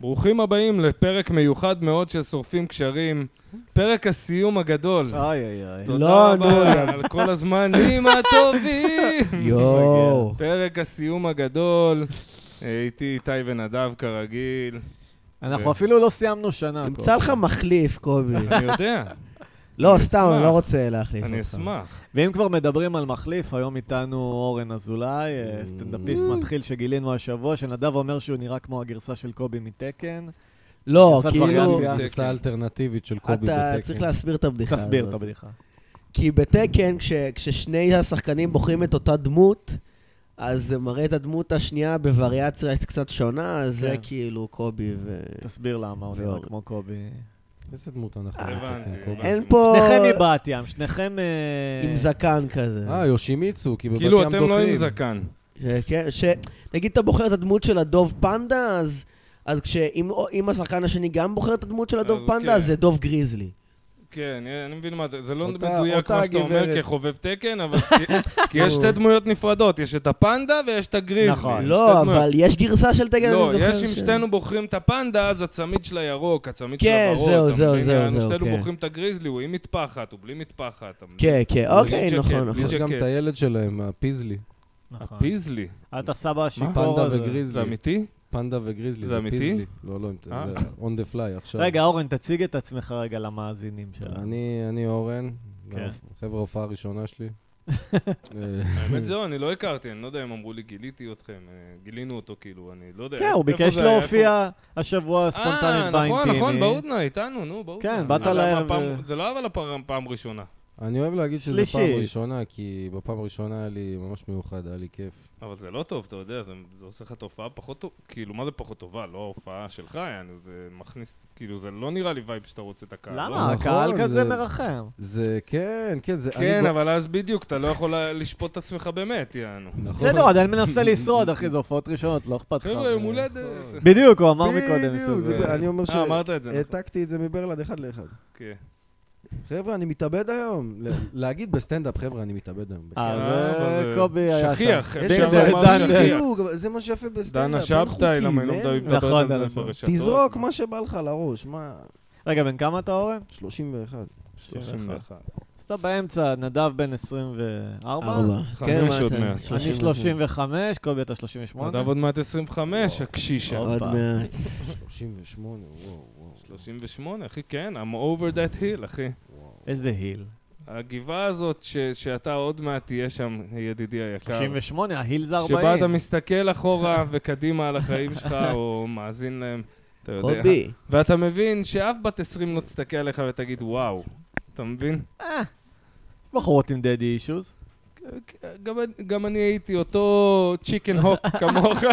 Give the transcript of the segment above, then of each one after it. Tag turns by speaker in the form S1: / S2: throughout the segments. S1: ברוכים הבאים לפרק מיוחד מאוד של שורפים קשרים, פרק הסיום הגדול.
S2: אוי אוי אוי.
S1: תודה
S3: לא, נו,
S1: רבה על כל הזמנים הטובים.
S3: יואו.
S1: פרק הסיום הגדול, אה, איתי איתי ונדב כרגיל.
S2: אנחנו אפילו לא סיימנו שנה.
S3: נמצא לך מחליף, קובי.
S1: אני יודע,
S3: לא,
S1: אני
S3: סתם, אני
S1: אשמח.
S3: לא רוצה להחליף אותך.
S1: אני אשמח.
S2: ואם כבר מדברים על מחליף, היום איתנו אורן אזולאי,
S4: Mm.
S2: אה, סטנדאפיסט מתחיל שגילינו השבוע, שנדב אומר שהוא נראה כמו הגרסה של קובי מתקן.
S3: לא,
S2: גרסת
S3: כאילו,
S2: וריאציה.
S1: תקן.
S4: גרסה אלטרנטיבית של קובי
S3: אתה
S4: בתקן.
S3: צריך להסביר את הבדיחה הזאת.
S2: תסביר את הבדיחה.
S3: כי בתקן, כש- כששני השחקנים בוחרים את אותה דמות, אז זה מראה את הדמות השנייה בווריאציה קצת שונה, אז זה
S2: כן.
S3: כאילו קובי ו...
S2: תסביר למה הוא נראה
S3: ואורן.
S2: כמו קובי.
S4: איזה דמות אנחנו
S3: אה,
S4: בתקן,
S1: הבנתי.
S4: קובי?
S3: אין פה...
S2: שניכם מבת ים, שניכם... אה,
S3: עם זקן כזה.
S4: אה, יושימיצו, כי בבת ים
S1: כאילו,
S4: דוקרים.
S1: אתם לא עם זקן.
S3: ש- כן, ש... נגיד אתה בוחר את הדמות של הדוב פנדה, אז... אז כשאם אם השחקן השני גם בוחר את הדמות של
S1: אז
S3: הדוב פנדה,
S1: כן.
S3: אז זה דוב גריזלי.
S1: כן, אני מבין מה זה, זה לא
S4: אותה-
S1: מדויק
S4: אותה
S1: מה שאתה אומר
S4: הגברת.
S1: כחובב תקן, אבל כי- כי יש שתי דמויות נפרדות, יש את הפנדה ויש את הגריזלי.
S2: נכון.
S1: שתי
S3: לא,
S1: דמויות.
S3: אבל יש גרסה של תקן, אני
S1: לא,
S3: זוכר
S1: יש אם
S3: ש-
S1: שתינו בוחרים את הפנדה, אז הצמיד שלה ירוק, הצמיד שלה
S3: כן,
S1: ורוד.
S3: זהו,
S1: אתה
S3: זהו,
S1: מבין?
S3: זהו,
S1: אנחנו
S3: זהו,
S1: שתינו
S3: כן.
S1: בוחרים את הגריזלי, הוא עם מטפחת, הוא בלי מטפחת. אתה מבין?
S3: כן, כן,
S1: הוא
S3: אוקיי,
S1: בלי
S3: נכון,
S1: ג'קט, בלי
S3: נכון.
S4: יש גם את הילד שלהם, הפיזלי.
S2: נכון.
S1: הפיזלי,
S2: אתה סבא השיכור
S4: פנדה
S2: הזה.
S1: אה, זה
S4: וגריזלי.
S1: אמיתי?
S4: פנדה וגריזלי,
S1: זה
S4: זה
S1: אמיתי?
S4: פיזלי. לא, לא, זה
S1: אה.
S4: on the fly עכשיו.
S2: רגע, אורן, תציג את עצמך רגע למאזינים שלנו.
S4: אני אני אורן,
S2: כן.
S4: חבר'ה, ההופעה הראשונה שלי. אה,
S1: האמת זהו, אני לא הכרתי, אני לא יודע אם אמרו לי, גיליתי אתכם, אה, גילינו אותו כאילו, אני לא יודע.
S2: כן, הוא
S1: איפה
S2: ביקש
S1: זה היה, איפה-
S2: להופיע השבוע ספונטנית
S1: אה, נכון,
S2: באינטימי.
S1: נכון, בהודנה, איתנו, נו, בהודנה.
S2: כן, באת
S1: אבל
S2: לערב,
S1: הפעם-
S2: אה.
S1: זה לא אבל הפעם פעם ראשונה,
S4: אני אוהב להגיד שזה
S2: שלישית.
S4: פעם ראשונה, כי בפעם הראשונה היה לי ממש מיוחד, היה לי כיף.
S1: אבל זה לא טוב, אתה יודע, זה זה עושה לך תופעה פחות טובה, כאילו, מה זה פחות טובה? לא ההופעה שלך, יעני, זה מכניס, כאילו, זה לא נראה לי וייב שאתה רוצה את הקהל. לא?
S2: למה?
S4: נכון,
S2: הקהל כזה
S4: זה-
S2: מרחם.
S4: זה, כן, כן, זה... אני
S1: כן,
S4: בא-
S1: אבל אז בדיוק, אתה לא יכול ל- לשפוט את עצמך באמת, יענו.
S4: נכון.
S2: בסדר, עדיין מנסה לשרוד, אחי, זה הופעות ראשונות, לא אכפת לך.
S4: נכון.
S1: חבר'ה, יום הולדת.
S2: בדיוק, הוא אמר מקודם
S4: בדיוק,
S2: שזה...
S4: זה- אני אומר
S1: אה, אמרת את זה, נכון.
S4: שהעתקתי את זה מברלד אחד לאחד.
S1: כן.
S4: חבר'ה, אני מתאבד היום. ל- להגיד בסטנדאפ, חבר'ה, אני מתאבד היום.
S2: אה,
S1: אה, כן. אבל זה-
S2: זה קובי היה שם.
S1: שכיח,
S4: אה,
S2: דן-
S1: אפשר
S2: דן-
S1: לומר
S2: דן-
S1: שכיח.
S4: בדיוק, אבל זה מה שיפה בסטנדאפ.
S1: דנה
S4: אין
S1: שבתאי,
S4: חוקים,
S1: למה היא לא
S4: אין?
S1: מדברת
S2: נכון,
S1: מדברת על
S2: דנה
S1: זה
S2: שבתאי.
S1: ברשתות?
S4: תזרוק מה שבא לך לראש, מה...
S2: רגע, בן כמה אתה, אורן?
S4: 31.
S1: 31.
S2: אז אתה באמצע, נדב בן 24?
S3: ארבע. כן, מה
S1: חמש עוד
S3: אתה?
S1: מעט.
S2: אני 35, קובי אתה 38.
S1: נדב עוד מעט 25, הקשישה.
S3: עוד מעט.
S4: 38, וואו, וואו.
S1: 38, אחי, כן, I'm over that hill, אחי.
S2: איזה היל.
S1: כן. הגבעה הזאת ש- שאתה עוד מעט תהיה שם, ידידי היקר.
S2: 38, ההיל זה 40.
S1: שבה אתה מסתכל אחורה וקדימה על החיים שלך, או מאזין להם, אתה יודע.
S3: קובי,
S1: ואתה מבין שאף בת 20 לא תסתכל עליך ותגיד, וואו. אתה מבין?
S2: בחורות עם דדי אישוז.
S1: גם, גם אני הייתי אותו צ'יקן הוק כמוך.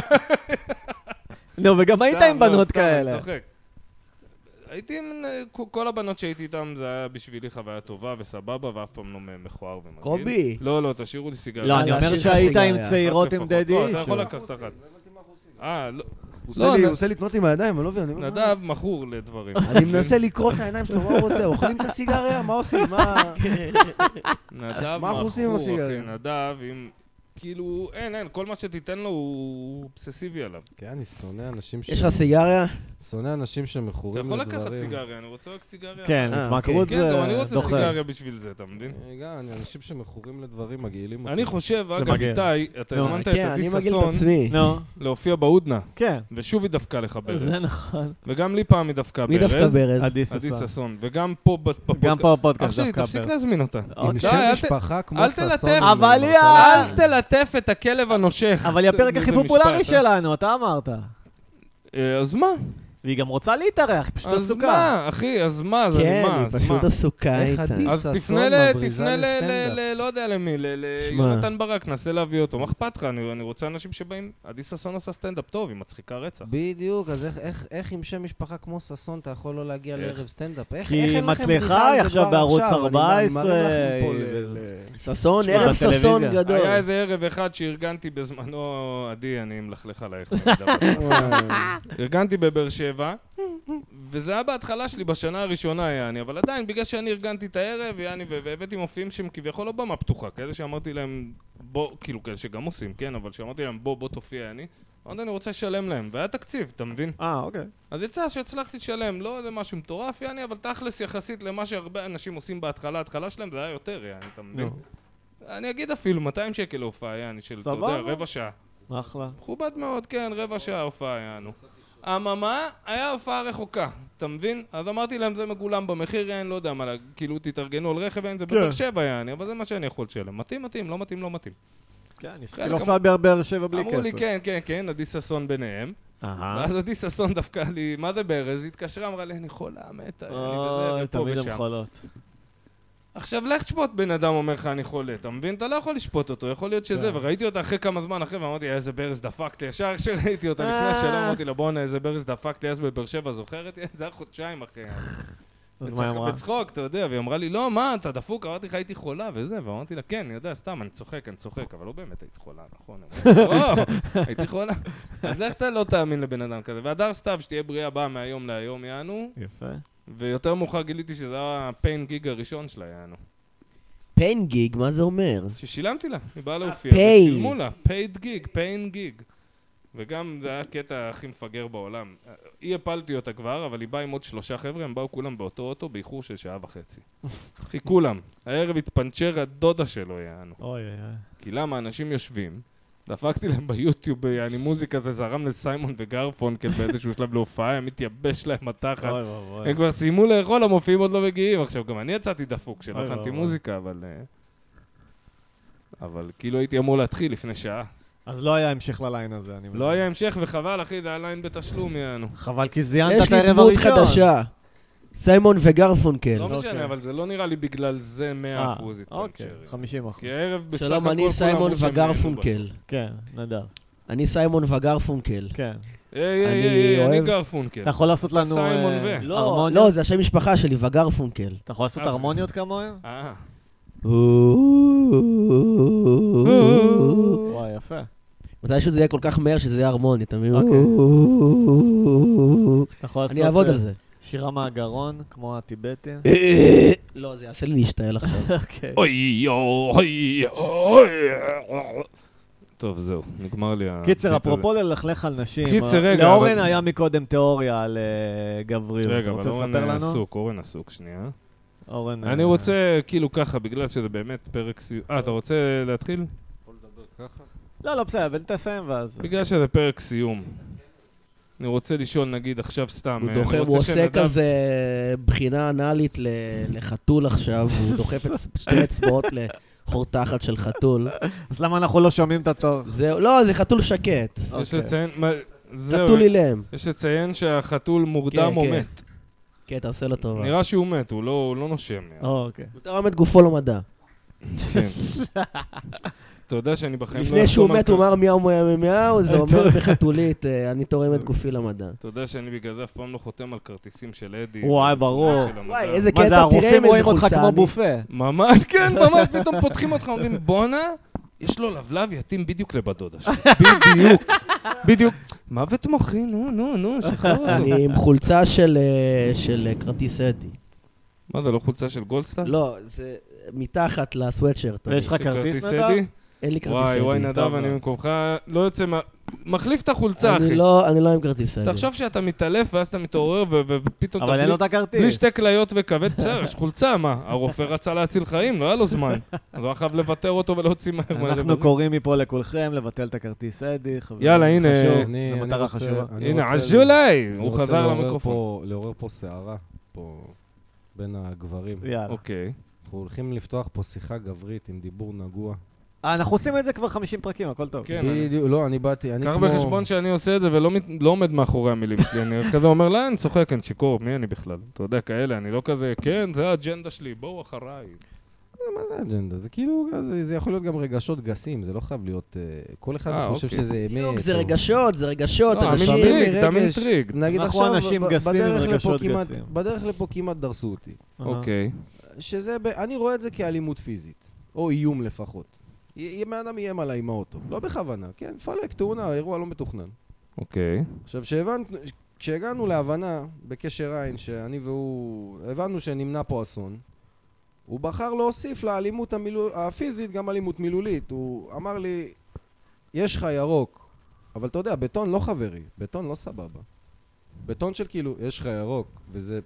S2: נו, וגם היית
S1: סתם,
S2: עם
S1: לא,
S2: בנות
S1: סתם,
S2: כאלה.
S1: אני צוחק. הייתי עם... כל הבנות שהייתי איתן, זה היה בשבילי חוויה טובה וסבבה, ואף פעם לא מכוער ומגעיל.
S3: קובי.
S1: לא, לא, תשאירו לי סיגריה.
S2: לא, אני
S3: להשאיר
S2: אומר
S3: לך
S2: שהיית
S3: סיגריה.
S2: עם צעירות עם
S1: אחת
S2: דדי
S1: לפחות. לא, אתה יכול
S2: אישוז.
S1: לקחת אחת. אה, לא.
S4: הוא
S1: לא,
S4: עושה לי-
S1: נ-
S4: הוא עושה לי תנועות עם הידיים, אני לא מבין. אני אומר, מה?
S1: נדב מכור לדברים.
S4: אני מנסה לקרוא את העיניים שלו, מה הוא רוצה? אוכלים את הסיגריה? מה עושים? מה...
S1: נדב
S4: מה אנחנו
S1: מכור,
S4: עושים עם
S1: אחי,
S4: הסיגריה?
S1: נדב, עם... כאילו, אין, אין, כל מה שתיתן לו הוא אובססיבי עליו.
S4: כן, אני שונא אנשים ש...
S3: יש לך סיגריה?
S4: שונא אנשים
S1: אתה
S4: שמכורים
S1: יכול
S4: לדברים.
S1: לקחת סיגריה, אני רוצה רק סיגריה.
S2: כן,
S3: אה,
S2: התמכרות
S1: כן,
S2: זה
S1: גם אני רוצה
S2: דוחה.
S1: סיגריה בשביל זה, אתה מבין?
S4: רגע, אה, אני- אנשים שמכורים לדברים מגעילים אותי.
S1: אני חושב, אגב,
S2: מגעיל.
S1: איתי, אתה
S2: נו,
S1: הזמנת את
S3: כן, אני
S1: עדי
S3: מגעיל את
S1: ששון
S3: עצמי.
S2: נו,
S1: להופיע בהודנה,
S2: כן.
S1: ושוב היא דפקה לך ברז.
S2: זה נכון.
S1: וגם לי פעם היא דפקה
S3: מי דווקא
S1: ברז.
S3: ברז?
S2: עדי
S1: עדי
S2: ששון.
S1: ששון. וגם פה ב-
S2: גם
S1: בפודקאסט.
S2: פה בפודקאסט
S1: אח שלי,
S2: דווקא.
S1: תפסיק להזמין אותה.
S4: עם
S2: אוקיי.
S1: די, אל
S4: שם
S1: ת-
S4: משפחה כמו
S1: אל
S4: ששון.
S1: תלטף.
S4: אני
S2: אבל
S4: לא
S2: היא
S4: רוצה
S2: ה-
S1: אל
S4: להגיד.
S1: תלטף את הכלב הנושך.
S2: אבל היא הפרק
S1: זה-
S2: הכי
S1: זה
S2: פופולרי
S1: משפט, אה?
S2: שלנו, אתה אמרת.
S1: אה, אז מה?
S2: והיא גם רוצה להתארח, היא פשוט
S1: אז
S2: עסוקה.
S1: מה, אחי, אז מה? אז אני
S3: כן,
S1: מה?
S3: היא
S1: אז מה?
S3: פשוט עסוקה
S4: איך
S3: איתה.
S4: עדיף?
S1: אז
S4: ששון
S1: תפנה ל...
S4: מבריזה
S1: תפנה ל... ל...
S4: לסטנדאפ.
S1: ל... לא יודע למי, ל...
S3: שמע.
S1: ליונתן ברק, נסה להביא אותו. מה אכפת לך? אני אני רוצה אנשים שבאים... עדי ששון עושה סטנדאפ טוב, היא מצחיקה רצח.
S4: בדיוק, אז איך- איך- איך עם שם משפחה כמו ששון אתה יכול לא להגיע
S1: איך?
S4: לערב סטנדאפ? איך-
S2: כי
S4: איך אין
S2: היא
S4: לכם
S2: מצליחה,
S4: בדיחה על
S2: היא
S4: זה
S2: עכשיו
S4: כבר
S2: בערוץ אה,
S4: עכשיו? אני מה- אני
S2: 14.
S4: מראה לכם פה ל-
S2: היא-
S4: ל-
S3: ששון,
S2: תשמע,
S3: ערב
S2: בטלוויזיה.
S3: ששון
S1: אה,
S3: גדול.
S1: היה איזה ערב אחד שארגנתי בזמנו, עדי, אני מלכלך עלייך. אני מדבר. ארגנתי בבאר שבע, וזה היה בהתחלה שלי בשנה הראשונה, יעני, אבל עדיין, בגלל שאני ארגנתי את הערב, יעני, ו- והבאתי מופיעים שהם כביכול לא במה פתוחה, כאלה שאמרתי להם, בוא, כאילו, כאלה שגם עושים, כן, אבל שאמרתי להם, בוא, בוא תופיע, יעני. עוד אני רוצה לשלם להם, והיה תקציב, אתה מבין?
S2: אה, אוקיי.
S1: אז יצא שהצלחתי לשלם, לא איזה משהו מטורף, יעני, אבל תכלס יחסית למה שהרבה אנשים עושים בהתחלה, ההתחלה שלהם זה היה יותר, יעני, אתה מבין? אני אגיד אפילו 200 שקל להופעה, יעני, של, אתה יודע,
S2: סבבה.
S1: רבע שעה.
S2: אחלה.
S1: מכובד מאוד, כן, רבע שעה הופעה יענו. אממה, היה הופעה רחוקה, אתה מבין? אז אמרתי להם, זה מגולם במחיר, אין, לא יודע מה, כאילו תתארגנו על רכב, אין, זה
S2: כן.
S1: בתל שבע יעני, אבל זה מה שאני יכול לשלם. מתאים, מתאים, לא מתאים, לא מתאים.
S2: כן, ניסיתי
S1: חלק
S2: להופעה בבאר שבע בלי כסף. אה?
S1: אמרו לי, כן, כן, כן, עדי ששון ביניהם.
S2: אהה.
S1: ואז עדי ששון דווקא לי, מה זה ברז? היא התקשרה, אמרה לי, אני חולה, מתה, אני
S2: אוי,
S1: וזה, ופה
S2: אה, תמיד
S1: ושם.
S2: הם חולות.
S1: עכשיו, לך תשפוט בן אדם אומר לך אני חולה, אתה מבין? אתה לא יכול לשפוט אותו, יכול להיות שזה,
S2: כן.
S1: וראיתי אותה אחרי כמה זמן אחרי, ואמרתי, "אה, איזה ברז דפקת לי, ישר כשראיתי אותה לפני
S2: אה.
S1: השאלה, אמרתי לה, בואנה, איזה ברז דפקת לי אז בבאר שבע, זוכרת? זה היה חודשיים אחרי.
S2: אז מה היא אמרה?
S1: בצחוק, אתה יודע, והיא אמרה לי, לא, מה, אתה דפוק? אמרתי לך, הייתי חולה וזה, ואמרתי לה, כן, אני יודע, סתם, אני צוחק, אני צוחק, אבל לא באמת היית חולה, נכון? אמרתי, "או, הייתי חולה. אז איך אתה לא תאמין לבן אדם כזה? והדר סתיו, שתהיה בריאה, באה מהיום להיום, יענו,
S2: יפה.
S1: ויותר מאוחר גיליתי שזה היה הפיין גיג הראשון שלה, יענו.
S3: פיין גיג, מה זה אומר?
S1: ששילמתי לה, היא באה להופיע,
S3: pay.
S1: ושילמו לה, פייד גיג, פיין גיג. וגם זה היה הקטע הכי מפגר בעולם. היא הפלתי אותה כבר, אבל היא באה עם עוד שלושה חבר'ה, הם באו כולם באותו אוטו באיחור של שעה וחצי. אחי, כולם. הערב התפנצ'ר הדודה שלו, יענו.
S2: אוי אוי אוי.
S1: כי למה? אנשים יושבים, דפקתי להם ביוטיוב, יעני מוזיקה, זה זרם לסיימון וגרפונקל באיזשהו שלב להופעה, היה מתייבש להם התחת.
S2: אוי אוי
S1: הם כבר סיימו לאכול, המופיעים עוד לא מגיעים. עכשיו, גם אני יצאתי דפוק, שלא
S2: אוי,
S1: הכנתי
S2: אוי, אוי.
S1: מוזיקה, אבל... אה, אבל כאילו הייתי אמור להתחיל לפני שעה.
S2: אז לא היה המשך לליין הזה, אני מבין.
S1: לא היה המשך, וחבל, אחי, זה היה ליין בתשלום, יענו.
S2: חבל, כי זיינת
S3: יש
S2: את
S3: לי
S2: הערב
S3: דמות
S2: הראשון.
S3: חדשה. סיימון וגרפונקל.
S1: לא
S2: אוקיי.
S1: משנה, אבל זה לא נראה לי בגלל זה 100%
S2: אה, אוקיי,
S1: התפנצ'ר.
S2: 50 אחוז.
S1: כי הערב בסך הכל
S3: שלום,
S1: כולם
S3: אני
S1: אמרו
S3: סיימון
S1: שהם נהנו
S3: וגרפונקל.
S2: כן, נהדר.
S3: אני סיימון וגרפונקל.
S2: כן.
S1: בסוף. היי, היי,
S3: אני
S1: היי, אה, אני
S3: אוהב-
S1: גרפונקל.
S2: אתה יכול לעשות לנו
S1: סיימון
S2: אה,
S1: ו.
S3: לא,
S2: הרמוניות?
S3: לא, זה השם משפחה שלי, וגרפונקל.
S2: אתה יכול לעשות
S1: אה.
S2: הרמוניות כמוהם?
S1: אה,
S3: אה.
S2: וואי, יפה.
S3: מתישהו זה יהיה כל כך מהר שזה יהיה הרמוני, אתה מבין?
S2: אוקיי. אתה יכול לעשות...
S3: אני אעבוד
S2: אה,
S3: על זה.
S2: שירה מהגרון, כמו הטיבטים.
S3: אה, לא, זה יעשה לי להשתעל עכשיו.
S1: אה,
S2: אוקיי.
S1: אוי, אוי, אוי. טוב, זהו, נגמר לי ה...
S2: קיצר, אפרופו ללכלך על נשים,
S1: קיצר,
S2: אה,
S1: רגע,
S2: לאורן
S1: אבל-
S2: היה מקודם תיאוריה על אה, גבריות.
S1: רגע,
S2: אתה
S1: אבל
S2: רוצה
S1: אורן
S2: לספר
S1: אה,
S2: לנו?
S1: עסוק, אורן עסוק, שנייה.
S2: אורן...
S1: אני
S2: אה,
S1: רוצה, כאילו ככה, בגלל שזה באמת פרק סיום... אה, אתה רוצה להתחיל?
S2: לא, לא, בסדר, אבל תסיים ואז...
S1: בגלל שזה פרק סיום. אני רוצה לשאול, נגיד, עכשיו סתם...
S3: הוא
S1: אה,
S3: דוחף,
S1: אני
S3: הוא
S1: רוצה
S3: עושה
S1: שנדב-
S3: כזה בחינה אנאלית ל- לחתול עכשיו, הוא דוחף את שתי אצבעות לחור תחת של חתול.
S2: אז למה אנחנו לא שומעים את התור?
S3: זהו, לא, זה חתול שקט.
S1: יש
S2: אוקיי.
S1: לציין... מה- זהו, אה.
S3: חתול אילם.
S1: יש לציין שהחתול מורדם או
S3: כן.
S1: מת.
S3: כן, אתה עושה לו טובה.
S1: נראה שהוא מת, הוא לא הוא לא נושם. יעני.
S2: או, אוקיי.
S3: הוא תרם את גופו למדע.
S1: כן. אתה יודע שאני בחיים לא...
S3: אוקיי. לפני
S1: אחתום
S3: שהוא
S1: על
S3: מת
S1: כזה.
S3: הוא אמר מיהו מיהו מיהו, זה אומר בחתולית, אה, אני תורם את גופי למדע.
S1: אתה יודע שאני בגלל זה אף פעם לא חותם על כרטיסים של אדי.
S2: וואי,
S1: ועיתונים
S2: ברור.
S1: של המדע.
S3: וואי, איזה
S2: מה זה,
S3: קטע, תראה
S2: הרופאים
S3: עם איזה
S2: רואים אותך
S3: חולצה
S2: כמו
S3: אני.
S2: בופה.
S1: ממש, כן, ממש, פתאום פותחים אותך, אומרים, בואנה, יש לו לבלב יתאים בדיוק לבת דודה שלי. בדיוק, בדיוק. מוות מוחי, נו, נו, נו, שחרר אותו.
S3: אני עם חולצה של אה, של, אה, כרטיס אדי.
S1: מה זה, לא חולצה של גולדסטאר?
S3: לא, זה מתחת לסוואטשרט.
S2: ויש לך
S1: של
S2: כרטיס נדב?
S1: אדי?
S3: אין לי כרטיס
S1: וואי, וואי,
S3: אדי.
S1: נדב,
S2: טוב
S1: אני
S2: מאוד.
S1: במקומך לא יוצא מה... מחליף את החולצה,
S3: אני
S1: אחי.
S3: לא- אני לא עם כרטיס אדי.
S1: תחשוב שאתה מתעלף ואז אתה מתעורר ו- ו- ופתאום... אתה
S2: אבל לא אין
S1: בלי-
S2: לו את הכרטיס.
S1: בלי שתי כליות וכבד, בסדר, יש חולצה, מה? הרופא רצה להציל חיים, לא היה לו זמן. אז הוא היה חייב לוותר אותו ולהוציא מהר.
S2: אנחנו קוראים מפה לכולכם לבטל את הכרטיס אדי, חברים.
S1: יאללה, אה, הנה,
S2: אה, חשוב,
S4: אני-
S2: זו
S4: אני
S2: מטרה
S4: רוצה-
S2: חשובה.
S4: אני
S1: הנה,
S4: רוצה-
S1: עז'ולי!
S4: אני
S1: הוא
S4: רוצה
S1: חזר
S4: לעורר
S1: למיקרופון.
S4: פה- לעורר פה סערה, פה בין הגברים.
S2: יאללה.
S1: אוקיי.
S4: אנחנו הולכים לפתוח פה שיחה גברית עם דיבור נגוע.
S2: אה, אנחנו עושים את זה כבר 50 פרקים, הכל טוב.
S1: כן, אני-
S4: בדיוק, לא, אני באתי, אני
S1: קח
S4: כמו...
S1: בחשבון שאני עושה את זה ולא מת- לא עומד מאחורי המילים שלי. אני כזה אומר, לא, אני צוחק, אני שיכור, מי אני בכלל? אתה יודע, כאלה, אני לא כזה, כן, זה האג'נדה שלי, בואו אחריי.
S2: לא,
S4: מה זה אג'נדה? זה כאילו, זה- זה יכול להיות גם רגשות גסים, זה לא חייב להיות... אה, כל אחד
S1: אה,
S4: חושב
S1: אוקיי.
S4: שזה אמת.
S3: בדיוק, זה
S4: או-
S3: רגשות, זה רגשות,
S1: לא,
S3: אנשים...
S1: אני
S4: לפעמים
S1: אינטריג, אתה
S4: מרגש.
S1: אינטריג.
S4: נגיד
S2: אנחנו
S4: עכשיו,
S2: אנשים
S4: ב-
S2: גסים עם
S4: בדרך לפה
S2: רגשות
S4: כמעט-
S2: גסים.
S4: בדרך לפה כמעט דרסו אותי.
S2: אהה.
S1: אוקיי.
S4: שזה, ב... אני רואה את זה כאלימות פיזית, או איום לפחות. י- בן אדם איים עליי עם האוטו, לא בכוונה, כן, פלק, תאונה, אירוע לא מתוכנן.
S1: אוקיי.
S4: עכשיו, שהבנת, כשהגענו להבנה בקשר עין, שאני והוא, הבנו שנמנע פה אסון, הוא בחר להוסיף לאלימות המילול... הפיזית גם אלימות מילולית. הוא אמר לי, יש לך ירוק, אבל אתה יודע, בטון לא חברי, בטון לא סבבה. בטון של כאילו, יש לך ירוק, וזה...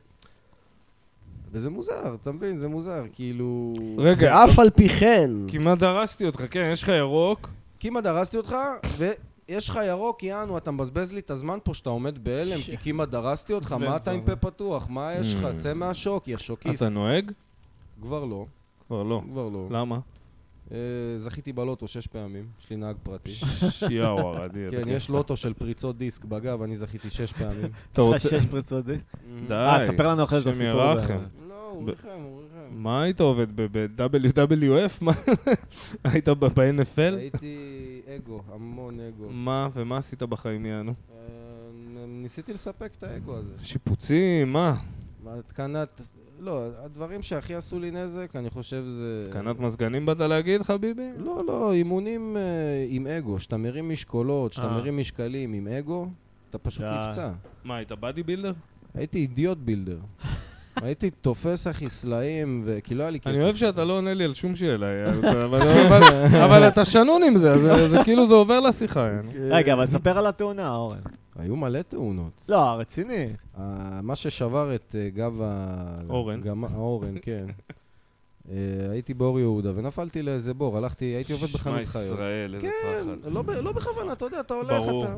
S4: וזה מוזר, אתה מבין? זה מוזר, כאילו...
S1: רגע,
S3: ואף על פי כן,
S1: כמעט דרסתי אותך, כן, יש לך ירוק.
S4: כמעט דרסתי אותך, ויש לך ירוק, יענו, אתה מבזבז לי את הזמן פה שאתה עומד בהלם, כי כמעט דרסתי אותך,
S2: בן
S4: מה אתה עם
S2: זונה.
S4: פה פתוח? מה יש לך?
S1: Hmm.
S4: צא מהשוק, יא שוקיסט.
S1: אתה נוהג?
S4: כבר לא,
S1: כבר לא.
S4: כבר לא.
S1: למה?
S4: אה, זכיתי בלוטו שש פעמים, יש לי נהג פרטי.
S1: שיהו ערדי. אתה
S4: כן, יש לוטו של פריצות דיסק בגב, אני זכיתי שש פעמים. Mm.
S1: אתה
S2: יש
S1: רוצה...
S2: לך שש פריצות דיסק?
S1: די.
S2: אה, תספר לנו אחרי זה את
S1: השם
S2: הסיפור.
S1: ירחם.
S2: הזה.
S4: לא, הוא
S1: ב-
S4: ריחם, הוא ריחם.
S1: מה היית עובד? ב-WWF? היית ב- ב-NFL?
S4: הייתי אגו, המון אגו.
S1: מה ומה עשית בחיים יענו?
S4: אה, נ- ניסיתי לספק את האגו הזה.
S1: שיפוצים? מה?
S4: כן. התקנת... לא, הדברים שהכי עשו לי נזק, אני חושב זה...
S1: קנת מזגנים באת להגיד, חביבי?
S4: לא, לא, אימונים אה, עם אגו. כשאתה מרים משקולות, כשאתה
S2: אה.
S4: מרים משקלים עם אגו, אתה פשוט
S2: די.
S4: נפצע.
S1: מה, היית בדי בילדר?
S4: הייתי אידיוט בילדר. הייתי תופס אחי סלעים, וכי לא היה לי כסף.
S1: אני אוהב שאתה לא עונה לי על שום שאלה, יענו, אתה- אבל- אבל- אבל אתה שנון עם זה, אז זה- זה כאילו זה עובר לשיחה,
S4: כן.
S1: יענו.
S2: רגע, אבל תספר על התאונה, אורן.
S4: היו מלא תאונות.
S2: לא, רציני.
S4: אה, מה ששבר את אה, גב ה...
S1: אורן.
S4: גם... האורן, כן. אה, הייתי באור יהודה ונפלתי לאיזה בור, הלכתי, הייתי עובד בחנות
S1: שמע
S4: חיות.
S1: ישראל, איזה
S4: כן,
S1: פחד.
S4: לא, ב- לא בכוונה, אתה יודע, אתה הולך,
S1: ברור.
S4: אתה...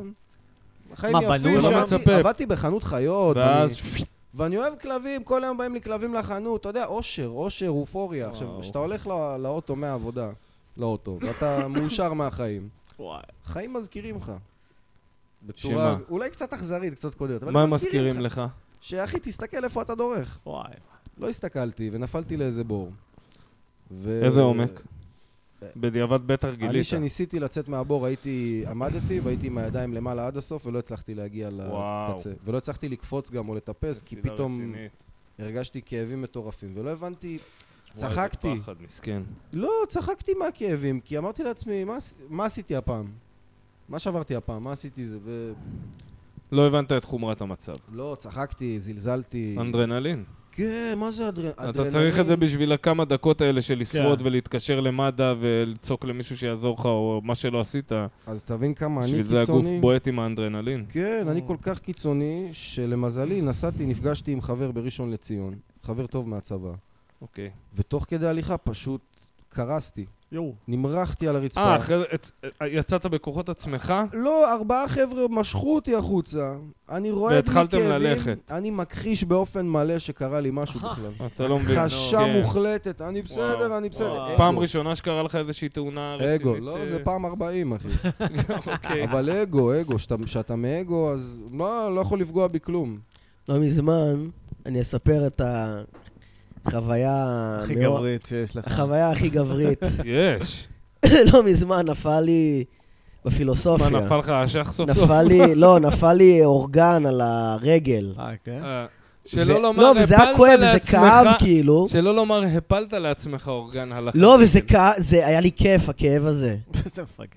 S4: החיים
S2: מה, בנו
S4: יפים,
S2: שם?
S4: שם,
S1: לא מצפה.
S4: עבדתי בחנות חיות,
S1: ואז...
S4: ואני, ואני אוהב כלבים, כל היום באים לי כלבים לחנות, אתה יודע, אושר, אושר, אופוריה. עכשיו,
S2: וואו.
S4: כשאתה הולך לא, לאוטו מהעבודה,
S1: לא
S4: לאוטו, ואתה מאושר מהחיים, חיים מזכירים לך. בצורה,
S1: שמה?
S4: אולי קצת אכזרית, קצת קודרת, אבל
S1: מה
S4: הם
S1: מזכירים לך?
S4: שאחי, תסתכל איפה אתה דורך.
S2: וואי.
S4: לא הסתכלתי, ונפלתי לאיזה בור. ו...
S1: איזה עומק? בדיעבד בטח
S4: אה, אני
S1: גילית.
S4: שניסיתי לצאת מהבור, הייתי, עמדתי והייתי עם הידיים למעלה עד הסוף, ולא הצלחתי להגיע
S1: וואו.
S4: לקצה. ולא הצלחתי לקפוץ גם או לטפס, כי
S1: נפילה
S4: פתאום
S1: רצינית.
S4: הרגשתי כאבים מטורפים, ולא הבנתי,
S1: וואי,
S4: צחקתי.
S1: איזה פחד, מסכן.
S4: לא, צחקתי מהכאבים, כי אמרתי לעצמי, "מה עש- מה עשיתי הפעם? מה שברתי הפעם? מה עשיתי זה?
S1: לא הבנת את חומרת המצב.
S4: ולא, צחקתי, זלזלתי.
S1: אנדרנלין.
S4: כן, מה זה אדר- אדרנלין?
S1: אתה צריך את זה בשביל הכמה דקות האלה של לשרוד
S3: כן.
S1: ולהתקשר למד"א ולצעוק למישהו שיעזור לך או מה שלא עשית.
S4: אז תבין כמה אני
S1: בשביל זה הגוף
S4: קיצוני.
S1: בועט עם האנדרנלין.
S4: כן, אני כל כך קיצוני, שלמזלי נסעתי, נפגשתי עם חבר בראשון לציון, חבר טוב מהצבא,
S1: אוקיי.
S4: ותוך כדי הליכה פשוט קרסתי,
S2: יואו.
S4: נמרחתי על הרצפה.
S1: אה, אחרי זה הצ- יצאת בכוחות עצמך?
S4: לא, ארבעה חבר'ה משכו אותי החוצה, אני רואה את
S1: והתחלתם ללכת.
S4: אני מכחיש באופן מלא שקרה לי משהו בכלל.
S1: אתה לא מבין.
S4: הכחשה
S1: כן.
S4: מוחלטת, אני בסדר,
S1: וואו.
S4: אני בסדר.
S2: וואו.
S4: אגו.
S1: פעם ראשונה שקרה לך איזושהי תאונה רצינית.
S4: אגו, לא,
S1: אה,
S4: זה פעם 40, אחי.
S1: אוקיי.
S4: אבל אגו, אגו, שאתה- שאתה מאגו, אז מה, לא יכול לפגוע בכלום.
S3: לא מזמן, אני אספר את החוויה...
S2: הכי
S3: המאוד-
S2: גברית שיש לך.
S3: החוויה הכי גברית.
S1: יש.
S3: לא מזמן נפל לי בפילוסופיה.
S1: מה, נפל לך האשך סוף סוף?
S3: אוקיי. נפל לי, לא, נפל לי אורגן על הרגל.
S2: אה, כן?
S1: אה,
S3: ו-
S1: שלא לומר,
S3: לא, וזה היה
S1: הפלת
S3: כואב, וזה
S1: לעצמך-
S3: כאב כאילו.
S1: שלא לומר, הפלת לעצמך אורגן הלכה.
S3: לא, וזה כאב, זה היה לי כיף, הכאב הזה.
S2: זה מפגע.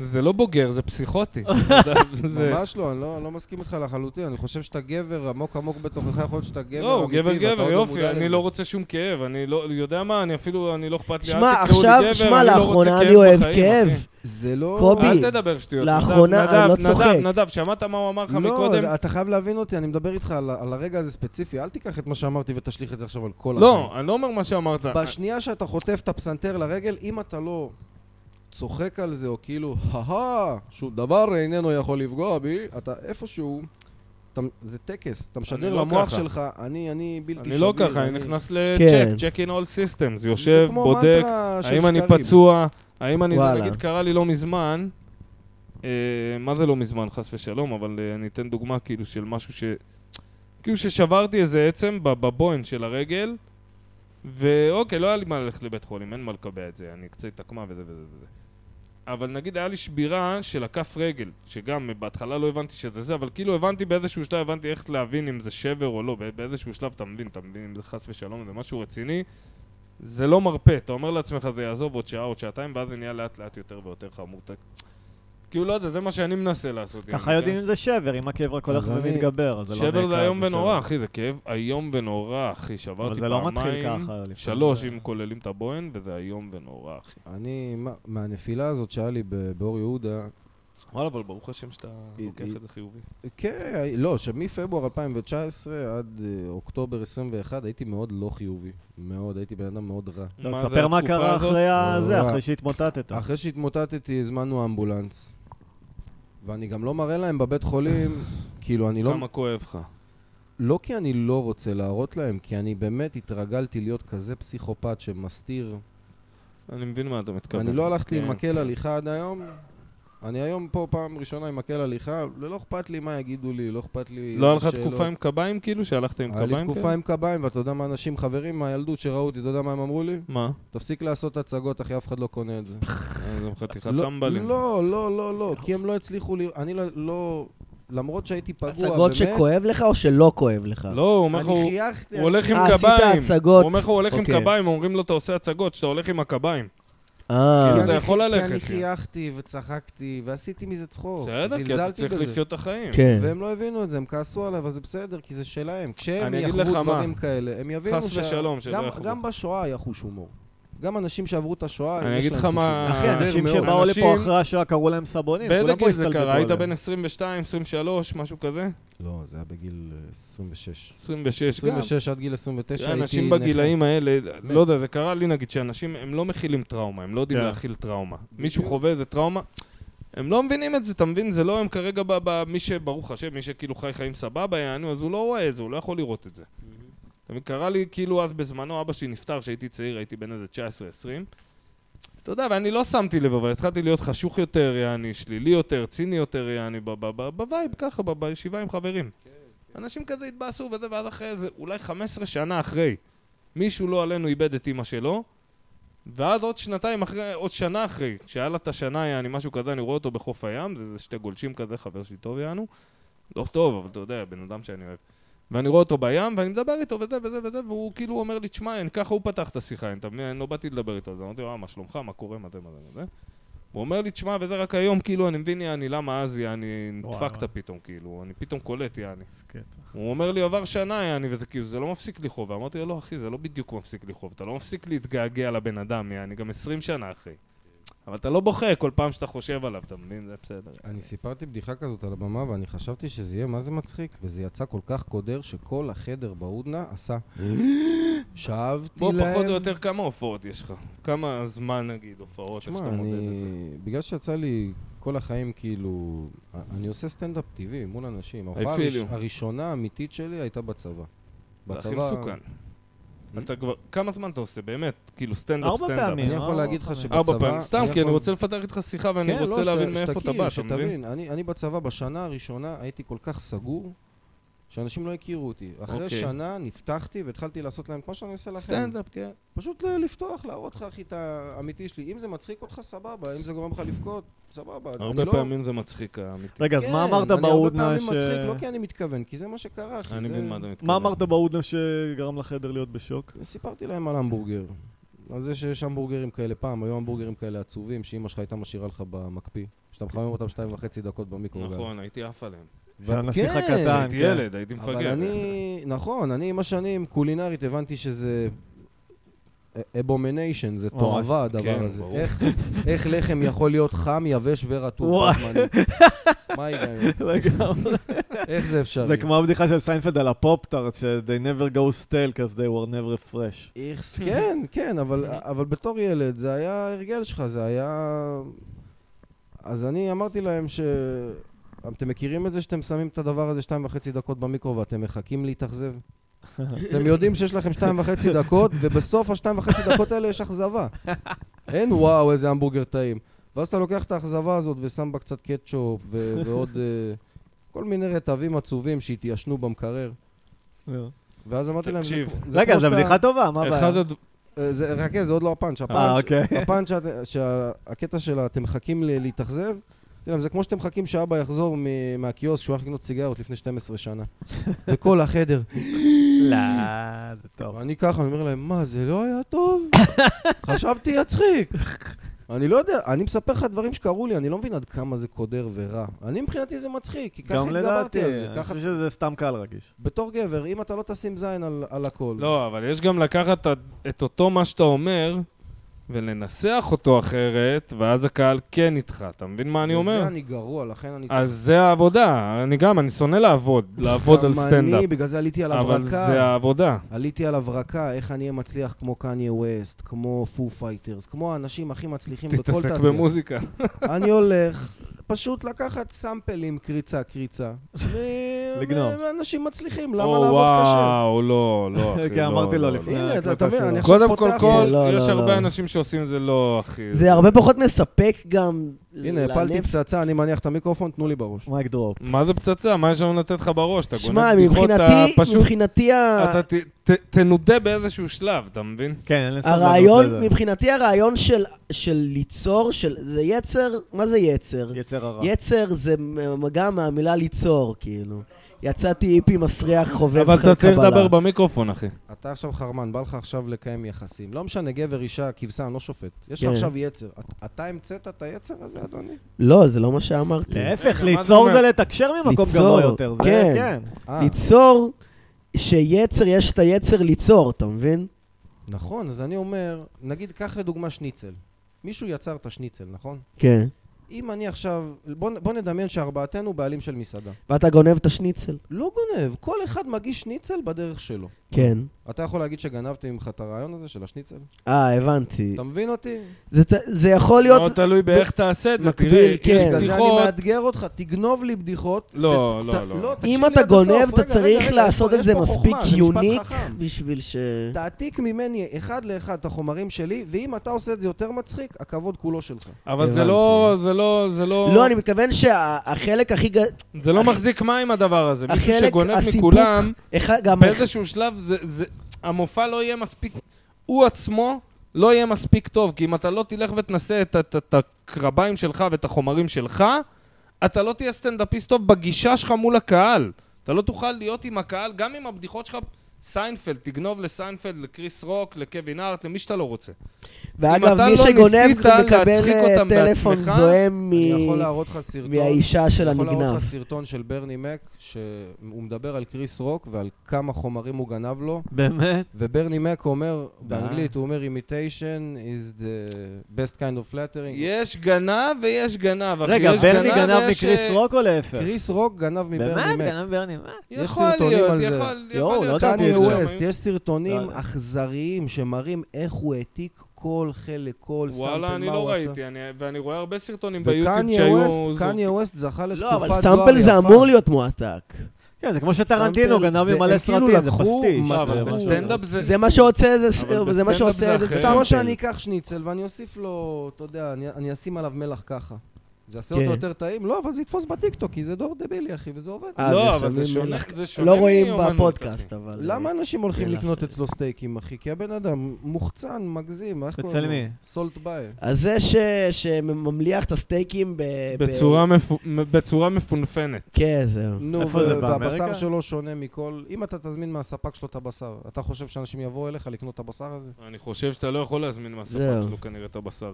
S1: זה לא בוגר, זה פסיכוטי. זה-
S4: ממש לא, אני לא, לא מסכים איתך לחלוטין. אני חושב שאתה גבר עמוק עמוק בתוכך, יכול להיות שאתה גבר
S1: לא, הוא
S4: אמיתי,
S1: גבר
S4: ואתה
S1: גבר,
S4: עוד
S1: יופי,
S4: מודע
S1: אני
S4: לזה.
S1: לא רוצה שום כאב, אני לא, יודע מה, אני אפילו, אני לא אכפת לי,
S3: שמע,
S1: אל תקראו לי
S3: עכשיו,
S1: גבר,
S3: שמע,
S1: אני לא
S3: לאחרונה
S1: רוצה
S3: אני
S1: כאב
S3: אוהב
S1: בחיים,
S3: כאב.
S1: אחי.
S4: זה לא...
S3: קובי,
S1: אל תדבר שטויות,
S3: לאחרונה,
S1: נדב,
S3: אני לא
S1: נדב,
S3: צוחק.
S1: נדב, נדב, שמעת מה הוא אמר לך מקודם?
S4: לא, אתה חייב להבין אותי, אני מדבר איתך על, על הרגע הזה ספציפי, אל תיקח את מה שאמרתי ותשליך את זה עכשיו על כל
S1: לא, אני לא אומר מה שאמרת.
S4: החיים. בשנייה שאתה חוטף את הפסנתר לרגל, אם אתה לא צוחק על זה, או כאילו, הא שום דבר איננו יכול לפגוע בי, אתה איפשהו... אתה, זה טקס, אתה משדר
S1: לא
S4: למוח
S1: ככה.
S4: שלך, אני, אני בלתי
S1: אני לא
S4: שביר,
S1: ככה, אני נכנס לצ'ק,
S3: כן.
S1: צ'ק אין אול סיסטמס,
S4: זה
S1: יושב,
S4: כמו
S1: בודק,
S4: מנטרה של
S1: האם אני
S4: שקרים.
S1: פצוע, האם אני, זה,
S3: וואלה.
S1: נגיד, קרה לי לא מזמן, אה, מה זה לא מזמן, חס ושלום, אבל אה, אני אתן דוגמה כאילו של משהו ש... כאילו ששברתי איזה עצם בב- בבוהן של הרגל, ואוקיי, לא היה לי מה ללכת לבית חולים, אין מה לקבע את זה, אני קצת התעקמה וזה וזה וזה. אבל נגיד היה לי שבירה של הכף רגל, שגם אה, בהתחלה לא הבנתי שזה זה, אבל כאילו הבנתי באיזשהו שלב, הבנתי איך להבין אם זה שבר או לא, בא- באיזשהו שלב אתה מבין, אתה מבין אם זה חס ושלום, זה משהו רציני, זה לא מרפה, אתה אומר לעצמך זה יעזוב עוד שעה, עוד שעתיים, ואז זה נהיה לאט לאט יותר ויותר חמור. אתה- כאילו, לא יודע, זה מה שאני מנסה לעשות.
S2: ככה
S1: אני
S2: יודעים אם
S1: אכנס-
S2: זה שבר, אם הכאב רק הולך
S4: אז אני-
S2: ומתגבר. אז לא
S1: כן, שבר
S2: נקרא
S1: זה איום
S2: לזה
S1: ונורא,
S2: שבר.
S1: אחי, זה כאב איום ונורא, אחי.
S2: אבל
S1: שברתי
S2: זה לא מתחיל
S1: פעמיים,
S2: ככה. לפעמים
S1: שלוש
S2: זה-
S1: אם כוללים את הבוהן, וזה איום ונורא, אחי.
S4: אני, מה- מהנפילה הזאת שהיה לי ב- באור יהודה,
S1: וואלה, אבל ברוך השם שאתה
S4: היא-
S1: לוקח
S4: היא-
S1: את זה חיובי.
S4: כן, לא, שמפברואר 2019 עד אה, אוקטובר 21 הייתי מאוד לא חיובי. מאוד, הייתי בן אדם מאוד רע.
S2: לא,
S1: מה זה
S2: תספר מה
S1: התקופה
S2: קרה
S1: הזאת?
S2: אחרי
S4: אה.
S2: הזה, אחרי שהתמוטטת.
S4: אחרי שהתמוטטתי, הזמנו אמבולנס. ואני גם לא מראה להם בבית חולים, כאילו, אני לא...
S1: כמה כואב לך.
S4: לא כי אני לא רוצה להראות להם, כי אני באמת התרגלתי להיות כזה פסיכופת שמסתיר.
S1: אני מבין מה אתה מתכוון.
S4: אני לא הלכתי עם
S1: כן.
S4: מקל הליכה עד היום. אני היום פה פעם ראשונה עם מקל הליכה, לא אכפת לי מה יגידו לי, לא אכפת לי...
S1: לא היה לך
S4: שאלות.
S1: תקופה עם קביים כאילו? שהלכת עם
S4: היה לי
S1: קביים
S4: תקופה
S1: כאלה?
S4: עם קביים, ואתה יודע מה אנשים, חברים מהילדות שראו אותי, אתה יודע מה הם אמרו לי?
S1: מה?
S4: תפסיק לעשות הצגות, אחי, אף אחד לא קונה את זה.
S1: אז הם חתיכת
S4: לא-
S1: טמבלים.
S4: לא, לא, לא, לא, כי הם לא הצליחו ל... אני לא- לא... למרות שהייתי פגוע, באמת...
S3: הצגות שכואב לך או שלא כואב לך?
S1: לא, הוא אומר לך,
S4: אני
S1: הוא
S4: חייכתי.
S1: הוא הולך עם
S3: אה, עשית
S1: קביים.
S3: הצגות.
S1: הוא אומר לך, הוא הולך עם
S3: אוקיי.
S1: קביים, אומרים לו, אתה עושה הצגות, שאתה הולך עם הקביים.
S3: אה,
S1: כאילו,
S4: כי
S1: אתה
S4: אני-
S1: יכול
S4: כי
S1: ללכת,
S4: אני
S1: כן.
S4: חייכתי וצחקתי, ועשיתי מזה צחוק.
S1: בסדר, כי אתה
S4: זלזלתי
S1: צריך
S4: בזה.
S1: לחיות את החיים.
S3: כן.
S4: והם לא הבינו את זה, הם כעסו עליי, אבל זה בסדר, כי זה שלהם. כשהם
S1: אני אגיד
S4: יחוו
S1: לך מה.
S4: דברים כאלה, הם יבינו
S1: חס ושלום, שלא
S4: גם-
S1: יחוו.
S4: גם בשואה היה חוש הומור. גם אנשים שעברו את השואה,
S1: אני
S4: יש
S1: אגיד
S4: להם
S1: לך
S4: חוש
S1: מה-
S4: הומור.
S2: אחי, אנשים
S1: אנשים-
S2: שבאו לפה אחרי השואה קראו להם סבונים,
S1: באיזה
S2: כולם פה
S1: גיל זה
S2: הסתלבטו
S1: קרה? היית בן
S2: עליהם.
S1: 22, 23, משהו כזה?
S4: לא, זה היה בגיל אה, 26.
S1: 26 גם. כן,
S4: 26 עד גיל 29 הייתי...
S1: אנשים
S4: נכה.
S1: בגילאים האלה, לא יודע, זה קרה לי נגיד, שאנשים, הם לא מכילים טראומה, הם לא יודעים
S2: כן.
S1: להכיל טראומה. מישהו חווה איזה טראומה, הם לא מבינים את זה, אתה מבין? זה לא הם כרגע, ב- ב- מי שברוך השם, מי שכאילו חי חיים סבבה, יענו, אז הוא לא רואה את זה, הוא לא יכול לראות את זה. אתה מבין? קרה לי כאילו אז בזמנו, אבא שלי נפטר, כשהייתי צעיר, הייתי בן איזה 19-20. אתה יודע, ואני לא שמתי לב, אבל התחלתי להיות חשוך יותר, יעני, שלילי יותר, ציני יותר, יעני, ב- ב- ב- בווייב, ככה, ב- בישיבה עם חברים. אנשים כזה התבאסו וזה, ואז אחרי איזה, אולי 15 שנה אחרי, מישהו לא עלינו איבד את אימא שלו, ואז עוד שנתיים אחרי, עוד שנה אחרי, כשהיה לה את השנה, יעני, משהו כזה, אני רואה אותו בחוף הים, זה, זה שתי גולשים כזה, חבר שלי טוב יענו, לא טוב, אבל אתה יודע, בן אדם שאני אוהב. ואני רואה אותו בים, ואני מדבר איתו וזה וזה וזה, והוא כאילו אומר לי, תשמע, אין, ככה הוא פתח את השיחה, אין, אתה מבין? אני לא באתי לדבר איתו, אז אמרתי לו, אה, מה שלומך, מה קורה, מה זה, מה זה, מה זה. הוא אומר לי, תשמע, וזה רק היום, כאילו, אני מבין, יעני, למה אז, יעני,
S2: וואי,
S1: נדפקת
S2: וואי.
S1: פתאום, כאילו, אני פתאום קולט, יעני.
S2: איזה קטע.
S1: הוא אומר לי, עבר שנה, יעני, וזה כאילו, זה לא מפסיק לכאוב. אמרתי לו, לא, אחי, זה לא בדיוק מפסיק לכאוב. אתה לא מפסיק להתגעגע לבן אדם, יעני, גם 20 שנה אחרי. אבל אתה לא בוכה כל פעם שאתה חושב עליו, אתה מבין? זה בסדר.
S4: אני סיפרתי בדיחה כזאת על הבמה, ואני חשבתי שזה יהיה מה זה מצחיק, וזה יצא כל כך קודר, שכל החדר בהודנה עשה... שאבתי
S1: בוא,
S4: להם...
S1: פחות או יותר, כמה הופעות יש לך? כמה זמן, נגיד, הופעות, איך
S4: תשמע,
S1: שאתה מודד
S4: אני...
S1: את זה?
S4: בגלל שיצא לי כל החיים, כאילו... אני עושה סטנדאפ טבעי מול אנשים. ההופעה
S1: feel
S4: הראש-
S1: you.
S4: הראשונה האמיתית שלי הייתה בצבא.
S1: זה הכי מסוכן.
S4: Hmm?
S1: אתה כבר... כמה זמן אתה עושה, באמת? כאילו, סטנדאפ,
S2: ארבע
S1: סטנדאפ.
S2: פעמים.
S4: אני יכול
S2: אה,
S4: להגיד לך
S2: ארבע
S4: שבצבא...
S1: ארבע פעמים. סתם, כי אני
S4: יכול-
S1: רוצה לפתח איתך שיחה ואני
S4: כן, לא,
S1: רוצה
S4: שת-
S1: להבין מאיפה אתה
S4: שתכיר,
S1: בא, אתה מבין?
S4: שתבין. אני אני בצבא בשנה הראשונה הייתי כל כך סגור, שאנשים לא הכירו אותי. אחרי
S1: אוקיי.
S4: שנה נפתחתי והתחלתי לעשות להם כמו שאני עושה לכם.
S1: סטנדאפ, כן.
S4: פשוט ל- לפתוח, להראות לך, אחי, את האמיתי שלי. אם זה מצחיק אותך, סבבה. אם זה גורם לך לבכות, סבבה. אני
S1: הרבה
S4: לא-
S1: פעמים זה מצחיק, האמיתי.
S2: רגע, אז
S4: כן,
S2: מה אמרת אה?
S4: אני
S2: בהודנה
S4: הרבה
S2: ש...
S4: פעמים מצחיק, לא כי אני מתכוון, כי זה מה שקרה, אחי.
S1: אני
S4: זה-
S1: מבין מה אתה מתכוון.
S2: מה אמרת בהודנה שגרם לחדר להיות בשוק?
S4: סיפרתי להם על המבורגר. על זה שיש המבורגרים כאלה פעם, היו המבורגרים כאלה עצובים, שאימא שלך הייתה משאירה לך במקפיא. שאתה מחמם אותם שתיים וחצי דקות במיקרוגל.
S1: נכון, הייתי עף עליהם.
S2: שהנסיך
S4: כן,
S2: הקטן,
S1: הייתי
S2: כן.
S1: ילד, הייתי
S4: אבל
S1: מפגר.
S4: אני, נכון, אני עם השנים קולינרית הבנתי שזה אבומניישן, זה
S2: ממש.
S4: תועבה הדבר
S1: כן,
S4: הזה.
S1: ברור.
S4: איך- איך לחם יכול להיות חם, יבש ורטוב
S2: וואי.
S4: בזמנים? מה ההיגיון?
S2: לגמרי.
S4: איך זה אפשרי?
S2: זה כמו הבדיחה של סיינפלד על הפופ-טארט, ש- they never go stale, because they were never fresh.
S4: איכס, כן, כן, אבל, אבל בתור ילד זה היה הרגל שלך, זה היה... אז אני אמרתי להם ש... אתם מכירים את זה שאתם שמים את הדבר הזה שתיים וחצי דקות במיקרו ואתם מחכים להתאכזב? אתם יודעים שיש לכם שתיים וחצי דקות, ובסוף השתיים וחצי דקות האלה יש אכזבה. אין וואו, איזה המבורגר טעים. ואז אתה לוקח את האכזבה הזאת ושם בה קצת קטשופ ו- ועוד אה, כל מיני רטבים עצובים שהתיישנו במקרר.
S2: לא.
S4: ואז אמרתי להם, זה
S1: תקשיב.
S4: כמו- זה
S2: רגע,
S4: כמו
S2: זו
S4: שאתה-
S2: בדיחה טובה, מה הבעיה?
S1: אחד הד...
S4: אה, זה, חכה, זה עוד לא הפאנץ',
S2: אה,
S4: הפאנץ',
S2: אוקיי.
S4: הפאנץ' שאת- שהקטע שלה, אתם מחכים ל- להתאכזב, תראה, זה כמו שאתם מחכים שאבא יחזור מ- מהקיוסק שהוא הולך לקנות סיגריות לפני 12 שנה. וכל החדר,
S2: לא, זה טוב.
S4: אני ככה, אני אומר להם, מה, זה לא היה טוב? חשבתי יצחיק. אני לא יודע, אני מספר לך דברים שקרו לי, אני לא מבין עד כמה זה קודר ורע. אני מבחינתי זה מצחיק, כי ככה
S2: גם לדעתי,
S4: התגברתי על זה.
S2: אני
S4: ככה,
S2: חושב שזה סתם קהל רגיש.
S4: בתור גבר, אם אתה לא תשים זין על, על הכל,
S1: לא, אבל יש גם לקחת את- את אותו מה שאתה אומר ולנסח אותו אחרת, ואז הקהל כן איתך. אתה מבין מה אני אומר?
S4: בזה אני גרוע, לכן אני...
S1: אז זה העבודה. אני גם, אני שונא לעבוד, לעבוד על
S4: גם
S1: סטנדאפ.
S4: אני, בגלל זה עליתי על
S1: אבל זה
S4: הברקה.
S1: העבודה.
S4: עליתי על הברקה, איך אני אהיה מצליח כמו קניה ווסט, כמו פו פייטרס, כמו האנשים הכי מצליחים בכל תעשייה.
S1: תתעסק במוזיקה.
S4: אני הולך פשוט לקחת סאמפלים קריצה-קריצה.
S2: לגנוב.
S4: אנשים מצליחים,
S1: או,
S4: למה לעבוד קשה? כן,
S1: וואו, לא, לא, אחי,
S2: כי
S1: לא,
S2: אוקיי, אמרתי לו
S1: לא,
S2: לפני
S4: הנה, אתה- אתה
S2: ההקלטה
S4: מבין,
S2: שלו.
S4: אני עכשיו
S1: קודם כל,
S4: פותח-
S1: כל,
S3: לא, לא,
S1: יש
S3: לא.
S1: הרבה אנשים שעושים את זה לא, אחי.
S3: זה הרבה פחות מספק גם
S4: הנה, הפלתי פצצה, אני מניח את המיקרופון, תנו לי בראש.
S2: מייק דרופ.
S1: מה זה פצצה? מה יש לנו לתת לך בראש? אתה גונב
S3: שמע,
S1: בדיחות, אתה
S3: מבחינתי,
S1: פשוט...
S3: מבחינתי ה-
S1: אתה ת- ת- תנודה באיזשהו שלב, אתה מבין?
S2: כן, אין לי סבלנות לזה.
S3: הרעיון, מבחינתי הרעיון של, של ליצור, של, זה יצר, מה זה יצר?
S2: יצר הרע.
S3: יצר זה מ- גם מהמילה ליצור, כאילו. יצאתי איפי מסריח חובב
S1: אבל
S3: חלקבלה.
S1: אתה צריך לדבר במיקרופון, אחי.
S4: אתה עכשיו חרמן, בא לך עכשיו לקיים יחסים. לא משנה, גבר, אישה, כבשה, אני לא שופט. יש
S3: כן.
S4: לך עכשיו יצר. את- אתה המצאת את היצר הזה, אדוני?
S3: לא, זה לא מה שאמרתי.
S4: אה,
S1: רגע,
S2: להפך,
S1: מה
S2: ליצור
S1: זה
S2: זה לתקשר ממקום גבוה
S3: ליצור,
S2: יותר. זה,
S3: כן.
S2: כן.
S4: אה,
S3: ליצור, שיצר, יש את היצר ליצור, אתה מבין?
S4: נכון, אז אני אומר, נגיד, קח לדוגמה שניצל. מישהו יצר את השניצל, נכון?
S3: כן.
S4: אם אני עכשיו, בוא, נ- בוא נדמיין שארבעתנו בעלים של מסעדה.
S3: ואתה גונב את השניצל.
S4: לא גונב, כל אחד מגיש שניצל בדרך שלו.
S3: כן.
S4: אתה יכול להגיד שגנבתי ממך את הרעיון הזה של השניצל?
S3: אה, הבנתי.
S4: אתה מבין אותי?
S3: זה ת- זה יכול
S1: מאוד
S3: להיות...
S1: תלוי באיך תעשה את זה,
S3: מקביל,
S1: תראה, יש
S3: כן.
S4: בגלל זה אני
S1: בדיחות,
S4: מאתגר אותך, תגנוב לי בדיחות.
S1: לא,
S4: ת-
S1: לא,
S4: ת-
S1: לא.
S4: תקשיב
S3: אם
S4: לי
S3: אתה
S4: עד הסוף.
S3: גונב, אתה
S4: רגע,
S3: צריך
S4: רגע, רגע,
S3: לעשות
S4: יש
S3: את זה
S4: פה
S3: מספיק
S4: חוכמה, זה משפט
S3: יוניק
S4: חכם.
S3: בשביל ש...
S4: תעתיק ממני אחד לאחד את החומרים שלי, ואם אתה עושה את זה יותר מצחיק, הכבוד כולו שלך.
S1: אבל זה
S3: הבנתי.
S1: לא, זה לא, זה לא,
S3: לא, אני מתכוון שהחלק הכי... ג-
S1: זה לא
S3: הח-
S1: מחזיק מים הדבר הזה. מישהו
S3: החלק,
S1: שגונב
S3: הסיפוק,
S1: מכולם,
S3: אחד- גם
S1: באיזשהו שלב זה, זה, המופע לא יהיה מספיק, הוא עצמו לא יהיה מספיק טוב, כי אם אתה לא תלך ותנסה את, את, את הקרביים שלך ואת החומרים שלך, אתה לא תהיה סטנדאפיסט טוב בגישה שלך מול הקהל. אתה לא תוכל להיות עם הקהל, גם עם הבדיחות שלך, סיינפלד, תגנוב לסיינפלד, לקריס רוק, לקווין הארט, למי שאתה לא רוצה.
S3: ואגב,
S1: אתה
S3: מי
S1: לא
S3: שגונב
S1: ניסית
S3: מקבל
S1: להצחיק
S3: אה,
S1: אותם
S3: טלפון
S1: בעצמך,
S3: זועם מ-
S4: אני יכול להראות לך סרטון.
S3: מהאישה של
S4: אני יכול להראות
S3: הנגנב.
S4: לך סרטון של ברני מק, שהוא מדבר על קריס רוק ועל כמה חומרים הוא גנב לו,
S2: באמת?
S4: וברני מק אומר,
S2: די.
S4: באנגלית, הוא אומר, imitation is the best kind of flattering.
S1: יש גנב ויש גנב, אחי.
S2: רגע,
S1: יש
S2: ברני גנב
S1: ויש,
S2: מקריס
S1: אה,
S2: רוק או להפך?
S4: קריס רוק גנב מברני
S2: באמת?
S4: מק.
S2: גנב ברני, מה?
S4: יש
S1: יכול
S4: סרטונים
S1: להיות,
S4: על זה.
S1: יכול-
S2: לא,
S1: יכול
S2: לא
S1: להיות
S2: ידעתי
S1: שם
S4: קניה
S2: את זה.
S1: היו-
S4: ווסט, יש סרטונים
S2: לא יודע.
S4: אכזריים שמראים איך הוא העתיק כל חלק, כל סאמפל, מה הוא עשה.
S1: וואלה, אני לא ראיתי, אני- ואני רואה הרבה סרטונים ביוטיוב
S4: וקניה
S1: שהיו...
S4: ווסט,
S1: זורקים.
S4: קניה ווסט זכה
S3: לא,
S4: לתקופת זוהר יפה.
S3: אבל סאמפל זה אמור להיות מועתק.
S2: כן, זה כמו שטרנטינו
S4: סאמפל,
S2: גנב
S4: זה-
S2: ממלא
S4: הם כאילו
S2: סרטים, זה
S4: לקחו
S2: פסטיש.
S1: לא, אבל
S4: משהו.
S1: בסטנדאפ זה...
S3: זה מה שעושה איזה ס-
S1: אבל
S3: זה מה
S1: בסטנדאפ זה
S3: שעושה איזה
S1: אחר.
S4: זה כמו שאני
S3: סאמפל.
S4: אקח שניצל ואני אוסיף לו, אתה יודע, אני- אני אשים עליו מלח ככה. זה יעשה
S3: כן.
S4: אותו יותר טעים? לא, אבל זה יתפוס בטיקטוק, כי זה דור דבילי, אחי, וזה עובד.
S3: אה,
S1: לא,
S3: ושמים
S1: אבל זה שונה,
S3: מלח.
S1: זה שונה
S3: לא רואים
S1: מאומנות, אחי.
S3: בפודקאסט, אבל...
S4: למה אנשים הולכים
S3: מלח.
S4: לקנות אצלו סטייקים, אחי? כי הבן אדם מוחצן, מגזים, איך קוראים לו?
S2: אצל מי?
S4: סולט ביי.
S3: אז זה ש... שממליח את הסטייקים ב... אה, ב-
S1: בצורה מפו- בצורה מפונפנת.
S3: כן, זהו.
S4: נו,
S2: איפה
S4: ו-
S2: זה, באמריקה?
S4: והבשר שלו שונה מכל... אם אתה תזמין מהספק שלו את הבשר, אתה חושב שאנשים יבואו אליך לקנות את הבשר הזה?
S1: אני חושב שאתה לא יכול להזמין מהספק
S3: זהו.
S1: שלו כנראה את הבשר.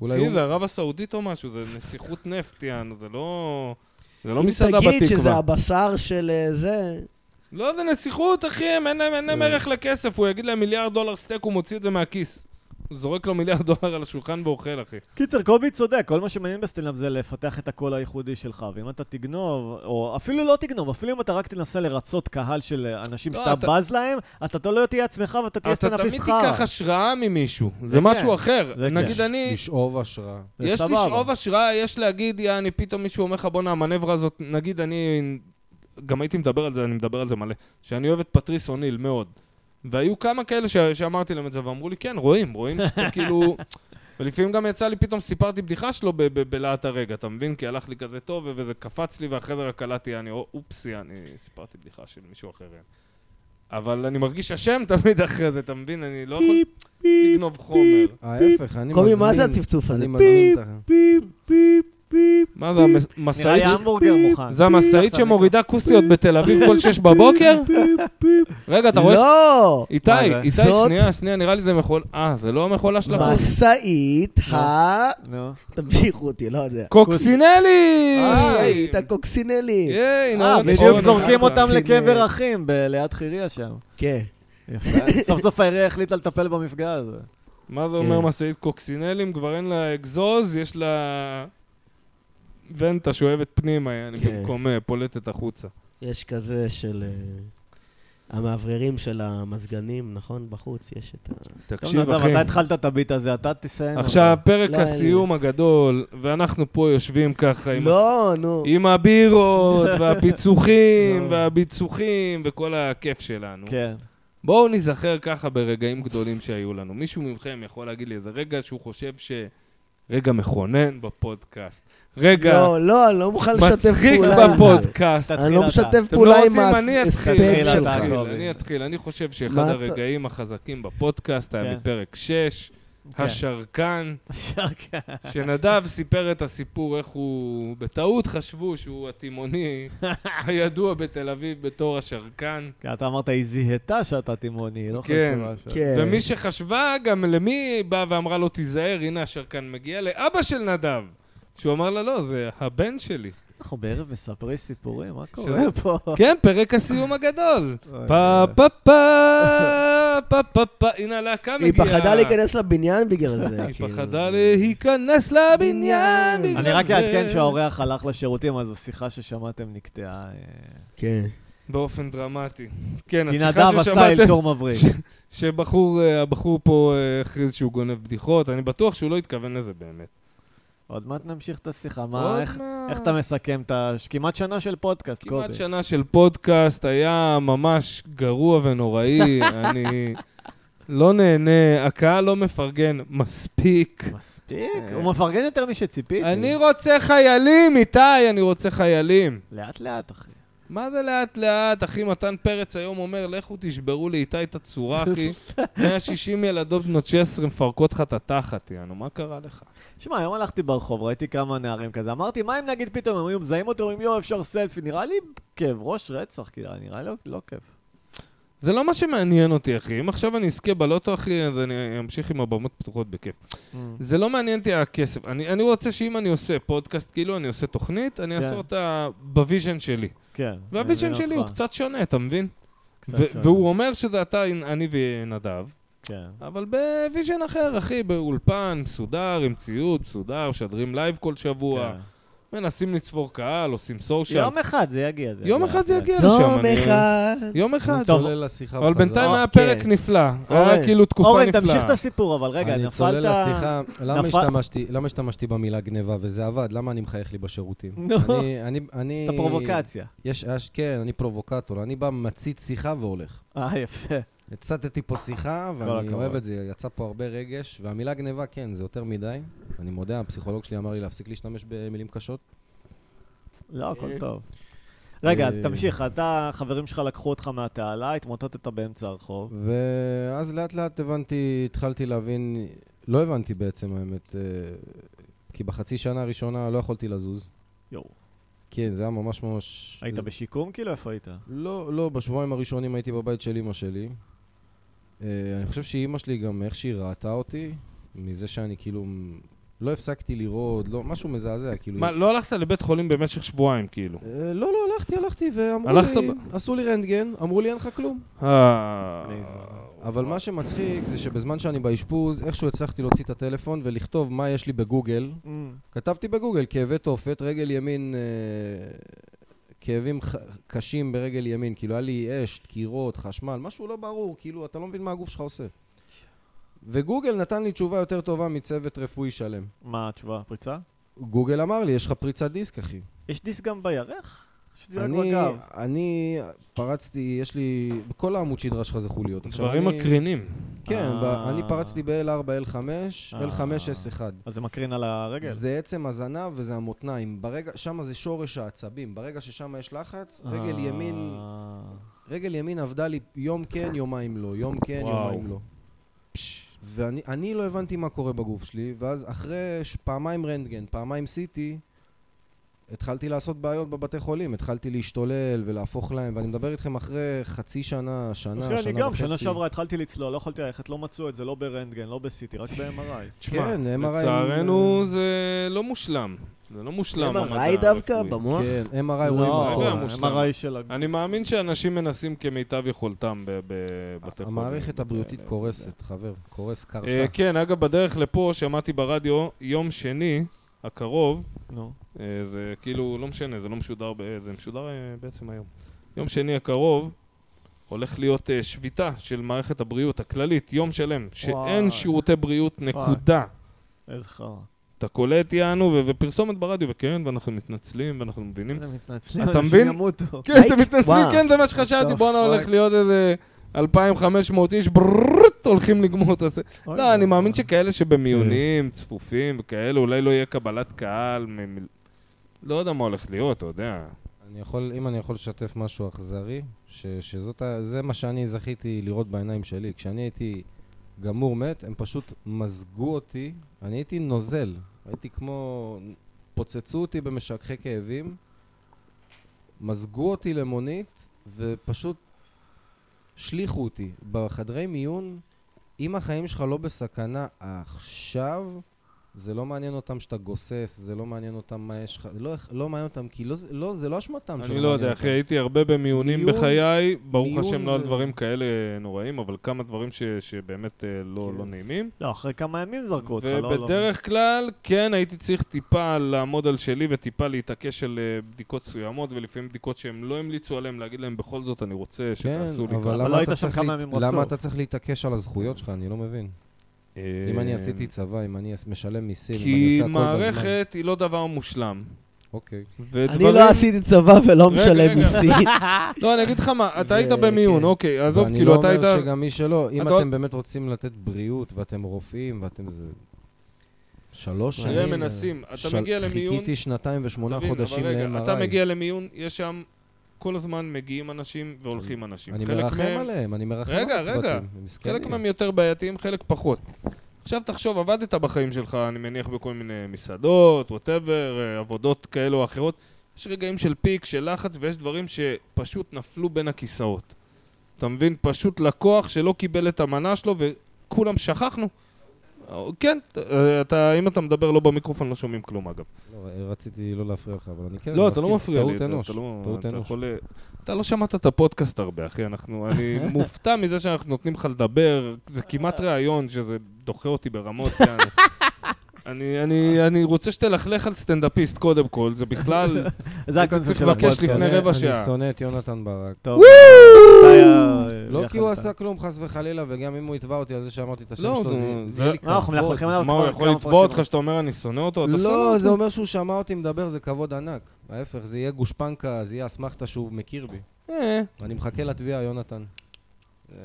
S4: אולי
S1: תראי,
S4: הוא...
S1: זה ערב הסעודית או משהו, זה נסיכות נפט, יענו, זה לא... זה לא
S3: אם
S1: מסעדה
S3: תגיד שזה
S1: בתקווה.
S3: הבשר של אה, זה...
S1: לא, זה נסיכות, אחי, הם- אין להם- אין להם ערך לכסף, הוא יגיד להם מיליארד דולר סטייק, הוא מוציא את זה מהכיס. הוא זורק לו מיליארד דולר על השולחן ואוכל, אחי.
S2: קיצר, קובי צודק, כל מה שמעניין בסטנדאפ זה לפתח את הקול הייחודי שלך, ואם אתה תגנוב, או אפילו לא תגנוב, אפילו אם אתה רק תנסה לרצות קהל של אנשים
S1: לא,
S2: שאתה
S1: אתה-
S2: בז להם, אתה לא תהיה עצמך ואתה תהיה
S1: אתה
S2: סטנדאפיסט
S1: תמיד
S2: חרא.
S1: תיקח השראה ממישהו, זה
S2: זה
S1: משהו
S2: כן.
S1: אחר.
S2: זה כן.
S1: נגיד אני,
S4: לשאוב השראה.
S2: זה
S1: יש
S2: סבבה.
S1: לשאוב השראה, יש להגיד, יעני, פתאום מישהו אומר לך, בואנה, המנברה הזאת, נגיד אני, גם הייתי מדבר על זה, אני מדבר על זה מלא, שאני אוהב את פטריס אוניל מאוד. והיו כמה כאלה ש... שאמרתי להם את זה, ואמרו לי, כן, רואים, רואים שאתה כאילו... ולפעמים גם יצא לי, פתאום סיפרתי בדיחה שלו ב- ב- בלהט הרגע, אתה מבין? כי הלך לי כזה טוב, ו- וזה קפץ לי, ואחרי זה רק קלטתי, אני, "או, אופסי, אני סיפרתי בדיחה של מישהו אחר. אבל אני מרגיש אשם תמיד אחרי זה, אתה מבין? אני לא יכול לגנוב חומר.
S4: ההפך, אני מזמין...
S3: קובי, מה זה הצפצוף הזה?
S4: אני מזמין את ה...
S3: פיפ, פיפ, פיפ.
S1: מה זה, המס-
S2: נראה
S1: משאית
S2: לי המבורגר מוכן.
S1: זה המשאית
S2: תחת
S1: שמורידה כוסיות בתל אביב כל שש בבוקר? רגע, אתה רואה... ש-
S3: לא!
S1: איתי,
S2: מה זה?
S1: איתי,
S3: זאת-
S1: שנייה, שנייה, נראה לי זה מכול... אה, זה לא המכולה של הכוס.
S3: משאית
S1: לא.
S3: ה...
S2: נו.
S3: תמשיכו אותי, לא יודע.
S1: קוקסינלי!
S3: משאית
S1: אה.
S3: הקוקסינלי.
S1: ייי,
S2: אה,
S1: נורא
S2: בדיוק
S1: נכון,
S2: זורקים
S1: נכון.
S2: אותם
S3: סיני.
S2: לקבר אחים, ב- ליד חיריה שם.
S3: כן.
S2: יפה. סוף סוף העירייה החליטה לטפל במפגע הזה.
S1: מה זה אומר
S3: כן.
S1: משאית קוקסינלים? כבר אין לה אגזוז, יש לה... ונטה שואבת פנימה, יעני,
S3: כן.
S1: במקום אה, פולטת החוצה.
S3: יש כזה של... אה, המאווררים של המזגנים, נכון? בחוץ יש את ה...
S2: טוב,
S1: תקשיב,
S2: נדב,
S1: אחי.
S2: לא, אתה התחלת את הביט הזה, אתה תסיים.
S1: עכשיו, פרק
S3: לא, אין לי.
S1: הסיום הגדול, ואנחנו פה יושבים ככה עם הס-
S3: לא, נו.
S1: עם הבירות, והפיצוחים,
S2: לא.
S1: והביצוחים, וכל הכיף שלנו.
S2: אבל- כן.
S1: בואו ניזכר ככה ברגעים גדולים שהיו לנו. מישהו מכם יכול להגיד לי איזה רגע שהוא חושב ש... רגע מכונן בפודקאסט. רגע
S3: לא, לא, אני לא מוכן לשתף
S1: מצחיק
S3: פעולה. עם ה-
S1: בפודקאסט.
S2: תתחיל
S3: אני לא
S2: אתה.
S3: משתף
S1: אתם לא
S3: פעולה עם
S1: רוצים, אני
S3: ההספק
S1: אתחיל.
S2: תתחיל
S3: שלך.
S2: אתה.
S1: אני אתחיל,
S2: קובי.
S1: אני אתחיל. אני חושב
S3: מה
S1: שאחד
S3: אתה-
S1: הרגעים החזקים בפודקאסט היה
S2: כן.
S1: בפרק 6,
S2: כן.
S1: השרקן.
S2: אפשר, כן.
S1: שנדב סיפר את הסיפור איך הוא, בטעות חשבו שהוא התימוני הידוע בתל אביב בתור השרקן.
S2: כן, אתה אמרת, היא זיהתה שאתה תימוני, לא
S1: כן,
S2: חשוב משהו.
S3: כן.
S1: ומי שחשבה גם למי באה ואמרה לו, תיזהר, הנה השרקן מגיע לאבא של נדב. שהוא אמר לה, לא, זה הבן שלי.
S2: אנחנו בערב מספרי סיפורים, מה קורה
S1: שזה-
S2: פה?
S1: כן, פרק הסיום הגדול.
S2: אוי,
S1: פה
S2: אוי.
S1: פה פה, פה פה פה, הנה הלהקה מגיעה.
S3: היא פחדה להיכנס לבניין בגלל זה.
S1: היא
S3: כאילו.
S1: פחדה להיכנס לבניין בגלל
S2: אני רק
S1: זה.
S2: אעדכן שהאורח הלך לשירותים, אז השיחה ששמעתם נקטעה. אה,
S3: כן.
S1: באופן דרמתי. כן,
S2: כי
S1: השיחה
S2: נדב עשה
S1: ששמעתם...
S2: אל תור מבריק.
S1: שבחור, אה, הבחור פה אה, הכריז שהוא גונב בדיחות, אני בטוח שהוא לא התכוון לזה באמת.
S2: עוד מעט נמשיך את השיחה.
S1: עוד
S2: מה, איך-
S1: מעט.
S2: איך אתה מסכם את ה... כמעט שנה של פודקאסט, קובי.
S1: כמעט שנה של פודקאסט, היה ממש גרוע ונוראי, אני לא נהנה, הקהל לא מפרגן מספיק.
S2: מספיק,
S1: אה.
S2: הוא מפרגן יותר משציפיתי.
S1: אני רוצה חיילים, איתי, אני רוצה חיילים.
S2: לאט לאט, אחי.
S1: מה זה לאט לאט, אחי? מתן פרץ היום אומר, לכו תשברו לאיתי את הצורה, אחי. 160 ילדות בנות 16 מפרקות לך את התחת, יענו, מה קרה לך?
S2: שמע, היום הלכתי ברחוב, ראיתי כמה נערים כזה, אמרתי, מה אם נגיד פתאום, הם היו מזהים אותו, אומרים, יואו, אפשר סלפי, נראה לי כאב ראש רצח, כאילו, נראה לי לא- לא כיף.
S1: זה לא מה שמעניין אותי, אחי. אם עכשיו אני אזכה בלוטו, אחי, אז אני אמשיך עם הבמות פתוחות בכיף. זה לא מעניין אותי הכסף. אני, אני רוצה שאם אני עושה פודקאסט, כאילו אני עושה תוכנית, אני
S2: כן.
S1: אעשה אותה בוויז'ן שלי.
S2: כן.
S1: והוויז'ן
S2: אני מבין
S1: שלי הוא
S2: אותך.
S1: קצת שונה, אתה מבין?
S2: קצת
S1: ו-
S2: שונה.
S1: והוא אומר שזה אתה, אני ונדב,
S2: כן.
S1: אבל בוויז'ן אחר, אחי, באולפן, מסודר, עם ציוד, מסודר, משדרים לייב כל שבוע,
S2: כן.
S1: מנסים לצבור קהל, עושים סושיאל. יום,
S2: יום אחד זה יגיע. כן.
S1: אחד זה יגיע לשם.
S3: יום
S1: אני-
S3: אחד.
S1: יום אחד. לא-
S2: טוב.
S4: צולל לשיחה
S1: אבל בינתיים היה פרק
S3: כן.
S1: נפלא.
S3: אורן.
S1: היה כאילו תקופה נפלאה.
S2: אורן, תמשיך את הסיפור, אבל רגע,
S4: אני
S2: נפלת...
S4: צולל לשיחה, למה
S2: נפל-
S4: השתמשתי- למה השתמשתי במילה גניבה וזה עבד? למה אני מחייך לי בשירותים?
S2: נו.
S4: אני- אני... אני...
S2: את הפרובוקציה.
S4: יש, יש, כן, אני פרובוקטור. אני בא, מצית שיחה והולך.
S2: אה, יפה.
S4: הצטתי פה שיחה, ואני
S2: הכבוד.
S4: אוהב את זה, יצא פה הרבה רגש. והמילה גניבה, כן, זה יותר מדי. אני מודה, הפסיכולוג שלי אמר לי להפסיק להשתמש במילים קשות.
S2: לא, הכל טוב. רגע, אז
S4: אה.
S2: תמשיך, אתה, חברים שלך לקחו אותך מהתעלה, התמוטטת באמצע הרחוב.
S4: ואז לאט לאט הבנתי, התחלתי להבין, לא הבנתי בעצם האמת, אה, כי בחצי שנה הראשונה לא יכולתי לזוז.
S2: יואו.
S4: כן, זה היה ממש ממש...
S2: היית
S4: זה-
S2: בשיקום? כאילו, איפה היית?
S4: לא, לא, בשבועיים הראשונים הייתי בבית של אימא שלי. אה, אני חושב שאימא שלי גם, איך שהיא ראתה אותי, מזה שאני כאילו... מ- לא הפסקתי לראות, לא, משהו מזעזע, כאילו...
S1: מה, לא הלכת לבית חולים במשך שבועיים, כאילו?
S4: אה, לא, לא, הלכתי, הלכתי, ואמרו
S1: הלכת
S4: לי, עשו לי רנטגן, אמרו לי אין לך כלום.
S1: אה...
S4: אבל מה שמצחיק זה שבזמן שאני באשפוז, איכשהו הצלחתי להוציא את הטלפון ולכתוב מה יש לי בגוגל.
S2: Mm,
S4: כתבתי בגוגל כאבי תופת, רגל ימין, אה, כאבים ח- קשים ברגל ימין. כאילו היה לי אש, דקירות, חשמל, משהו לא ברור, כאילו אתה לא מבין מה הגוף שלך עושה. וגוגל נתן לי תשובה יותר טובה מצוות רפואי שלם.
S2: מה התשובה? פריצה?
S4: גוגל אמר לי, יש לך פריצת דיסק, אחי.
S2: יש דיסק גם בירך? יש דיסק
S4: אני,
S2: בגב.
S4: אני פרצתי, יש לי, בכל העמוד שדרה שלך זה חוליות. עכשיו,
S1: דברים
S4: אני-
S1: מקרינים.
S4: כן, ב-
S2: אה.
S4: אני פרצתי ב-L4, L5,
S2: אה.
S4: L5S1.
S2: אז זה מקרין על הרגל.
S4: זה עצם הזנב וזה המותניים. ברגע, שם זה שורש העצבים. ברגע ששם יש לחץ, רגל
S2: אה.
S4: ימין, רגל ימין עבדה לי יום כן, יומיים לא. יום כן,
S1: וואו.
S4: יומיים לא. ואני אני לא הבנתי מה קורה בגוף שלי, ואז אחרי ש- פעמיים רנטגן, פעמיים סיטי, התחלתי לעשות בעיות בבתי חולים, התחלתי להשתולל ולהפוך להם, ואני מדבר איתכם אחרי חצי שנה, שנה, שנה
S2: אחי,
S4: וחצי.
S2: אני גם, שנה שעברה התחלתי לצלול, לא יכולתי ללכת, לא מצאו את זה, לא ברנטגן, לא ב-CT, רק ב-MRI.
S1: תשמע,
S4: כן, MRI
S1: לצערנו
S4: אה,
S1: זה לא מושלם. זה לא מושלם. המדע
S3: MRI דווקא
S1: הרפואי.
S3: במוח?
S4: כן, MRI רואים
S2: לא,
S1: הכל.
S4: הכל.
S2: MRI של... הג-
S1: אני מאמין שאנשים מנסים כמיטב יכולתם ב- בבתי חולים.
S2: כן,
S4: המערכת הבריאותית
S1: וכאלה,
S4: קורסת, חבר. קורס,
S1: אתה
S4: קרסה.
S1: יודע. אה, כן, אגב, בדרך לפה שמעתי ברדיו, יום שני הקרוב,
S2: נו.
S1: אה, זה כאילו, לא משנה, זה לא משודר, ב- זה משודר אה, בעצם היום. יום שני הקרוב הולך להיות אה, שביתה של מערכת הבריאות הכללית, יום שלם,
S2: וואי.
S1: שאין שירותי בריאות, נקודה.
S2: איזה חרא.
S1: אתה קולט, יענו, ו- ופרסומת ברדיו, וכן, ואנחנו מתנצלים, ואנחנו מבינים.
S2: אתם מתנצלים,
S1: אתה
S2: אנשים
S1: מבין?
S2: ימותו.
S1: כן,
S3: הייתי-
S1: אתם מתנצלים,
S3: וואו.
S1: כן, זה מה שחשבתי,
S2: What the
S1: בואנה הולך
S2: fuck?
S1: להיות איזה 2,500 איש, בררררט, הולכים לגמור את הס...
S2: אוי,
S1: לא, אני
S2: אוי,
S1: מאמין
S2: אוי.
S1: שכאלה שבמיונים, צפופים וכאלה, אולי לא יהיה קבלת קהל, מ- מ- לא יודע מה הולך להיות, אתה יודע.
S4: אני יכול, אם אני יכול לשתף משהו אכזרי, ש, שזאת, ה- זה מה שאני זכיתי לראות בעיניים שלי. כשאני הייתי גמור מת, הם פשוט מזגו אותי, אני הייתי נוזל, הייתי כמו... פוצצו אותי במשככי כאבים, מזגו אותי למונית, ופשוט השליכו אותי. בחדרי מיון, אם החיים שלך לא בסכנה עכשיו, זה לא מעניין אותם שאתה גוסס, זה לא מעניין אותם מה יש לך, זה לא, לא מעניין אותם, כי לא, זה- לא, זה לא אשמתם
S1: אני לא יודע, אחי, הייתי הרבה במיונים
S4: מיון-
S1: בחיי, ברוך
S4: מיון
S1: השם לא על
S4: זה-
S1: דברים כאלה נוראים, אבל כמה דברים ש- שבאמת אה, לא
S4: כן.
S1: לא נעימים.
S2: לא, אחרי כמה ימים זרקו אותך, לא... לא.
S1: ובדרך כלל, כן, הייתי צריך טיפה לעמוד על שלי וטיפה להתעקש על אה, בדיקות מסוימות, ולפעמים בדיקות שהם לא המליצו עליהן, להגיד להם, בכל זאת אני רוצה שתעשו לי
S4: כן, אבל
S1: ככה.
S4: למה
S2: לא
S4: אתה
S2: היית שם
S4: צריך
S2: כמה
S4: להת-
S2: ימים
S4: למה
S2: רצוף.
S4: אתה צריך להתעקש על הזכויות שלך? אני לא מבין.
S1: אה,
S4: אם אני עשיתי צבא, אם אני אס- משלם מיסים, אם אני
S1: כי
S4: עושה הכל בזמן.
S1: מערכת היא לא דבר מושלם.
S4: אוקיי.
S3: אני לא עשיתי צבא ולא
S1: רגע,
S3: משלם
S1: רגע.
S3: מיסים.
S1: לא, אני אגיד לך מה, אתה היית
S3: ו-
S1: במיון,
S3: כן.
S1: אוקיי, עזוב,
S4: ואני
S1: כאילו,
S4: לא
S1: אתה היית...
S4: אומר שגם מי שלא, אם
S1: אתה עוד-
S4: אתם באמת רוצים לתת בריאות, ואתם רופאים, ואתם זה... שלוש שנים.
S1: תראה, מנסים, אתה
S4: של-
S1: מגיע למיון,
S4: חיכיתי שנתיים ושמונה
S1: תבין,
S4: חודשים
S1: אבל רגע,
S4: ל-MRI.
S1: אתה מגיע למיון, יש שם, כל הזמן מגיעים אנשים והולכים אנשים.
S4: אני
S1: חלק
S4: מרחם
S1: מהם-
S4: עליהם, כן, אני מרחם על
S1: רגע,
S4: הצוותים.
S1: רגע.
S4: הם
S1: חלק
S4: מסכנים.
S1: מהם יותר בעייתיים, חלק פחות. עכשיו תחשוב, עבדת בחיים שלך, אני מניח, בכל מיני מסעדות, ווטאבר, עבודות כאלו או אחרות. יש רגעים של פיק, של לחץ, ויש דברים שפשוט נפלו בין הכיסאות. אתה מבין? פשוט לקוח שלא קיבל את המנה שלו וכולם שכחנו. אה, כן, אה, אתה, אם אתה מדבר לא במיקרופון, לא שומעים כלום, אגב.
S4: לא, רציתי לא להפריע לך, אבל אני כן
S1: לא, אתה לא
S4: מסכים.
S1: מפריע לי.
S4: טעות
S1: אתה-
S4: אנוש.
S1: אתה לא-
S4: טעות
S1: אתה
S4: אנוש.
S1: יכול ל- אתה לא שמעת את הפודקאסט הרבה, אחי. אנחנו, אני מופתע מזה שאנחנו נותנים לך לדבר. זה כמעט ראיון שזה דוחה אותי ברמות. יעני. אני, אני, אני רוצה שתלכלך על סטנדאפיסט קודם כל, זה בכלל...
S2: זה הקונספט
S1: צריך
S2: של
S1: לבקש
S2: הפודקאסט.
S1: לפני
S4: אני-
S1: רבע שעה.
S4: אני שונא את יונתן ברק.
S2: טוב. אתה היה-
S4: לא כי הוא
S2: יכלת.
S4: עשה כלום, חס וחלילה, וגם אם הוא יתבע אותתי על זה שאמרתי את השם
S1: לא,
S4: שלו, זה-
S1: נו,
S4: זה יהיה לי
S2: מה, אנחנו
S4: כבוד.
S2: מלכלכים עליו
S1: מה, הוא
S2: כבר
S1: יכול
S2: כמה
S1: לתבוע
S2: פרקים.
S1: אותך שאתה אומר אני שונא אותו? אתה שונא
S4: לא,
S1: אותו?
S4: זה אומר שהוא שמע אותי מדבר, זה כבוד ענק. ההפך, זה יהיה גושפנקה, זה יהיה אסמכתה שהוא מכיר בי.
S1: אה,
S4: אני מחכה לתביעה, יונתן.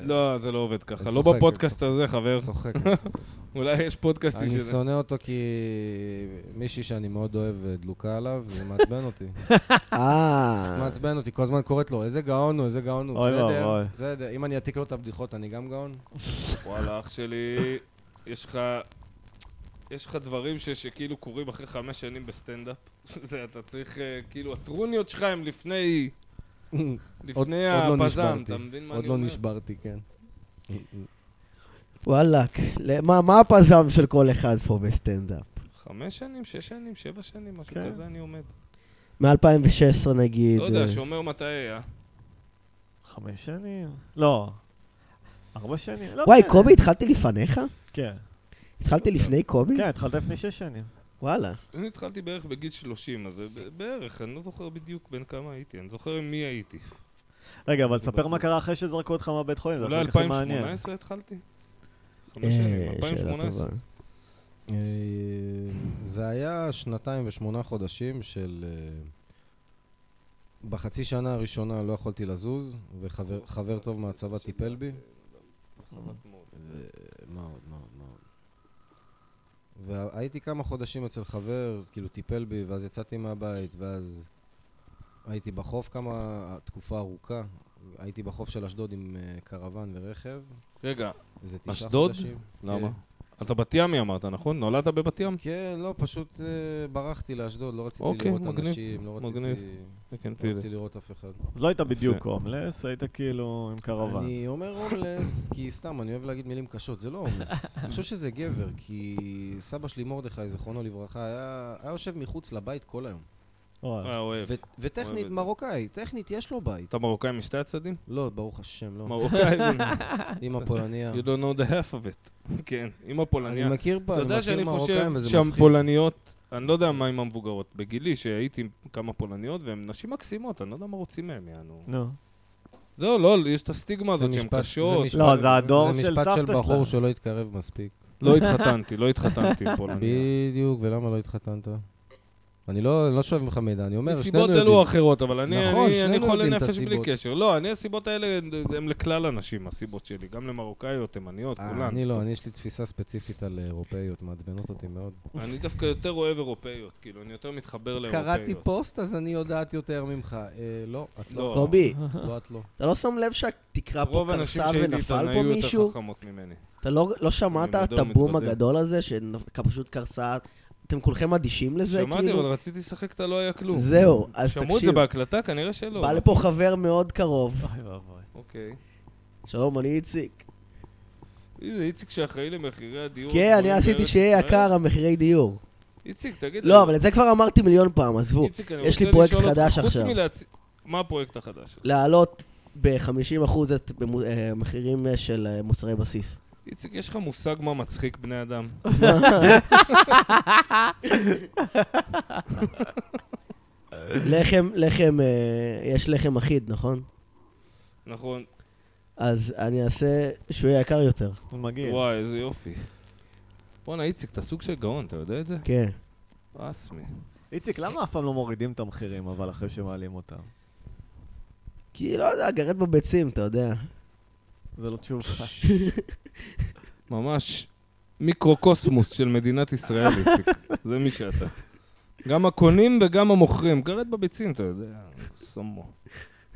S1: לא, זה לא עובד ככה.
S4: אה. אני
S1: לא
S4: צוחק,
S1: בפודקאסט הזה, חבר.
S4: צוחק, אני צוחק.
S1: אולי יש פודקאסטים
S4: אני
S1: שזה...
S4: שונא אותו כי מישהי שאני מאוד אוהב אה, דלוקה עליו, זה מעצבן אותי.
S3: אה,
S4: מעצבן אותי, כל הזמן קוראת לו, איזה גאון הוא, איזה גאון הוא.
S2: אוי
S4: בסדר,
S2: ואבוי.
S4: בסדר. אם אני אעתיק לו את הבדיחות, אני גם גאון?
S1: וואלה, אח שלי, יש לך... יש לך דברים ש, שכאילו קורים אחרי חמש שנים בסטנדאפ. זה, אתה צריך, אה, כאילו, הטרוניות שלך הם לפני... לפני
S4: עוד
S1: הפזם,
S4: לא נשברתי.
S1: אתה מבין מה
S4: עוד
S1: אני
S4: לא
S1: אומר?
S4: נשברתי, כן.
S3: וואלאק. מה- מה הפזם של כל אחד פה בסטנדאפ?
S1: חמש שנים, שש שנים, שבע שנים, משהו
S2: כן.
S1: כזה אני עומד.
S3: מ-2016 נגיד.
S1: לא יודע,
S3: אה,
S1: שומר מתי היה.
S2: חמש שנים? לא. ארבע שנים? לא
S3: וואי,
S2: משנה.
S3: קובי, התחלתי לפניך?
S2: כן.
S3: התחלתי לפני קובי?
S2: כן, התחלת לפני שש שנים.
S3: וואלה.
S1: אני התחלתי בערך בגיל 30, אז זה ב- בערך, אני לא זוכר בדיוק בין כמה הייתי, אני זוכר עם מי הייתי.
S2: רגע, אבל תספר
S1: בטוח.
S2: מה קרה אחרי שזרקו אותך מהבית חולים, זה
S1: אולי
S2: הכי הכי מעניין.
S1: 2018 התחלתי? חמש שנים,
S3: אה, שאלה
S1: 2018.
S3: טובה.
S4: אה, זה היה שנתיים ושמונה חודשים של... אה, בחצי שנה הראשונה לא יכולתי לזוז, וחבר חבר טוב מהצבא טיפל בי. ו- מאוד, מאוד, מאוד. והייתי כמה חודשים אצל חבר, כאילו טיפל בי, ואז יצאתי מהבית, ואז הייתי בחוף כמה, תקופה ארוכה. הייתי בחוף של אשדוד עם אה, קרוון ורכב.
S1: רגע,
S4: איזה תשעה
S1: אשדוד?
S4: חודשים.
S1: למה? אתה בת ימי אמרת, נכון? נולדת בבת ים?
S4: כן, לא, פשוט אה, ברחתי לאשדוד, לא רציתי
S1: אוקיי,
S4: לראות
S1: מגניב,
S4: אנשים, לא רציתי-
S1: מגניב. כן,
S4: לא
S1: פידס.
S4: רציתי לראות אף אחד.
S2: אז לא היית בדיוק
S1: יפה.
S2: הומלס, היית כאילו עם קרוון.
S4: אני אומר הומלס, כי סתם, אני אוהב להגיד מילים קשות, זה לא הומלס. אני חושב שזה גבר, כי סבא שלי מרדכי, זיכרונו לברכה, היה היה יושב מחוץ לבית כל היום.
S2: אוי.
S1: אה, אוהב.
S4: ו-
S1: אוהב
S4: וטכנית
S1: את זה.
S4: מרוקאי, טכנית יש לו בית.
S1: אתה מרוקאי משתי הצדדים?
S4: לא, ברוך השם, לא.
S1: מרוקאי,
S4: אמא פולניה.
S1: you don't know the half of it. כן, אמא
S4: אני
S1: פולניה.
S4: מכיר פה,
S1: אתה
S4: אני
S1: יודע שאני
S4: מכיר
S1: חושב
S4: מרוקאים וזה
S1: שם
S4: מפחיד.
S1: פולניות, אני לא יודע מה עם המבוגרות. בגילי שהייתי עם כמה פולניות, והן נשים מקסימות, אני לא יודע מה רוצים מהן, יענו.
S2: נו.
S1: זהו, לא, יש את הסטיגמה
S4: זה
S1: הזאת שהן
S4: משפט-
S1: קשות.
S4: משפט-
S2: לא, זה הדור של
S4: זה משפט
S2: סבתא
S4: של בחור
S2: שלנו.
S4: שלא התקרב מספיק.
S1: לא התחתנתי, לא התחתנתי עם פולניה.
S4: בדיוק, ולמה לא התחתנת? אני לא אני לא שואב ממך מידע, אני אומר, שנינו
S1: מסיבות
S4: יודעים.
S1: אלו או אחרות, אבל אני,
S4: נכון,
S1: אני,
S4: שנינו
S1: אני חולה
S4: יודעים את
S1: נפש בלי
S4: הסיבות.
S1: קשר. לא, אני, הסיבות האלה הן- הן לכלל הנשים, הסיבות שלי. גם למרוקאיות, תימניות,
S4: אה,
S1: כולן.
S4: אני לא, אני יש לי תפיסה ספציפית על אירופאיות, מעצבנות אותי מאוד.
S1: אני דווקא יותר אוהב אירופאיות, כאילו, אני יותר מתחבר לאירופאיות.
S4: קראתי פוסט, אז אני יודעת יותר ממך. אה, לא, את לא.
S1: לא.
S3: קובי,
S4: לא, את לא.
S3: אתה לא שם לב שהתקרה פה
S1: רוב האנשים
S3: קרסה
S1: שהייתי איתן
S3: ונפל פה
S1: היו יותר
S3: מישהו?
S1: חכמות ממני.
S3: אתה לא לא שמעת
S1: אני
S3: את
S1: מאוד
S3: הבום
S1: מתוודה.
S3: הגדול הזה, שפשוט קרסה? אתם כולכם אדישים לזה,
S1: שמעתי, אבל
S3: כאילו?
S1: רציתי לשחק, אתה לא היה כלום.
S3: זהו, אז
S1: שמעו את זה
S3: תקשיב,
S1: בהקלטה? כנראה שלא.
S3: בא לפה חבר מאוד קרוב.
S2: אוי ואבוי.
S1: אוקיי.
S3: שלום, אני איציק.
S1: מי זה איציק שאחראי למחירי הדיור.
S3: כן,
S1: הגבוהים
S3: אני עשיתי
S1: בארץ
S3: שיהיה
S1: ישראל?
S3: יקר המחירי דיור.
S1: איציק, תגיד.
S3: לא, אבל את זה כבר אמרתי מיליון פעם, עזבו.
S1: איציק, אני
S3: יש לי
S1: רוצה
S3: פרויקט
S1: לשאול אותך,
S3: חדש
S1: חוץ
S3: עכשיו.
S1: מלהצ- מה הפרויקט החדש? שלך?
S3: להעלות ב-50% את במו- אה, מחירים אה, של אה, מוצרי בסיס.
S1: איציק, יש לך מושג מה מצחיק בני אדם?
S3: לחם, לחם, אה, יש לחם אחיד, נכון?
S1: נכון.
S3: אז אני אעשה שהוא יהיה יקר יותר.
S2: הוא מגעיל.
S1: וואי, איזה יופי. בואנה, איציק, אתה סוג של גאון, אתה יודע את זה?
S3: כן.
S1: אסמי.
S2: איציק, למה אף פעם לא מורידים את המחירים, אבל אחרי שמעלים אותם?
S3: כי לא יודע, גרד בביצים, אתה יודע.
S2: זה לא תשובה.
S1: ממש מיקרוקוסמוס של מדינת ישראל, איציק. זה מי שאתה. גם הקונים וגם המוכרים. גרד בביצים, אתה יודע, סומו.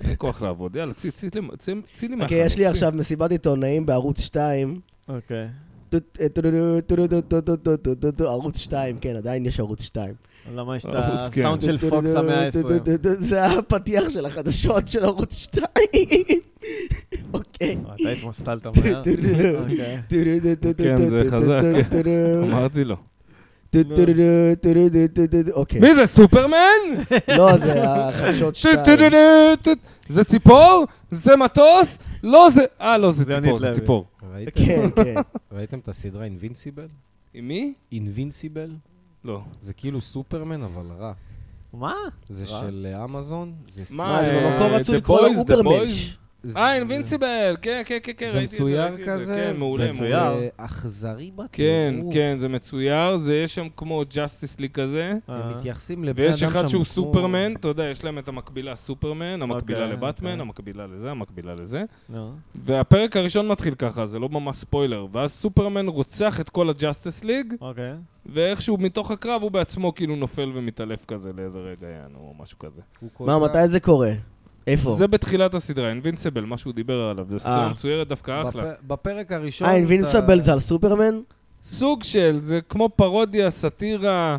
S1: אין כוח לעבוד. יאללה, צי, צי, לי- צי, צי לי מהחיים.
S3: אוקיי, יש לי עכשיו מסיבת עיתונאים בערוץ 2.
S2: אוקיי.
S3: טו- אה, טו- טו- טו- טו- טו- טו- טו- טו- טו- טו- ערוץ 2, כן, עדיין יש ערוץ 2.
S2: למה יש את
S1: ערוץ, כן.
S2: הסאונד של פוקס המאה העשרים?
S3: זה הפתיח של החדשות של ערוץ 2. אוקיי.
S2: אה, אתה התמסטלת מהר? אוקיי.
S1: כן, זה חזק. אמרתי לו.
S3: אוקיי.
S1: מי זה, סופרמן?
S3: לא, זה החדשות
S1: טו-
S3: שתיים.
S1: טו- טו- טו- טו- זה ציפור? זה מטוס? לא זה... אה, לא, זה
S2: זה
S1: ציפור,
S2: יונית
S1: זה
S2: לוי.
S1: ציפור.
S4: ראיתם-
S3: כן, כן.
S4: ראיתם את הסדרה אינבינסיבל?
S1: עם מי?
S4: אינבינסיבל?
S1: לא.
S4: זה כאילו סופרמן, אבל רע.
S2: מה?
S4: זה
S2: רע?
S4: של אה, אמזון, זה
S1: מה,
S3: מה, זה
S1: אה,
S3: במקור
S1: The
S3: רצו לקרוא לו
S1: Boys, The
S3: אוברמנץ'.
S1: Boys.
S4: זה-
S1: אה, אינבינסיבל, כן, כן, כן, כן,
S4: זה
S1: ראיתי את זה.
S4: מצויר
S1: ראיתי את זה.
S4: כזה,
S1: כן, מעולה,
S2: וזה-
S1: מעולה.
S4: זה אכזרי בטירוף.
S1: כן, כן, זה מצויר, זה יש שם כמו ג'סטיס לי כזה,
S2: אה.
S4: הם מתייחסים לבני אדם
S1: ויש
S4: שם
S1: אחד שהוא
S4: כמו-
S1: סופרמן, אתה יודע, יש להם את המקבילה סופרמן, המקבילה
S2: אוקיי,
S1: לבטמן,
S2: אוקיי.
S1: המקבילה לזה, המקבילה לזה,
S2: נו.
S1: והפרק הראשון מתחיל ככה, זה לא ממש ספוילר, ואז סופרמן רוצח את כל הג'סטיס ליג,
S2: אוקיי.
S1: ואיכשהו מתוך הקרב הוא בעצמו כאילו נופל ומתעלף כזה לאיזה רגע יענו, או משהו כזה.
S4: הוא כל
S3: מה,
S4: כך-
S3: מתי זה קורה? איפה?
S1: זה בתחילת הסדרה, אינבינסיבל, מה שהוא דיבר עליו, זו סדרה
S3: אה.
S1: מצוירת דווקא אחלה.
S4: בפ- בפרק הראשון...
S3: אה, אינבינסיבל
S4: אתה-
S3: זה על סופרמן? אה,
S1: סוג של, זה כמו פרודיה, סאטירה.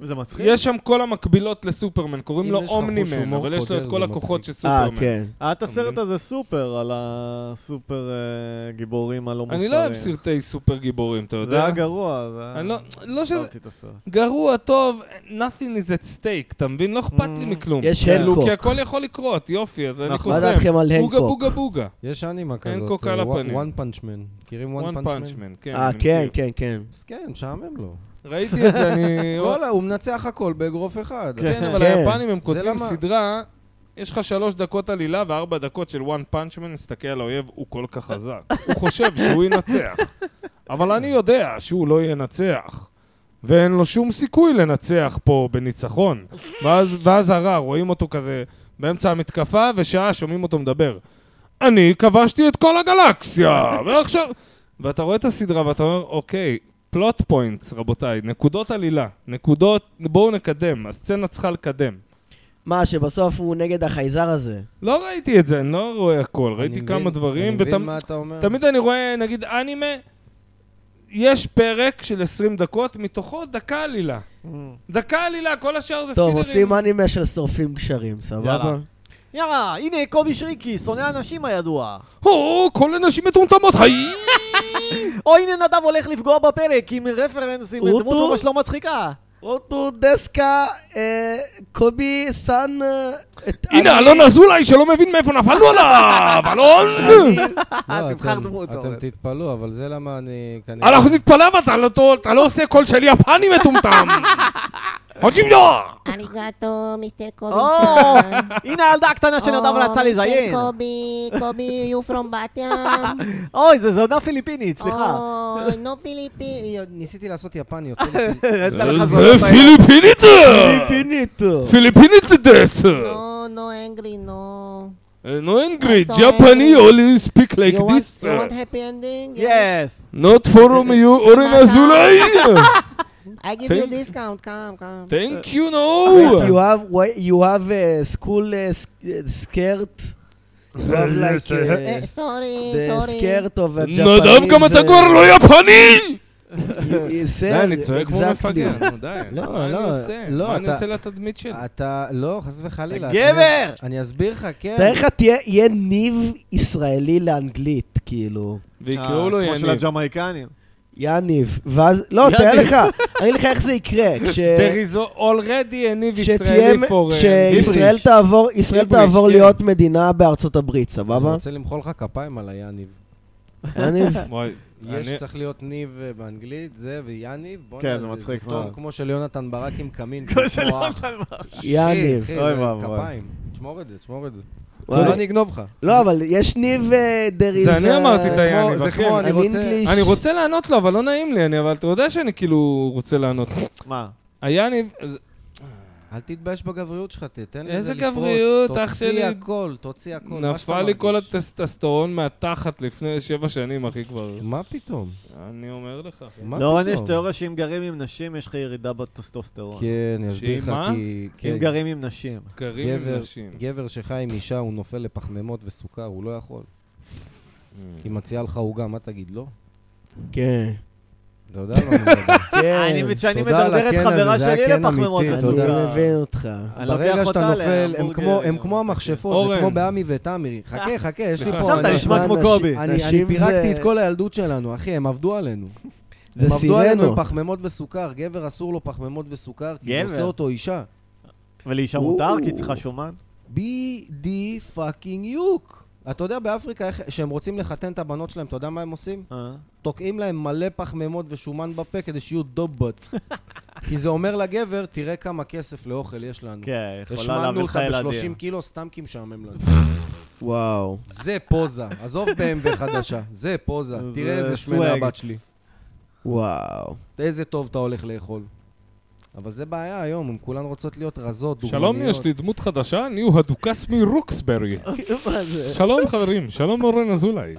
S2: וזה מצחיק?
S1: יש שם כל המקבילות לסופרמן, קוראים
S4: אם
S1: לו
S4: יש לך חוש
S1: אומנימן,
S4: הומור
S1: אבל יש לו את
S4: קודר,
S1: כל
S4: זה
S1: הכוחות של
S4: מצחיק.
S3: אה,
S1: סופרמן.
S3: כן.
S2: היה את הסרט
S1: מבין?
S2: הזה סופר, על הסופר אה, גיבורים הלא מוסריים.
S1: אני לא אוהב סרטי סופר גיבורים, אתה
S2: זה
S1: יודע?
S2: היה גרוע, זה היה...
S1: אני לא- לא שזה...
S2: אהבתי את הסרט.
S1: גרוע, טוב, nothing is at stake, אתה מבין? לא אכפת לי
S2: Mm.
S1: מכלום.
S3: יש
S1: כאילו,
S3: הנקוק.
S1: כי הכל יכול לקרות, יופי, אז אני
S2: נכון.
S3: מה
S1: חוסם.
S3: דעתכם על
S1: בוגה
S3: הנקוק?
S1: בוגה בוגה.
S4: יש אנימה כזאת. אה,
S1: קוק על הפנים.
S4: וואן פאנצ'מן. מכירים וואן
S1: One Punch
S4: פאנצ'מן?
S1: Man, כן.
S3: אה,
S1: אני
S3: כן,
S1: מכיר.
S3: כן, כן.
S4: אז כן, משעמם לו.
S1: ראיתי את זה, אני...
S4: כל ה- הוא מנצח הכל באגרוף אחד.
S1: כן, אבל
S3: כן.
S1: היפנים הם
S4: זה
S1: כותבים
S4: למה-
S1: סדרה, יש לך שלוש דקות עלילה וארבע דקות של one punch man, מסתכל על האויב, הוא כל כך חזק. הוא חושב שהוא ינצח. אבל אני יודע שהוא לא ינצח. ואין לו שום סיכוי לנצח פה בניצחון. ואז, ואז הרע, רואים אותו כזה באמצע המתקפה, ושעה שומעים אותו מדבר. אני כבשתי את כל הגלקסיה, ועכשיו... ואתה רואה את הסדרה ואתה אומר, אוקיי, פלוט פוינטס, רבותיי, נקודות עלילה, נקודות, בואו נקדם, הסצנה צריכה לקדם.
S3: מה, שבסוף הוא נגד החייזר הזה.
S1: לא ראיתי את זה, אני לא רואה הכל,
S4: אני
S1: ראיתי
S4: מבין-
S1: כמה דברים,
S4: אני מבין
S1: ותמיד
S4: מה אתה אומר.
S1: אני רואה, נגיד, אנימה, יש פרק של 20 דקות, מתוכו דקה עלילה.
S2: Mm.
S1: דקה עלילה, כל השאר זה
S3: טוב,
S1: פילרים.
S3: עושים אנימה של שורפים גשרים, סבבה?
S2: יאללה. יאללה, הנה קובי שריקי, שונא אנשים הידוע.
S1: או, כל הנשים מטומטמות, היי!
S2: או הנה נדב הולך לפגוע בפרק עם רפרנסים
S3: אוטו?
S2: לדמות ממש לא מצחיקה.
S3: אוטו דסקה, אה, קובי סאן... אה, את-
S1: הנה, לא
S3: אני-
S1: אלון אזולאי, שלא מבין מאיפה נפלנו עליו! אלון! אה,
S4: לא,
S5: תבחר
S4: אתם-
S5: דמות, אורן.
S4: אתם תתפלאו, אבל זה למה אני כנראה...
S1: אנחנו נתפלא, אבל אתה לא- אתה לא עושה קול של יפני מטומטם! רוצים לא!
S6: ありがとう、ミステルコビ
S2: או,
S6: ーさん。
S2: הנה הילדה הקטנה שנדב רצה
S6: ミステ
S7: אה,
S2: לזיין.
S6: ルコ
S7: אוקיי,
S6: ビー、コビー、you from バティン。
S2: אוי, זו זונה פיליפינית,
S7: אה.
S2: סליחה.
S6: おー、no Oh, フィリピン。
S4: ניסיתי לעשות יפן, יוצא לי...
S2: יצא לך זונה
S1: זה
S2: בעיה.
S1: פיליפינית!
S3: פיליפינית.
S1: פיליפינית דס!
S7: לא,
S6: No, no angry, no.
S1: Uh, No angry,
S6: Sorry.
S1: Japanese only speak like
S6: you want,
S1: this.
S6: you want happy ending?
S2: יס.
S1: Not from you, אורן
S6: Mother.
S1: אזולאי!
S6: I give you
S1: Thank-
S6: discount, come, come.
S1: Thank you,
S3: Wait, you
S1: no!
S3: have, wait, you have a school uh, s- uh, skirt? You have like
S6: Eh,
S3: uh,
S6: sorry,
S3: the
S6: sorry.
S3: skirt of a Japanese...
S1: נדב, גם אתה
S3: uh,
S1: כבר לא יפני!
S3: he says
S1: די, אני צועק כמו
S3: exactly.
S1: מפגר, נו, די.
S4: לא,
S1: מה אני
S4: לא,
S1: עושה?
S4: לא,
S1: מה אני
S4: אתה-
S1: עושה לתדמית שלי?
S4: אתה... לא, חס וחלילה.
S2: גבר!
S4: אתה- אני אסביר לך, כן.
S3: תאר לך, תהיה יהיה ניב ישראלי לאנגלית, כאילו.
S2: ah,
S1: ויקראו לו
S2: אה, כמו של
S1: יניב.
S2: הג'מייקנים.
S3: יניב. ואז, לא, תאר
S2: יניב.
S3: לך, אני אגיד לך איך זה יקרה. כש-
S1: There is already e יניב
S3: כשתהיה-
S1: ישראלי for... uh,
S3: כשישראל
S1: English.
S3: תעבור, ישראל
S1: היבריש,
S3: תעבור
S1: כן.
S3: להיות מדינה בארצות הברית,
S4: אני
S3: סבבה?
S4: רוצה למחוא לך כפיים על היאניב.
S3: יניב.
S1: וואי,
S4: יש,
S1: אני-
S4: צריך להיות ניב אה, באנגלית, זה ויאניב. בוא'נה,
S2: כן, זה מצחיק
S4: זה
S2: מאוד.
S4: תום כמו של יונתן ברק עם קמין.
S2: כמו של
S4: כמו אח.
S2: יונתן מרק.
S3: יניב.
S4: אחי,
S2: אוי
S4: זה
S2: ואבוי.
S4: כפיים. תשמור את זה, תשמור את זה.
S3: וואי.
S4: לא, אני אגנוב לך.
S3: לא, אבל יש ניב אה, there is...
S1: זה אני
S3: a-
S1: אמרתי את
S4: זה
S1: היאניב,
S4: כמו- זה
S1: אחי.
S4: כמו, אני
S3: an
S4: רוצה...
S3: English-
S1: אני רוצה לענות לו, אבל לא נעים לי, אני- אבל אתה יודע שאני כאילו רוצה לענות.
S2: מה?
S1: היאניב,
S4: אל תתבייש בגבריות שלך, תתן לזה
S1: איזה
S4: לפרוץ.
S1: גבריות, אח שלי?
S4: תוציא הכל, תוציא הכל. מה שאתה
S1: נפל לי כל
S4: מרגיש.
S1: הטסטסטרון מהתחת לפני שבע שנים, אחי, כבר.
S4: מה פתאום?
S1: אני אומר לך. אחי.
S4: מה
S2: לאורן
S4: פתאום?
S2: לא, יש תיאוריה שאם גרים עם נשים, יש לך ירידה בטסטוסטרון.
S4: כן, אני אסביר לך,
S1: שהיא מה?
S4: כי...
S2: אם
S4: כן,
S2: גרים עם נשים.
S1: גרים עם
S4: גבר,
S1: נשים.
S4: גבר שחי עם אישה, הוא נופל לפחמימות וסוכר, הוא לא יכול.
S1: Mm.
S4: היא מציעה לך עוגה, מה תגיד, לא?
S3: כן.
S4: אתה יודע על מה אני מדבר.
S2: אני
S3: כן.
S2: מבין שאני
S4: תודה על
S2: מדרדר את
S4: הקן הזה,
S2: חברה
S4: זה היה
S2: שלי
S4: קן
S2: לפחמימות
S4: אמיתי,
S3: אני
S4: תודה.
S2: מסוכר.
S3: מבין אותך.
S2: אני לוקח
S4: ברגע שאתה
S2: אותה
S4: נופל, הם
S2: להמבורגר.
S4: כמו- הם כמו המכשפות,
S1: אורן.
S4: זה כמו בעמי ותמירי. חכה, חכה, יש לי
S1: סליחה,
S4: פה...
S2: עכשיו אתה
S4: אני-
S2: נשמע כמו
S3: אנשים-
S2: קובי.
S4: אני- אני
S3: נשים
S4: פירקתי
S3: זה-
S4: את כל הילדות שלנו, אחי, הם עבדו עלינו.
S3: זה
S4: הם עבדו עלינו
S3: סירנו.
S4: עם פחמימות וסוכר. גבר אסור לו פחמימות וסוכר, כי זה
S2: גבר.
S4: עושה אותו אישה.
S2: ולאישה מותר, כי היא
S3: או.
S2: צריכה שומן?
S4: BD פאקינג יוק. אתה יודע באפריקה, איך- כשהם רוצים לחתן את הבנות שלהם, אתה יודע מה הם עושים?
S2: אה.
S4: תוקעים להם מלא פחמימות ושומן בפה כדי שיהיו דובות. כי זה אומר לגבר, תראה כמה כסף לאוכל יש לנו.
S2: כן, יכולה
S4: השמנו
S2: להביא לך
S4: אותה
S2: ילדים.
S4: ב-30 קילו סתם כי משעמם לנו.
S3: וואו.
S4: זה פוזה. עזוב BMW חדשה, זה פוזה.
S2: זה
S4: תראה איזה
S2: swag.
S4: שמנה הבת שלי.
S3: וואו.
S4: איזה טוב אתה הולך לאכול. אבל זה בעיה היום, הן כולן רוצות להיות רזות,
S1: שלום,
S4: דוגמניות.
S1: יש לי דמות חדשה, ניו הדוכס מרוקסברי.
S3: מה זה?
S1: שלום חברים, שלום אורן אזולאי.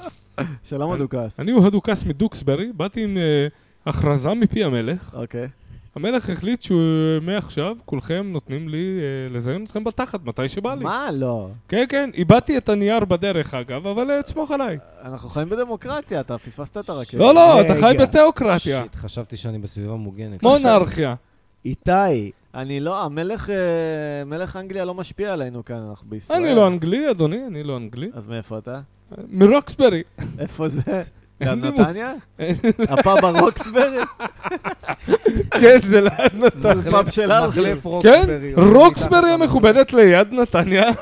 S2: שלום הדוכס.
S1: אני הוא הדוכס מדוקסברי, באתי עם אה, הכרזה מפי המלך.
S2: אוקיי.
S1: המלך החליט שמעכשיו כולכם נותנים לי אה, לזיין אתכם בתחת מתי שבא לי.
S2: מה לא?
S1: כן, כן, איבדתי את הנייר בדרך אגב, אבל אה, תסמוך עליי.
S2: אנחנו חיים בדמוקרטיה, אתה פספסת את הרכבת.
S1: לא, לא, אתה
S3: רגע.
S1: חי בתיאוקרטיה.
S4: כן. שיט, חשבתי שאני בסביבה מוגנת.
S1: מונרכיה.
S3: איתי,
S2: אני לא, המלך אה, מלך אנגליה לא משפיע עלינו כאן, אנחנו בישראל.
S1: אני לא אנגלי, אדוני, אני לא אנגלי.
S2: אז מאיפה אתה?
S1: מרוקסברי.
S2: איפה זה?
S1: אין
S2: גם
S1: לי מושג.
S2: נתניה? הפאב הרוקסברי?
S1: כן, זה ליד נתניה.
S4: מחליף-
S2: פאב של ארכי.
S4: מחליף
S1: כן,
S4: רוקסברי.
S1: רוקסברי המכובדת ליד נתניה.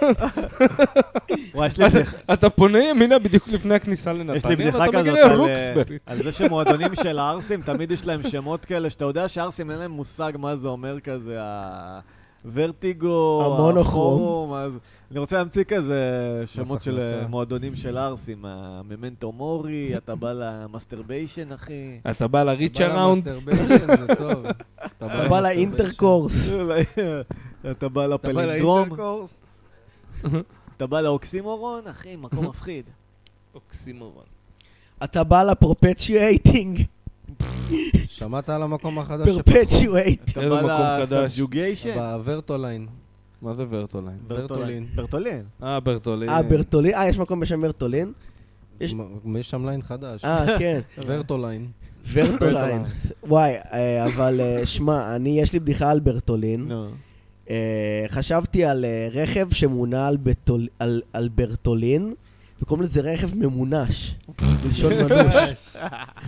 S2: וואי, יש לי בדיח-
S1: אתה פונה ימינה בדיוק לפני הכניסה
S2: יש לי
S1: לנתניה,
S2: בדיחה
S1: ואתה
S2: כזאת
S1: מגיע
S2: על,
S1: לרוקסברי.
S2: אה, על זה שמועדונים של הערסים, תמיד יש להם שמות כאלה, שאתה יודע שהערסים אין להם מושג מה זה אומר כזה, הוורטיגו,
S3: המונוכרום.
S2: הפורום, אז אני רוצה להמציא כזה שמות
S4: מס
S2: של
S4: הכנסה.
S2: אה, מועדונים של ערסים, הממנטו מורי, אתה בא למאסטרביישן, אחי.
S1: אתה בא לריץ' אראונד,
S4: המאסטרבשן זה טוב.
S3: אתה
S4: אה, לא-
S3: בא לאינטרקורס.
S2: אה, אתה בא
S4: אתה בא
S2: לפלינדרום,
S4: לאינטרקורס.
S2: אתה בא לאוקסימורון, אחי, מקום מפחיד.
S1: אוקסימורון.
S3: אתה בא לפרפצ'ואטינג.
S4: שמעת על המקום החדש?
S3: פרפצ'ואט.
S2: אתה
S1: איזה
S2: בא
S1: מקום חדש.
S2: לסאבג'וגיישן.
S4: בוורטוליין.
S1: מה זה ורטוליין?
S4: ברטולין.
S2: ברטולין.
S1: אה, ברטולין.
S3: אה, ברטולין? אה, יש מקום בשם ברטולין? יש-
S4: יש שם ליין חדש.
S3: אה, כן.
S4: ורטוליין.
S3: ורטוליין. וואי, אה, אבל אה, שמע, אני, יש לי בדיחה על ברטולין.
S2: נו.
S3: אה, חשבתי על אה, רכב שמונע על, בטול, על, על ברטולין, וקוראים לזה רכב ממונש. בלשון מנוש.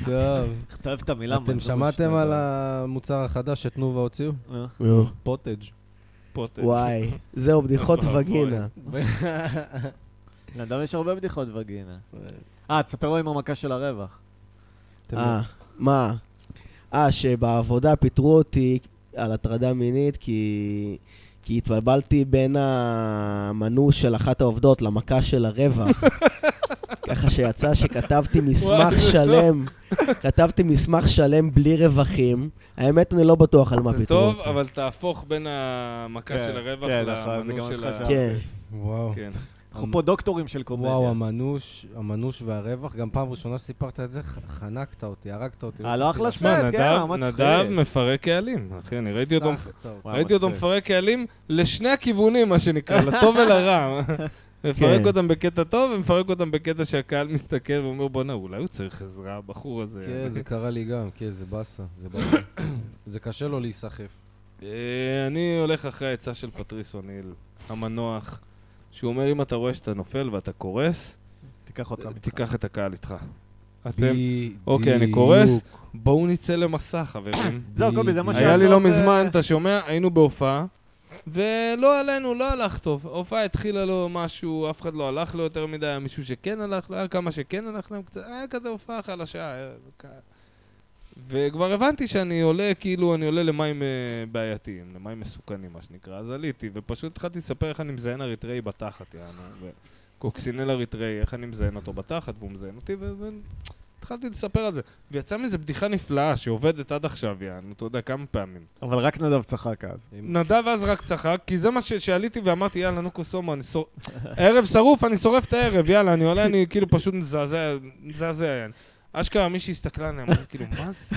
S4: טוב.
S2: איך אתה אוהב את המילה
S4: אתם שמעתם על המוצר החדש שתנובה הוציאו?
S2: ה...
S4: פוטג'.
S1: פוטג'.
S3: וואי, זהו, בדיחות
S1: אוי,
S3: וגינה.
S2: לאדם יש הרבה בדיחות וגינה. אה, תספר לו עם המכה של הרווח.
S4: אתם-
S3: אה, מה? אה, שבעבודה פיטרו אותי על הטרדה מינית כי... כי התבלבלתי בין המנוש של אחת העובדות למכה של הרווח. ככה שיצא שכתבתי
S1: וואי,
S3: מסמך
S1: זה
S3: שלם, כתבתי מסמך שלם בלי רווחים. האמת, אני לא בטוח על מה
S1: זה
S3: פיטרו
S1: טוב,
S3: אותי.
S1: אבל תהפוך בין המכה
S2: כן,
S1: של הרווח
S2: כן, נכון, זה גם
S1: למנוע
S2: מה
S1: של ה...
S2: שחשבתי.
S3: כן.
S4: לא- וואו.
S1: כן.
S2: אנחנו פה דוקטורים של קומדיה.
S4: וואו, המנוש, המנוש והרווח, גם פעם ראשונה שסיפרת את זה, ח- חנקת אותי, הרגת אותי.
S2: אה, לא אחלה
S1: שמע,
S2: סרט, כן,
S1: נדב-
S2: מצחיק.
S1: נדב מפרק קהלים, אחי, אני ראיתי אותו... מפ-
S4: סחטת אותי.
S2: וואי,
S1: ראיתי אותו
S2: מצחיק.
S1: מפרק קהלים לשני הכיוונים, מה שנקרא, לטוב ולרע. מפרק
S3: כן.
S1: אותם בקטע טוב, ומפרק אותם בקטע שהקהל מסתכל ואומר, בואנה, אולי הוא צריך עזרה, הבחור הזה.
S4: כן, זה קרה לי גם, כן, זה באסה, זה באסה. זה קשה לו להיסחף.
S1: אה, אני הולך אחרי העצה של פטריס אוניל, המנוח, שהוא אומר, אם אתה רואה שאתה נופל ואתה קורס,
S2: תיקח אותם. איתך.
S1: תיקח את הקהל איתך. אתם,
S4: בדיוק.
S1: אוקיי, אני קורס. בואו נצא למסע, חברים.
S2: זהו, קובי, זה מה
S4: בדיוק.
S1: היה לי לא
S2: טוב,
S1: מזמן,
S2: אה,
S1: אתה שומע? היינו בהופעה, ולא עלינו, לא הלך טוב. ההופעה התחילה לו משהו, אף אחד לא הלך לו יותר מדי, היה מישהו שכן הלך לו, היה כמה שכן הלך להם קצת, היה כזה הופעה חלשה. היה כ- וכבר הבנתי שאני עולה, כאילו, אני עולה למים אה, בעייתיים, למים מסוכנים, מה שנקרא. אז עליתי, ופשוט התחלתי לספר איך אני מזיין אריתראי בתחת, יענו. ו- קוקסינל אריתראי, איך אני מזיין אותו בתחת, והוא מזיין אותי, ו- והתחלתי לספר על זה. ויצא מזה בדיחה נפלאה שעובדת עד עכשיו, יענו, אתה יודע, כמה פעמים.
S2: אבל רק נדב צחק אז.
S1: נדב אז רק צחק, כי זה מה ש- שעליתי ואמרתי, יאללה, נו קוסומו, אני שורף... ערב שרוף, אני שורף את הערב, יאללה, אני עולה, אני כאילו פשוט מזעזע, מזעזע, יעני. אשכרה מישהי הסתכלה עליה, אמרה, כאילו, מה זה?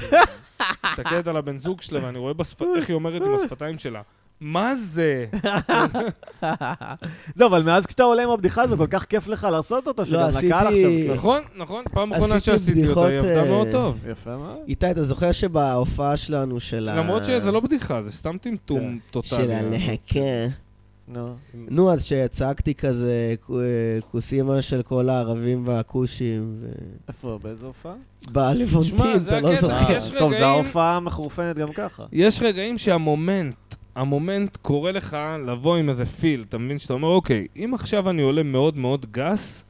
S1: מסתכלת על הבן זוג שלה, ואני רואה בשפ... איך היא אומרת עם השפתיים שלה. מה זה?
S2: זהו, לא, אבל מאז כשאתה עולה עם הבדיחה הזו, כל כך כיף לך לעשות אותה, שגם
S3: עשיתי-
S2: לקהל עכשיו... כיף.
S1: נכון, נכון, פעם אחרונה
S3: עשיתי
S1: שעשיתי אותה, היא
S3: בדיחות,
S1: עבדה
S3: אה,
S1: מאוד טוב.
S2: יפה מאוד.
S3: איתי, אתה זוכר שבהופעה שלנו של ה...
S1: למרות שזה לא בדיחה, זה סתם טמטום טוטאלי.
S3: כן.
S1: אה.
S3: של כן. הלהקה.
S2: נו.
S3: נו, אז שצעקתי כזה אה, כוסימה של כל הערבים והכושים, ו...
S2: איפה, באיזה הופעה? אה,
S1: שמע,
S3: בלבונטין,
S1: זה
S3: אתה לא
S1: הקטע.
S3: זוכר.
S1: יש
S2: טוב,
S1: רגעים-
S2: זו ההופעה המחורפנת גם ככה.
S1: יש רגעים שהמומנט, המומנט קורא לך לבוא עם איזה פיל, אתה מבין? שאתה אומר, אוקיי, אם עכשיו אני עולה מאוד מאוד גס,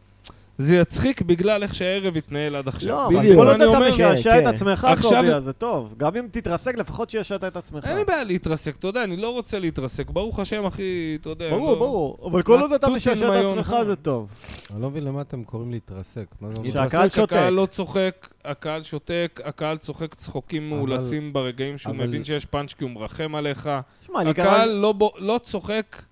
S1: זה יצחיק בגלל איך שהערב התנהל עד עכשיו.
S2: לא, אבל
S3: בדיוק.
S2: כל עוד
S1: אני
S2: אתה
S1: אומר-
S2: משעשע
S3: כן,
S2: את
S3: כן.
S2: עצמך,
S1: עכשיו-
S2: קובי, אז זה טוב. גם אם תתרסק, לפחות שישעת את עצמך.
S1: אין לי בעיה להתרסק, אתה יודע, אני לא רוצה להתרסק. ברוך השם, אחי, אתה יודע.
S2: ברור,
S1: לא-
S2: ברור. אבל כל עוד אתה
S1: תותים
S2: משעשע את
S1: היום,
S2: עצמך,
S1: נכון.
S2: זה טוב.
S4: אני לא מבין למה אתם קוראים להתרסק. מה זה אומר?
S2: שהקהל שותק.
S1: הקהל לא צוחק, הקהל שותק, הקהל צוחק צחוקים
S4: אבל-
S1: מאולצים ברגעים שהוא
S4: אבל-
S1: מבין שיש פאנץ' כי הוא מרחם עליך.
S2: שמע, לי קרה-
S1: הקהל לא בו- לא צוחק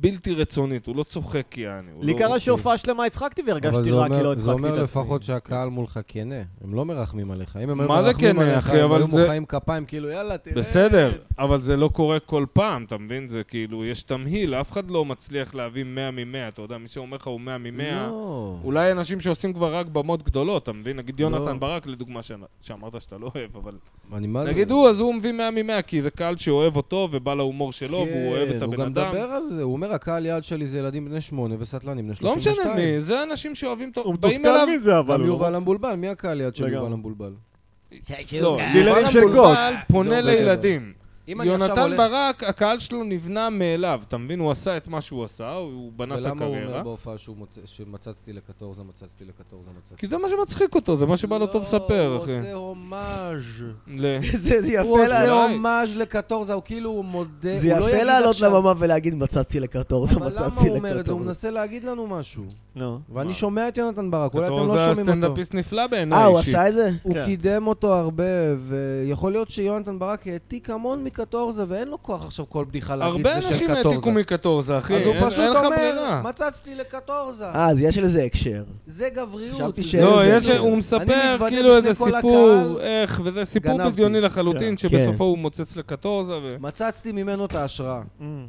S1: בלתי רצונית, הוא לא צוחק יעני. הוא
S2: לי
S1: לא-
S2: קרה שהופעה שלמה הצחקתי
S4: אוקיי. אבל
S2: והרגשתי
S4: זה
S2: רע,
S4: אומר-
S2: כי לא הצחקתי את עצמי.
S4: זה אומר לפחות שהקהל מולך כנה, הם לא מרחמים עליך. אם הם היו
S1: מה זה
S4: מרחמים
S1: כנה,
S4: עליך,
S1: אחי?
S4: הם
S1: אבל
S4: היו
S1: זה-
S4: מוחאים כפיים, כאילו, יאללה, תראה.
S1: בסדר, אבל זה לא קורה כל פעם, אתה מבין? זה כאילו, יש תמהיל, אף אחד לא מצליח להביא 100 מ-100, אתה יודע, מי שאומר לך הוא 100 מ-100.
S4: לא.
S1: אולי אנשים שעושים כבר רק במות גדולות, אתה מבין? נגיד
S4: לא.
S1: יונתן ברק, לדוגמה, ש- שאמרת שאתה לא אוהב, אבל...
S4: אני מה זה- לא?
S1: נגיד הוא, אז הוא מביא 100 מ-100, כי זה קהל שאוהב אותו, ובא להומור שלו,
S4: כן,
S1: לא, והוא אוהב את
S4: הוא
S1: הבן
S4: גם
S1: אדם.
S4: מדבר על זה, הוא אומר, הקהל יעד שלי זה ילדים בני שמונה וסטלנים בני
S1: לא
S4: 32.
S1: משנה מי, זה אנשים שאוהבים אותו,
S2: הוא
S1: באים
S2: מתוסכל
S1: אליו...
S2: מזה, אבל
S4: גם
S2: הוא...
S4: יובל המבולבל, מי הקהל יעד של
S2: לגמרי.
S4: יובל המבולבל?
S1: לא,
S2: דילרים
S1: יובל
S2: של
S1: המבולבל פונה
S4: זה עובד
S1: לילדים.
S4: אם אני עכשיו
S1: יונתן
S4: הולך-
S1: ברק, הקהל שלו נבנה מאליו, אתה מבין? הוא עשה את מה שהוא עשה, הוא- הוא בנה את
S4: ולמה הוא אומר
S1: הקריירה.
S4: בהופעה שהוא מוצא- שמצצתי לקטורזה, מצצתי לקטורזה, מצצתי... לא,
S1: כי זה מה שמצחיק אותו, זה מה שבא לו טוב לספר,
S4: הוא
S1: אחי.
S4: עושה הומאז'.
S1: ל-
S3: זה זה
S4: הוא
S3: יפה
S4: עושה
S3: לה-
S1: אולי.
S4: הומאז' לקטורזה, הוא כאילו הוא מודה...
S3: זה
S4: הוא לא
S3: יפה
S4: יגיד
S3: לעלות
S4: עכשיו-
S3: לבמה ולהגיד מצצתי לקרטורזה,
S4: אבל למה
S3: מצצתי
S4: הוא אומר את זה? הוא
S3: לקרטורזה.
S4: מנסה להגיד לנו משהו.
S2: נו.
S4: ואני
S1: מה?
S4: שומע את יונתן ברק, אולי אתם
S1: בתור
S4: לא
S1: זה
S4: שומעים אותו.
S1: סטנדאפיסט נפלא בעיניי
S3: אה, הוא
S1: אישית.
S3: עשה את זה?
S4: הוא
S2: כן.
S4: קידם אותו הרבה, ויכול להיות שיונתן ברק העתיק המון מקטורזה, ואין לו כוח עכשיו כל בדיחה להגיד
S1: הרבה
S4: זה של
S1: אנשים
S4: קטורזה.
S1: העתיקו מקטורזה, אחי,
S4: אז הוא
S1: אין
S4: פשוט
S1: אין לך
S4: אומר,
S1: ברירה.
S4: מצצתי לקטורזה.
S3: אה, אז יש לזה הקשר.
S4: זה גבריות.
S3: חשבתי
S4: זה-
S3: שאין
S1: לא,
S3: לזה
S1: יש,
S3: כלום.
S1: הוא
S4: אני
S1: מספר
S4: מתוודה
S1: כאילו איזה
S4: בפני כל
S1: סיפור,
S4: הקהל,
S1: איך, וזה סיפור
S4: גנבתי.
S1: בדיוני לחלוטין, שבסופו
S3: כן.
S1: הוא מוצץ לקטורזה ו...
S4: מצצתי ממנו את ההשראה.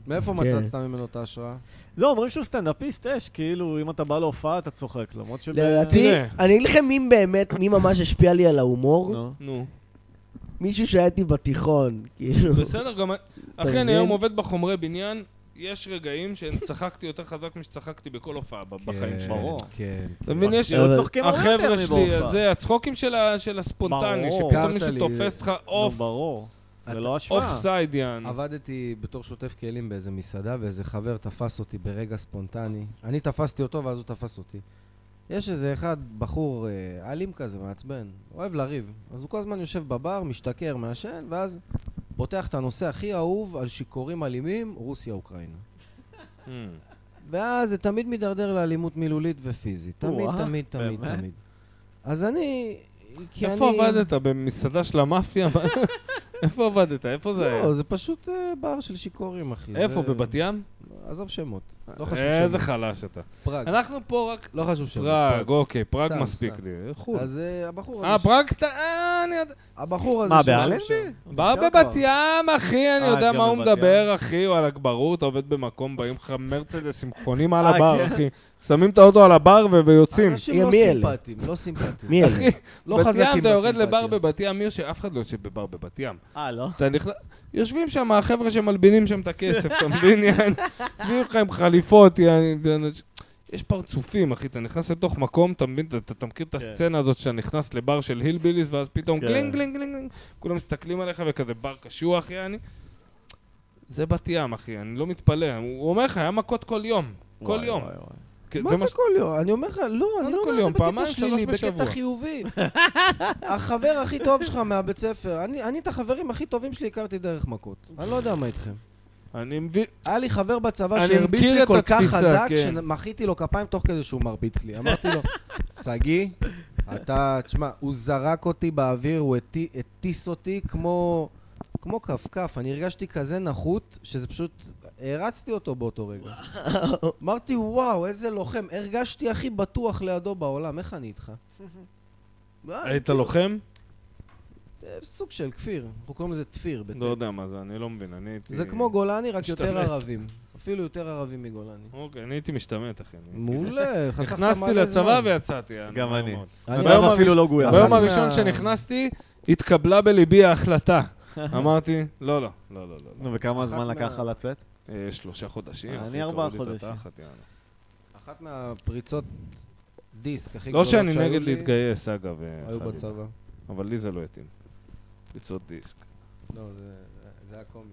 S4: מאיפה
S3: כן.
S4: מצצת ממנו את ההשראה?
S2: לא, mm. אומרים שהוא סטנדאפיסט אש, כאילו, אם אתה בא להופעה, אתה צוחק, למרות שב...
S3: לדעתי,
S1: תראה.
S3: אני אגיד לכם מי באמת, מי ממש השפיע לי על ההומור.
S2: נו.
S1: נו.
S3: מישהו שהיה איתי בתיכון, כאילו.
S1: בסדר, גם... אחי, אני
S3: מבין?
S1: היום עובד בחומרי בניין, יש רגעים שצחקתי יותר חזק משצחקתי בכל הופעה ב- בחיים שלי.
S2: ברור.
S4: כן.
S1: אתה מבין, יש...
S2: לא
S3: אבל-
S2: צוחקים הרבה יותר
S1: החבר'ה שלי,
S2: מבהופעה.
S1: זה הצחוקים של ה- של הספונטני,
S2: ברור.
S1: שפתאום
S4: הכרת
S1: מישהו
S4: לי.
S1: תופס אותך
S2: נו,
S1: אוף,
S2: ברור. זה
S4: אתה-
S2: לא השוואה.
S1: אוף סייד יען.
S4: עבדתי בתור שוטף כלים באיזה מסעדה, ואיזה חבר תפס אותי ברגע ספונטני. אני תפסתי אותו, ואז הוא תפס אותי. יש איזה אחד, בחור אה, אלים כזה, מעצבן, אוהב לריב. אז הוא כל הזמן יושב בבר, משתכר, מעשן, ואז פותח את הנושא הכי אהוב על שיכורים אלימים, רוסיה-אוקראינה.
S1: Hmm.
S4: ואז זה תמיד מידרדר לאלימות מילולית ופיזית. תמיד,
S2: וואו,
S1: אה,
S4: תמיד, תמיד,
S2: באמת?
S4: תמיד. אז אני... כי
S1: איפה
S4: אני-
S1: עבדת? במסעדה של המאפיה? איפה עבדת? איפה זה היה?
S4: לא, זה פשוט אה, בר של שיכורים, אחי.
S1: איפה?
S4: זה-
S1: בבת אה, ים?
S4: עזוב שמות. לא חשוב
S1: איזה
S4: שמות.
S1: חלש אתה.
S4: פראג.
S1: אנחנו פה רק...
S4: לא חשוב שמות.
S1: פראג, אוקיי, פראג
S4: סתם,
S1: מספיק
S4: סתם.
S1: לי. חו"ל.
S4: אז אה, הבחור
S1: אה,
S4: הזה... ש-
S1: פראג אתה... אה, אני יודע...
S4: הבחור הזה...
S2: מה,
S4: שיושב
S2: באלנבי?
S4: שם.
S1: בר
S4: כבר.
S1: בבת ים, אחי, אני
S2: אה,
S1: יודע
S2: גם
S1: מה הוא
S2: בבת ים.
S1: מדבר, אחי, וואלה, ברור, אתה עובד במקום, באים לך מרצדס עם חונים על
S2: אה,
S1: הבר,
S2: כן.
S1: אחי. שמים את האוטו על הבר ו- ויוצאים.
S4: אנשים
S3: אה,
S4: לא
S3: מי אלה?
S4: סימפטיים, לא סימפטיים.
S3: מי אלה?
S4: לא
S1: בת
S4: חזקים
S1: ים, אתה יורד
S4: בסימפתיה.
S1: לבר בבת ים, מי שאף אחד לא יושב בבר בבת ים.
S2: אה, לא?
S1: אתה נכנס... יושבים שם החבר'ה שמלבינים שם את הכסף, אתה מבין, יעני? מביאים לך עם חליפות, יעני. ואנש- יש פרצופים, אחי, אתה נכנס לתוך מקום, אתה מבין, אתה- אתה אתה מכיר את הסצנה הזאת שאתה נכנס לבר של הילביליס, ואז פתאום
S2: כן.
S1: גלינג, גלינג, גלינג, גלינג, כולם מסתכלים עליך וכזה בר קשוח, יעני. זה בת ים, אחי, אני לא מתפלא. הוא אומר לך, היה מכות כל יום. כל
S2: וואי,
S1: יום.
S2: וואי, וואי.
S1: כן,
S4: מה
S1: זה
S4: זה
S1: ש-
S4: כל יום? אני אומר לך, לא, אני
S1: זה
S4: לא
S1: כל
S4: אומר
S1: יום?
S4: את זה
S1: פעמיים,
S4: בקטע שלילי,
S1: שלוש
S4: בקטע
S1: בשבוע.
S4: חיובי. החבר הכי טוב שלך מהבית ספר, אני אני את החברים הכי טובים שלי הכרתי דרך מכות. אני לא יודע מה איתכם.
S1: אני מבין...
S4: היה לי חבר בצבא
S1: אני
S4: שהרביץ
S1: מכיר
S4: לי
S1: את
S4: כל כך
S1: התפיסה,
S4: חזק,
S1: כן.
S4: שמחיתי לו כפיים תוך כדי שהוא מרביץ לי. אמרתי לו, שגיא, אתה, תשמע, הוא זרק אותי באוויר, הוא הטי- הטיס אותי כמו... כמו כפכף, אני הרגשתי כזה נחות, שזה פשוט... הרצתי אותו באותו רגע. אמרתי, וואו, איזה לוחם. הרגשתי הכי בטוח לידו בעולם, איך אני איתך? אה,
S1: היית לוחם?
S4: אה, סוג של כפיר, אנחנו קוראים לזה תפיר. בטט.
S1: לא יודע מה זה, אני לא מבין, אני הייתי...
S4: זה כמו גולני, רק יותר
S1: משתמט.
S4: ערבים. אפילו יותר ערבים מגולני.
S1: אוקיי, אני הייתי משתמט, אחי. אני-
S4: מעולה, חסכת
S1: נכנסתי
S4: מלא
S1: לצבא
S4: זמן.
S1: ויצאתי. יעני,
S2: גם
S1: מהר
S2: אני.
S1: מאוד.
S4: אני-
S1: ביום
S2: ביום אפילו
S1: הראש-
S2: לא גויר.
S1: ביום
S4: מה-
S1: הראשון שנכנסתי, התקבלה בליבי ההחלטה. אמרתי, לא, לא, לא, לא, לא.
S2: נו, וכמה זמן
S4: אחת
S2: לקח
S4: מה-
S2: לך לצאת?
S1: לא. אה, שלושה חודשים.
S2: אני
S1: אחי,
S2: ארבעה
S1: קרעו לי את
S2: חודשים.
S1: התחת, יעני.
S4: אחת מהפריצות דיסק הכי
S1: לא
S4: גדולות שהיו
S1: שאני
S4: לי,
S1: נגד להתגייס, אגב, אה,
S4: היו
S1: חלילה.
S4: בצבא.
S1: אבל לי זה לא התאים. ביצות דיסק.
S4: לא, זה- זה היה קומי.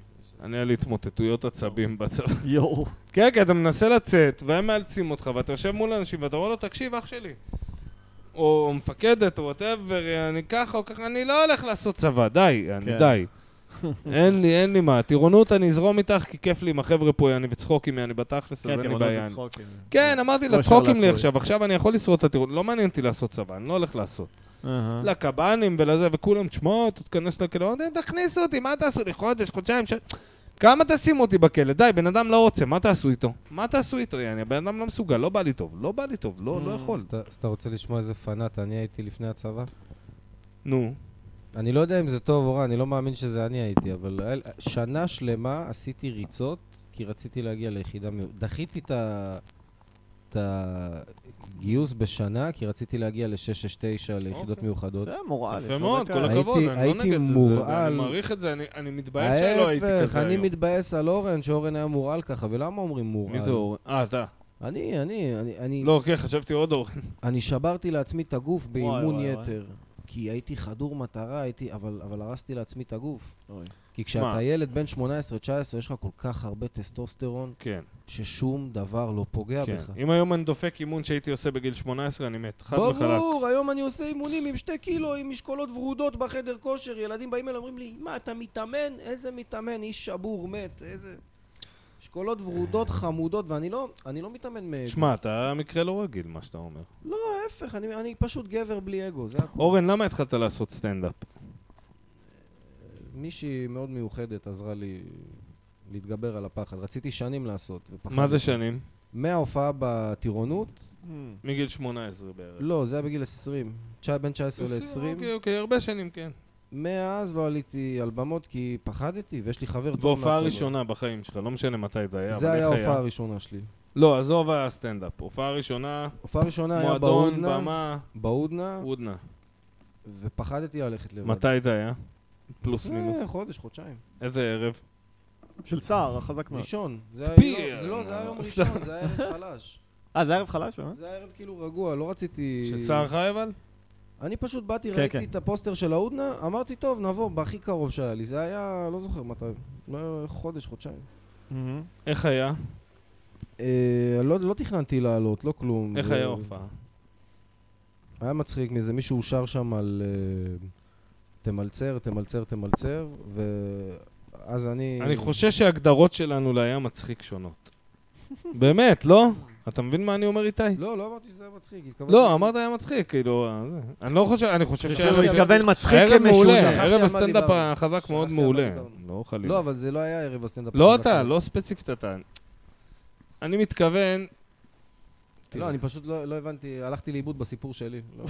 S1: אני היה לי התמוטטויות עצבים בצבא.
S2: יואו.
S1: כן, כי אתה מנסה לצאת, והם מאלצים אותך, ואתה יושב מול אנשים, ואתה אומר לו, תקשיב, אח שלי. או מפקדת, או וואטאבר, אני ככה או ככה, אני לא הולך לעשות צבא, די, אני
S2: כן.
S1: די. אין לי, אין לי מה. טירונות, אני אזרום איתך, כי כיף לי עם החבר'ה פה, אני וצחוקים, אני בתכלס, אז
S2: כן,
S1: אין
S2: אתם
S1: לי
S2: עוד
S1: בעיה.
S2: צחוקים.
S1: לא כן, אמרתי
S2: לא
S1: לה, צחוקים
S2: שרלטות.
S1: לי עכשיו, עכשיו אני יכול לשרוד את הטירונות, לא מעניין אותי לעשות צבא, אני לא הולך לעשות.
S2: אהה.
S1: לקב"נים ולזה, וכולם, תשמע, תתכנס לכלא, אמרתי, תכניסו אותי, מה תעשו לי, חודש, חודשיים, ש... כמה תשימו אותי בכלא? די, בן אדם לא רוצה, מה תעשו איתו? מה תעשו איתו, יעני? הבן אדם לא מסוגל, לא בא לי טוב, לא בא לי טוב, לא,
S4: אה,
S1: לא
S4: נכון.
S1: יכול.
S4: אז אתה רוצה לשמוע איזה פנאט אני הייתי לפני הצבא?
S1: נו,
S4: אני לא יודע אם זה טוב או רע, אני לא מאמין שזה אני הייתי, אבל היה- שנה שלמה עשיתי ריצות, כי רציתי להגיע ליחידה מיוחדת. דחיתי את ה- את הגיוס בשנה, כי רציתי להגיע ל-669 ליחידות
S1: אוקיי.
S4: מיוחדות.
S2: אה, זה מורל.
S1: יפה מאוד, כל
S4: הייתי-
S1: הכבוד, אני לא
S4: הייתי
S1: נגד זה,
S4: מורעל.
S1: זה, אני מעריך את זה, אני- אני מתבייש שלא הייתי כזה
S4: אני
S1: היום.
S4: מתבאס על אורן, שאורן היה מורעל ככה, ולמה אומרים מורעל?
S1: מי זה אורן? אה, אתה.
S4: אני, אני, אני, אני,
S1: לא, כן, חשבתי עוד אורן.
S4: אני שברתי לעצמי את הגוף באימון
S2: וואי, וואי.
S4: יתר. כי הייתי חדור מטרה, הייתי, אבל, אבל הרסתי לעצמי את הגוף.
S2: אוי.
S4: כי כשאתה
S1: מה?
S4: ילד בן 18-19, יש לך כל כך הרבה טסטוסטרון,
S1: כן,
S4: ששום דבר לא פוגע
S1: כן.
S4: בך.
S1: אם היום אני דופק אימון שהייתי עושה בגיל 18, אני מת. חד וחלק.
S4: ברור, היום אני עושה אימונים עם שתי קילו, עם משקולות ורודות בחדר כושר, ילדים באים אליי, אומרים לי, מה, אתה מתאמן? איזה מתאמן, איש שבור, מת, איזה... משקולות ורודות חמודות, ואני לא, אני לא מתאמן מאגו.
S1: שמע, אתה מקרה לא רגיל, מה שאתה אומר.
S4: לא, ההפך, אני, אני פשוט גבר בלי אגו, זה הכול.
S1: אורן, למה התחלת לעשות סטנדאפ?
S4: מישהי מאוד מיוחדת עזרה לי להתגבר על הפחד. רציתי שנים לעשות. ופחדתי.
S1: מה זה שנים?
S4: מההופעה בטירונות?
S2: Hmm.
S1: מגיל 18 בערך.
S4: לא, זה היה בגיל 20. תשע- בין 19 ל-20.
S1: אוקיי, אוקיי, הרבה שנים, כן.
S4: מאז לא עליתי על במות כי פחדתי, ויש לי חבר טוב
S1: בהופעה
S4: מהצבא.
S1: הראשונה בחיים שלך, לא משנה מתי זה היה, אבל
S4: זה היה
S1: איך היה?
S4: ההופעה הראשונה שלי.
S1: לא, עזוב הסטנדאפ. הופעה ראשונה,
S4: הופעה ראשונה היה
S1: מועדון,
S4: בהודנה,
S1: במה,
S4: בהודנה,
S1: הודנה.
S4: ופחדתי ללכת לבד.
S1: מתי זה היה? פלוס מינוס.
S4: אה, חודש, חודשיים.
S1: איזה ערב?
S2: של סער, החזק מאוד.
S4: ראשון. זה היה-
S1: פיר.
S4: לא, זה לא, זה היה יום
S1: סתם.
S4: ראשון, זה היה ערב חלש.
S2: אה, זה ערב חלש, באמת?
S4: זה היה ערב כאילו רגוע, לא רציתי...
S1: שסער חי אבל?
S4: אני פשוט באתי,
S2: כן,
S4: ראיתי
S2: כן.
S4: את הפוסטר של ההודנה, אמרתי, טוב, נבוא, בהכי קרוב שהיה לי. זה היה, לא זוכר מתי, לא, חודש, חודשיים.
S1: Mm-hmm. איך היה?
S4: אה, לא, לא תכננתי לעלות, לא כלום.
S1: איך
S4: זה-
S1: היה ההופעה?
S4: היה מצחיק מזה, מישהו שר שם על אה, תמלצר, תמלצר, תמלצר, ואז אני...
S1: אני חושש שההגדרות שלנו להיה מצחיק שונות. באמת, לא? אתה מבין מה אני אומר איתי?
S4: לא, לא אמרתי שזה היה מצחיק, התכוונתי...
S1: לא, אמרת היה מצחיק, כאילו, אה, זה. אני לא חושב, אני חושב
S4: חושב
S1: שהערב
S2: הוא התכוון מצחיק
S1: הערב מעולה,
S2: כמשונה.
S4: שכחתי על
S1: ערב
S4: מה
S1: הסטנדאפ
S4: דיברנו.
S1: החזק מאוד
S4: שכחתי על מה
S1: מעולה.
S4: דיברנו.
S1: לא חלילה.
S4: לא, אבל זה לא היה ערב הסטנדאפ.
S1: לא
S4: החזק.
S1: אתה, לא ספציפית אתה. אני מתכוון...
S4: לא, אני פשוט לא לא הבנתי, הלכתי לאיבוד בסיפור שלי. לא.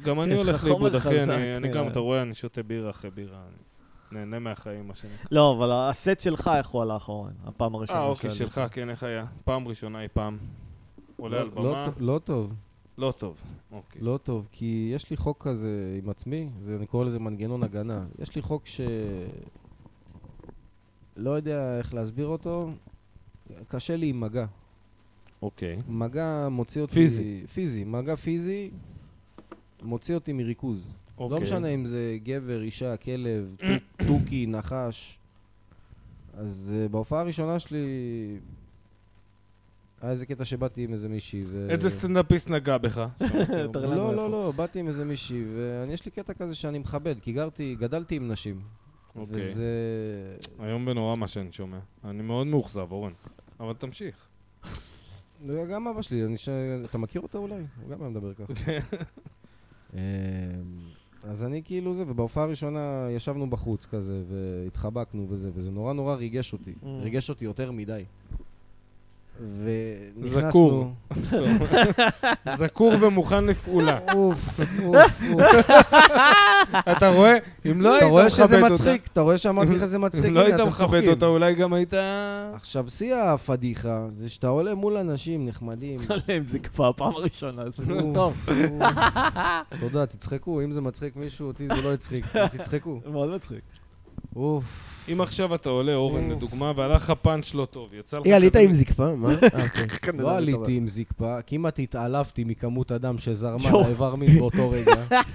S1: גם אני
S2: יש לך
S1: הולך
S2: חומר
S1: לאיבוד, אחי,
S2: חזק,
S1: אני- אני
S2: נראה
S1: גם,
S2: לי.
S1: אתה רואה, אני שותה בירה אחרי בירה. אני נהנה מהחיים, מה שנקרא.
S2: לא, אבל הסט שלך, איך הוא הלך, אורן? הפעם הראשונה
S1: אה, אוקיי,
S2: שעלית.
S1: שלך, כן, איך היה? פעם ראשונה היא פעם. עולה
S4: לא-
S1: על
S4: לא
S1: במה,
S4: טוב- לא טוב,
S1: לא טוב. אוקיי.
S4: לא טוב, כי יש לי חוק כזה עם עצמי, זה- אני קורא לזה מנגנון הגנה. יש לי חוק ש... לא יודע איך להסביר אותו, קשה לי עם מגע.
S1: אוקיי.
S4: מגע מוציא אותי...
S1: פיזי.
S4: פיזי. מגע פיזי מוציא אותי מריכוז.
S1: אוקיי.
S4: לא משנה אם זה גבר, אישה, כלב, טו- תוכי, נחש. אז אה, בהופעה הראשונה שלי... היה איזה קטע שבאתי עם איזה מישהי, ו...
S1: איזה סטנדאפיסט נגע בך?
S2: תראה לנו
S4: לא,
S2: איפה.
S4: לא, לא, באתי עם איזה מישהי, ויש לי קטע כזה שאני מכבד, כי גרתי, גדלתי עם נשים.
S1: אוקיי.
S4: וזה...
S1: היום ונורא מה שאני שומע. אני מאוד מאוכזב, אורן. אבל תמשיך.
S4: זה גם אבא שלי, אני ש... אתה מכיר אותו אולי? הוא גם היה מדבר ככה. אמ, אז אני כאילו זה, ובהופעה הראשונה ישבנו בחוץ כזה, והתחבקנו וזה, וזה נורא נורא ריגש אותי.
S2: Mm.
S4: ריגש אותי יותר מדי.
S1: זקור.
S4: ונכנסנו...
S1: זקור ומוכן לפעולה.
S4: אוף, אוף, אוף.
S1: אתה רואה? אם לא
S4: אתה
S1: היית
S4: רואה שזה
S1: מכבד אותה...
S4: מצחיק, אתה רואה שאמרתי לך זה מצחיק.
S1: אם לא
S4: הנה,
S1: היית
S4: אתם
S1: מכבד
S4: צוחקים.
S1: אותה, אולי גם היית...
S4: עכשיו, שיא הפדיחה זה שאתה עולה מול אנשים נחמדים.
S2: עליהם לא זה כבר הפעם הראשונה, זה לא
S4: נו,
S2: טוב.
S4: נו. תודה, תצחקו, אם זה מצחיק מישהו, אותי זה לא הצחיק, תצחקו.
S2: מאוד מצחיק.
S4: אוף.
S1: אם עכשיו אתה עולה, אורן,
S4: אוף.
S1: לדוגמה, והלך לך פאנץ' לא טוב, יצא לך...
S3: היא עלית
S1: כזה-
S3: עם זקפה? מה? אה, אוקיי.
S1: כן,
S4: לא עליתי עם זקפה, כמעט התעלפתי מכמות הדם שזרמה
S2: יואו.
S4: לאיבר מין באותו רגע.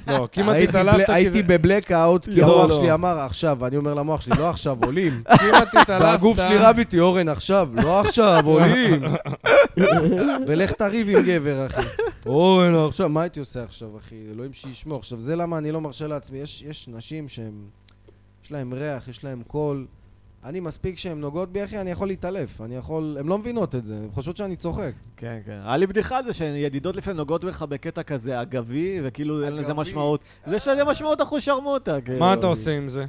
S1: לא, כמעט
S4: הייתי
S1: התעלפת,
S4: בל-
S1: כי זה-
S4: הייתי בבלקאוט, כי
S1: לא,
S4: המוח
S1: לא.
S4: שלי אמר עכשיו, אני אומר למוח שלי, לא עכשיו, עולים.
S1: כמעט התעלפת.
S4: והגוף שלי רב איתי, אורן, עכשיו, לא עכשיו, עולים. ולך תריב עם גבר, אחי. אורן, עכשיו, מה הייתי עושה עכשיו, אחי? אלוהים שישמור. עכשיו, זה למה אני לא מרשה לעצמי. יש, יש נשים שהן... יש להן ריח, יש להן קול. אני מספיק שהן נוגעות בי, אחי, אני יכול להתעלף. אני יכול... הן לא מבינות את זה, הן חושבות שאני צוחק.
S2: כן, כן. היה לי בדיחה על זה שידידות לפעמים נוגעות בך בקטע כזה אגבי, וכאילו אין לזה
S4: אגבי.
S2: משמעות. יש לזה משמעות אחושרמוטה, כאילו.
S1: מה אתה עושה עם זה?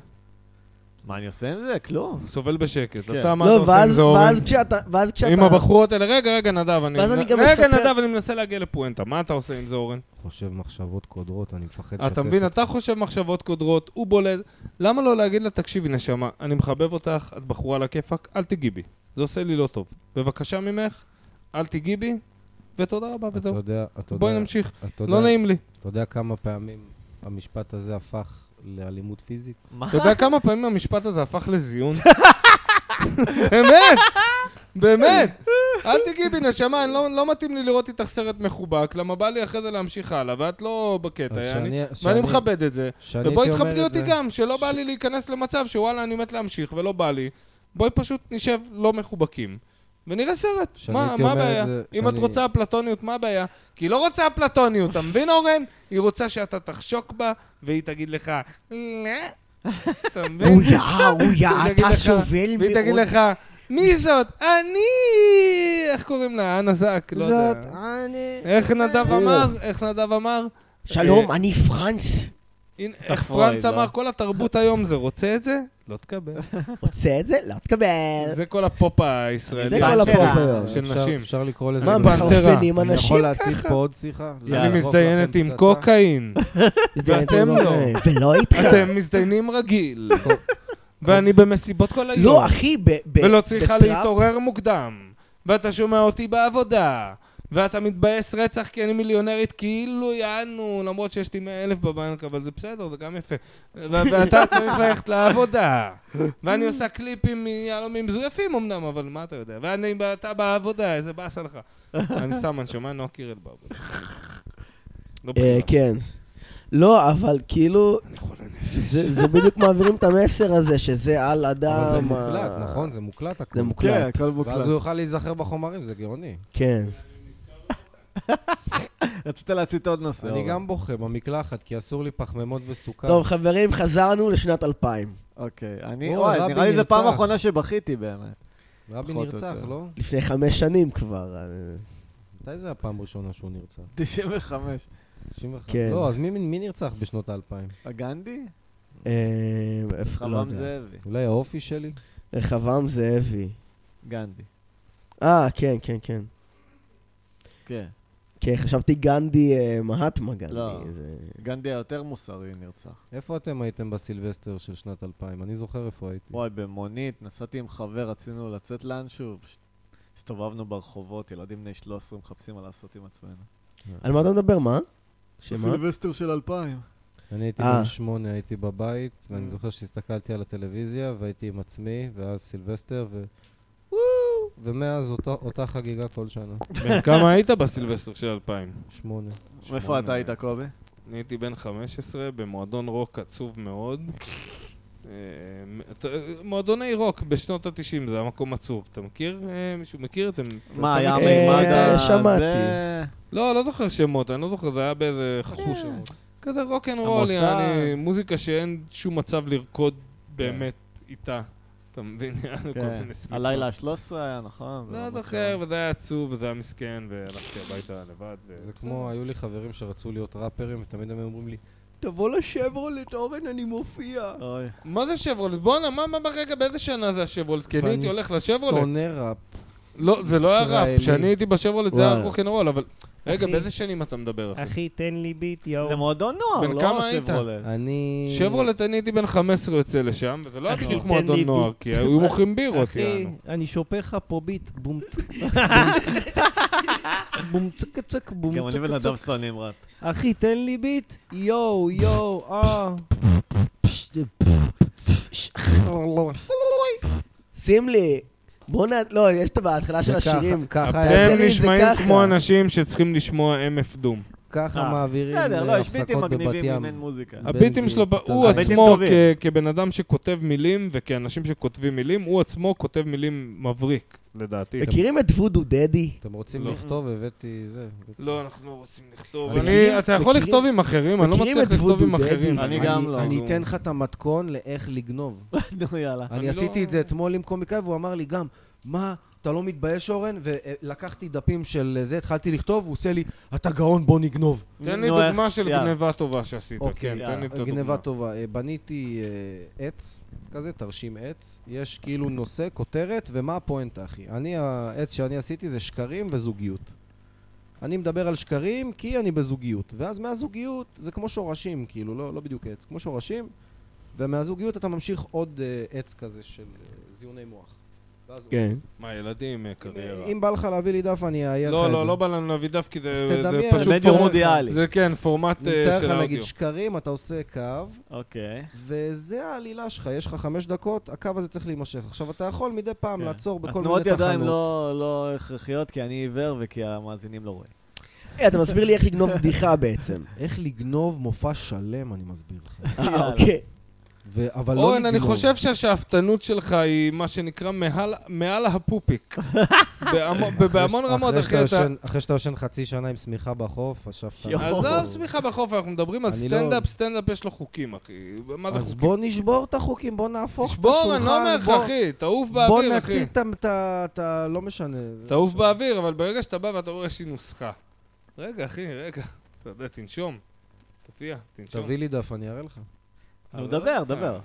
S2: מה אני עושה עם זה? כלום.
S1: סובל בשקט.
S2: כן.
S1: אתה, מה אתה
S3: לא,
S1: עושה עם
S3: ואז
S1: זה, אורן?
S3: ואז כשאתה... ואז כשאתה...
S1: עם הבחורות האלה, רגע, רגע, נדב, אני...
S3: ואז אני גם
S1: רגע,
S3: מספר-
S1: נדב, אני מנסה להגיע לפואנטה. מה אתה עושה עם זה, אורן?
S4: חושב מחשבות קודרות, אני מפחד
S1: אתה מבין, אתה חושב מחשבות קודרות, הוא בולט. למה לא להגיד לה, תקשיבי, נשמה, אני מחבב אותך, את בחורה על הכיפאק, אל תיגעי בי. זה עושה לי לא טוב. בבקשה ממך, אל תיגעי בי, ותודה רבה, וזהו.
S4: יודע, אתה
S1: בואי נמשיך. לא נעים לי.
S4: אתה יודע כמה פעמים המשפט הזה הפך לאלימות פיזית?
S2: מה?
S1: אתה יודע כמה פעמים המשפט הזה הפך לזיון? באמת, באמת. אל תגיעי בי, נשמה, אני לא, לא מתאים לי לראות איתך סרט מחובק, למה בא לי אחרי זה להמשיך הלאה, ואת לא בקטע, יעני. ואני מכבד את זה. ובואי תכבדי אותי גם, שלא בא לי להיכנס למצב שוואלה, אני מת להמשיך ולא בא לי. בואי פשוט נשב לא מחובקים. ונראה סרט,
S4: שאני
S1: מה,
S4: הייתי
S1: מה
S4: אומר את
S1: הבעיה?
S4: זה-
S1: אם
S4: שאני-
S1: את רוצה אפלטוניות, מה הבעיה? כי היא לא רוצה אפלטוניות, אתה מבין, אורן? היא רוצה שאתה תחשוק בה, והיא תגיד לך, לא. אתה מבין?
S3: אויה, אויה,
S1: והיא תגיד
S3: אתה
S1: לך-
S3: סובל
S1: והיא תגיד
S3: מאוד.
S1: לך, מי זאת? אני... איך קוראים לה? אנה זק, לא
S4: זאת
S1: יודע.
S4: אני...
S1: איך נדב אמר? איך נדב אמר?
S3: שלום, אני פרנץ.
S1: הנה,
S2: את
S1: איך
S2: הפרויד,
S1: פרנץ
S2: לא?
S1: אמר, כל התרבות היום זה רוצה את זה? לא תקבל.
S3: רוצה את זה? לא תקבל.
S1: זה כל הפופ הישראלי.
S3: זה כל
S2: פנתרה.
S3: הפופ היום.
S1: של
S4: כן, אפשר-
S1: נשים.
S4: אפשר לקרוא לזה...
S3: מה,
S1: פנתרה.
S3: מחרפנים
S4: אני
S3: אנשים
S4: יכול להציג
S3: ככה?
S4: פה עוד שיחה?
S2: יאללה,
S1: אני
S4: לעזרוק
S1: מזדיינת
S4: לכם
S1: עם
S4: פצצה?
S1: קוקאין.
S3: הזדיינת
S1: ואתם
S3: עם
S1: לא.
S3: ההורים. ולא איתך.
S1: אתם מזדיינים רגיל. ואני במסיבות כל היום.
S3: לא, אחי, ב... ב-
S1: ולא צריכה
S3: בטראמפ-
S1: להתעורר מוקדם. ואתה שומע אותי בעבודה. ואתה מתבאס רצח כי אני מיליונרית, כאילו יענו, למרות שיש לי 100 אלף בבנק, אבל זה בסדר, זה גם יפה. ו- ואתה צריך ללכת לעבודה. ואני עושה קליפים מיהלומים מזויפים אמנם, אבל מה אתה יודע? ואני, אתה בעבודה, איזה באסה לך. אני סתם, אני שומע נוקי רל בעבודה. לא
S3: אה,
S1: בכלל.
S3: כן. לא, אבל כאילו,
S1: אני חולה נפש.
S3: זה זה בדיוק מעבירים את המסר הזה, שזה על
S4: אבל
S3: אדם...
S4: זה
S3: אה, ה-
S4: מוקלט, נכון? זה מוקלט
S3: זה
S4: הכול.
S3: מוקלט,
S2: כן, הכל
S4: ואז
S2: מוקלט.
S4: הוא יוכל להיזכר בחומרים, זה גאוני.
S3: כן.
S2: רצית להציט עוד נושא.
S4: אני
S2: אורן.
S4: גם בוכה במקלחת, כי אסור לי פחמימות וסוכר.
S3: טוב, חברים, חזרנו לשנת 2000.
S2: אוקיי. אני,
S4: אורן,
S2: וואי,
S4: רבין
S2: נראה לי זו
S4: נרצח.
S2: פעם אחרונה שבכיתי באמת.
S4: רבין
S2: פחות או
S4: נרצח,
S2: יותר.
S4: לא?
S3: לפני חמש שנים כבר. אה,
S4: מתי זה הפעם הראשונה שהוא נרצח?
S2: 95.
S4: 91.
S3: כן.
S4: לא, אז מי- מי נרצח בשנות האלפיים?
S2: הגנדי?
S3: אה, איפה- לא
S2: חמם
S3: יודע.
S2: זאבי.
S4: אולי האופי שלי?
S3: רחבעם זאבי.
S2: גנדי.
S3: אה, כן, כן, כן.
S2: כן.
S3: כן, חשבתי גנדי אה, מהטמה גנדי.
S2: לא.
S3: זה-
S2: גנדי היותר מוסרי נרצח.
S4: איפה אתם הייתם בסילבסטר של שנת 2000? אני זוכר איפה הייתי.
S2: וואי, במונית, נסעתי עם חבר, רצינו לצאת לאנשהו, פשוט הסתובבנו ברחובות, ילדים בני 13 מחפשים מה לעשות עם עצמנו.
S3: על מה אתה מדבר, מה? שמה?
S2: סילבסטר של 2000.
S4: אני הייתי
S3: אה.
S4: בן שמונה, הייתי בבית,
S2: Mm.
S4: ואני
S5: אה.
S4: זוכר שהסתכלתי על הטלוויזיה, והייתי עם עצמי, ואז סילבסטר, ו... ומאז אותו- אותה חגיגה כל שנה.
S1: בן כמה היית בסילבסטר של 2000?
S4: שמונה.
S5: אה,
S2: איפה אתה היית, קובי?
S1: אני הייתי בן 15 במועדון רוק עצוב מאוד. אה, אתה- מועדוני רוק בשנות ה-90, זה היה מקום עצוב. אתה מכיר? אה, מישהו מכיר? אתם...
S2: מה, היה
S3: אה,
S2: המימד הזה?
S3: שמעתי.
S1: לא, לא זוכר שמות, אני לא זוכר, זה היה באיזה חכו
S2: אה.
S1: שמות.
S2: כן.
S1: כזה רוקנרול,
S2: המוסד.
S1: יעני, מוזיקה שאין שום מצב לרקוד באמת איתה. אתה מבין? יענו כל
S2: כן.
S1: מיני סליפות.
S2: הלילה ה-13 היה, נכון?
S1: לא
S2: ברמת
S1: זוכר, וזה היה עצוב, וזה היה מסכן, והלכתי הביתה לבד. ו-
S4: זה כמו, היו לי חברים שרצו להיות ראפרים, ותמיד הם היו אומרים לי,
S6: תבוא לשברולט, אורן, אני מופיע.
S2: גן. אוי.
S1: מה זה שברולט? בואנה, מה, מה ברגע, באיזה שנה זה השברולט? כי אני הייתי הולך לשברולט.
S4: שונא ראפ.
S1: לא, זה לא היה
S4: ישראלי.
S1: ראפ, כשאני הייתי בשברולט זה היה
S3: וואלה.
S1: רוקנרול, אבל... רגע,
S5: אחי.
S1: באיזה שנים אתה מדבר אחי?
S5: אחי, תן לי ביט, יואו.
S2: זה מועדון נוער,
S1: בן
S2: לא
S1: כמה היית?
S2: שברולט.
S4: אני...
S1: שברולט, אני הייתי בן 15 יוצא לשם, וזה לא היה
S5: אחי,
S1: בדיוק
S5: תן
S1: מועדון
S5: לי
S1: נוער,
S5: ביט.
S1: כי היו מוכרים בירות,
S5: אחי,
S1: יענו.
S5: אה, אני שופך לך פה ביט, בום צק, בום צק צק, בום
S2: גם אני
S5: צק
S2: ונדב
S5: צק.
S2: שונאים ראפ.
S5: אחי, תן לי ביט, יואו, יואו, אה. לא,
S3: שים לי. בוא נ... לא, יש את בהתחלה של
S4: וככה-
S3: השירים.
S4: ככה
S3: תעשה
S1: הם
S3: לי את זה
S1: נשמעים
S3: ככה.
S1: כמו אנשים שצריכים לשמוע MF דום.
S4: ככה
S2: אה,
S4: מעבירים
S2: בסדר, לא,
S4: אה,
S2: יש ביטים
S4: הפסקות בבת
S2: מגניבים
S4: ים.
S2: אם אין מוזיקה.
S4: בן
S1: הביטים
S4: גביר,
S1: שלו, ב-
S4: אתה
S1: הוא
S4: זמר.
S2: הביטים
S1: עצמו,
S2: טובים.
S1: כ- כבן אדם שכותב מילים, וכאנשים שכותבים מילים, הוא עצמו כותב מילים מבריק, לדעתי.
S3: מכירים את וודו דדי?
S4: אתם רוצים
S1: לא.
S4: לכתוב, הבאתי זה.
S1: לא, אנחנו לא רוצים לכתוב.
S4: מכירים-
S1: אני- אתה יכול
S3: מכירים-
S1: לכתוב עם אחרים, אני לא
S3: מכירים
S1: מצליח
S3: את
S1: לכתוב עם
S3: וודו דדי?
S1: אחרים.
S2: אני גם לא.
S4: אני
S1: נו.
S4: אתן לך את המתכון לאיך לגנוב.
S2: נו, יאללה.
S1: אני
S4: אני
S1: לא-
S4: עשיתי את זה אתמול עם קומיקאי, והוא אמר לי גם, מה, אתה לא מתבייש, אורן? ולקחתי דפים של זה, התחלתי לכתוב, הוא עושה לי, אתה גאון, בוא נגנוב.
S1: תן לי
S2: נו, איך-
S1: דוגמה של
S2: יאללה.
S1: גניבה טובה שעשית,
S4: אוקיי,
S1: כן, תן לי את הדוגמה.
S4: גניבה טובה. אה, בניתי אה, עץ, כזה תרשים עץ, יש כאילו נושא, כותרת, ומה הפואנטה, אחי? אני, העץ שאני עשיתי זה שקרים וזוגיות. אני מדבר על שקרים כי אני בזוגיות, ואז מהזוגיות זה כמו שורשים, כאילו, לא, לא בדיוק עץ, כמו שורשים, ומהזוגיות אתה ממשיך עוד אה, עץ כזה של אה, זיוני מוח. ואז הוא-
S3: כן.
S1: מה, ילדים, אה, קריירה.
S4: אם בא לך להביא לי דף, אני אעייר לך את
S1: לא,
S4: זה.
S1: לא, לא בא לנו להביא דף, כי זה
S4: אז
S1: זה
S4: תדמיין.
S1: פשוט
S2: מדיום
S1: פורמט.
S2: אודיאלי.
S1: זה כן, פורמט אה,
S4: נמצא
S1: של
S4: לך נגיד
S1: האודיו.
S4: שקרים, אתה עושה קו,
S2: אוקיי.
S4: אה, וזה העלילה שלך, יש לך חמש דקות, הקו הזה צריך להימשך. עכשיו, אתה יכול מדי פעם
S2: כן.
S4: לעצור בכל מיני תחנות.
S2: התנועות ידיים לא לא הכרחיות, כי אני עיוור וכי המאזינים לא רואים.
S3: אה, אתה מסביר לי איך לגנוב בדיחה בעצם.
S4: איך לגנוב מופע שלם, אני מסביר לך.
S3: אה, אוקיי.
S4: ו- אבל לא לגנוב.
S1: אורן, אני חושב שהשאפתנות שלך היא מה שנקרא מעל- מעל הפופיק. בהמון- בהמון
S4: אחרי-
S1: רמות,
S4: אחרי
S1: אחי,
S4: שאתה
S1: אתה...
S4: ישן- אחרי שאתה יושן חצי שנה עם שמיכה בחוף, השאפת...
S2: יואו.
S1: עזוב סמיכה בחוף, אנחנו מדברים על
S4: אני לא-
S1: סטנדאפ, סטנדאפ יש לו חוקים, אחי. מה זה
S4: אז
S1: חוקים?
S4: בוא נשבור את החוקים, בוא נהפוך את השולחן.
S1: תשבור, אני לא אומר לך,
S4: בוא-
S1: אחי, תעוף
S4: בוא
S1: באוויר, אחי.
S4: נציג את ה- את ה... את ה- לא משנה.
S1: תעוף באוויר, אבל ברגע שאתה בא ואתה אומר, יש לי נוסחה. רגע, אחי, רגע. אתה יודע, תנשום. אתה תופיע, תנשום. אה,
S4: תביא לי דף, אני אראה לך.
S1: אבל
S2: נו, דבר,
S1: רק לך.
S2: דבר.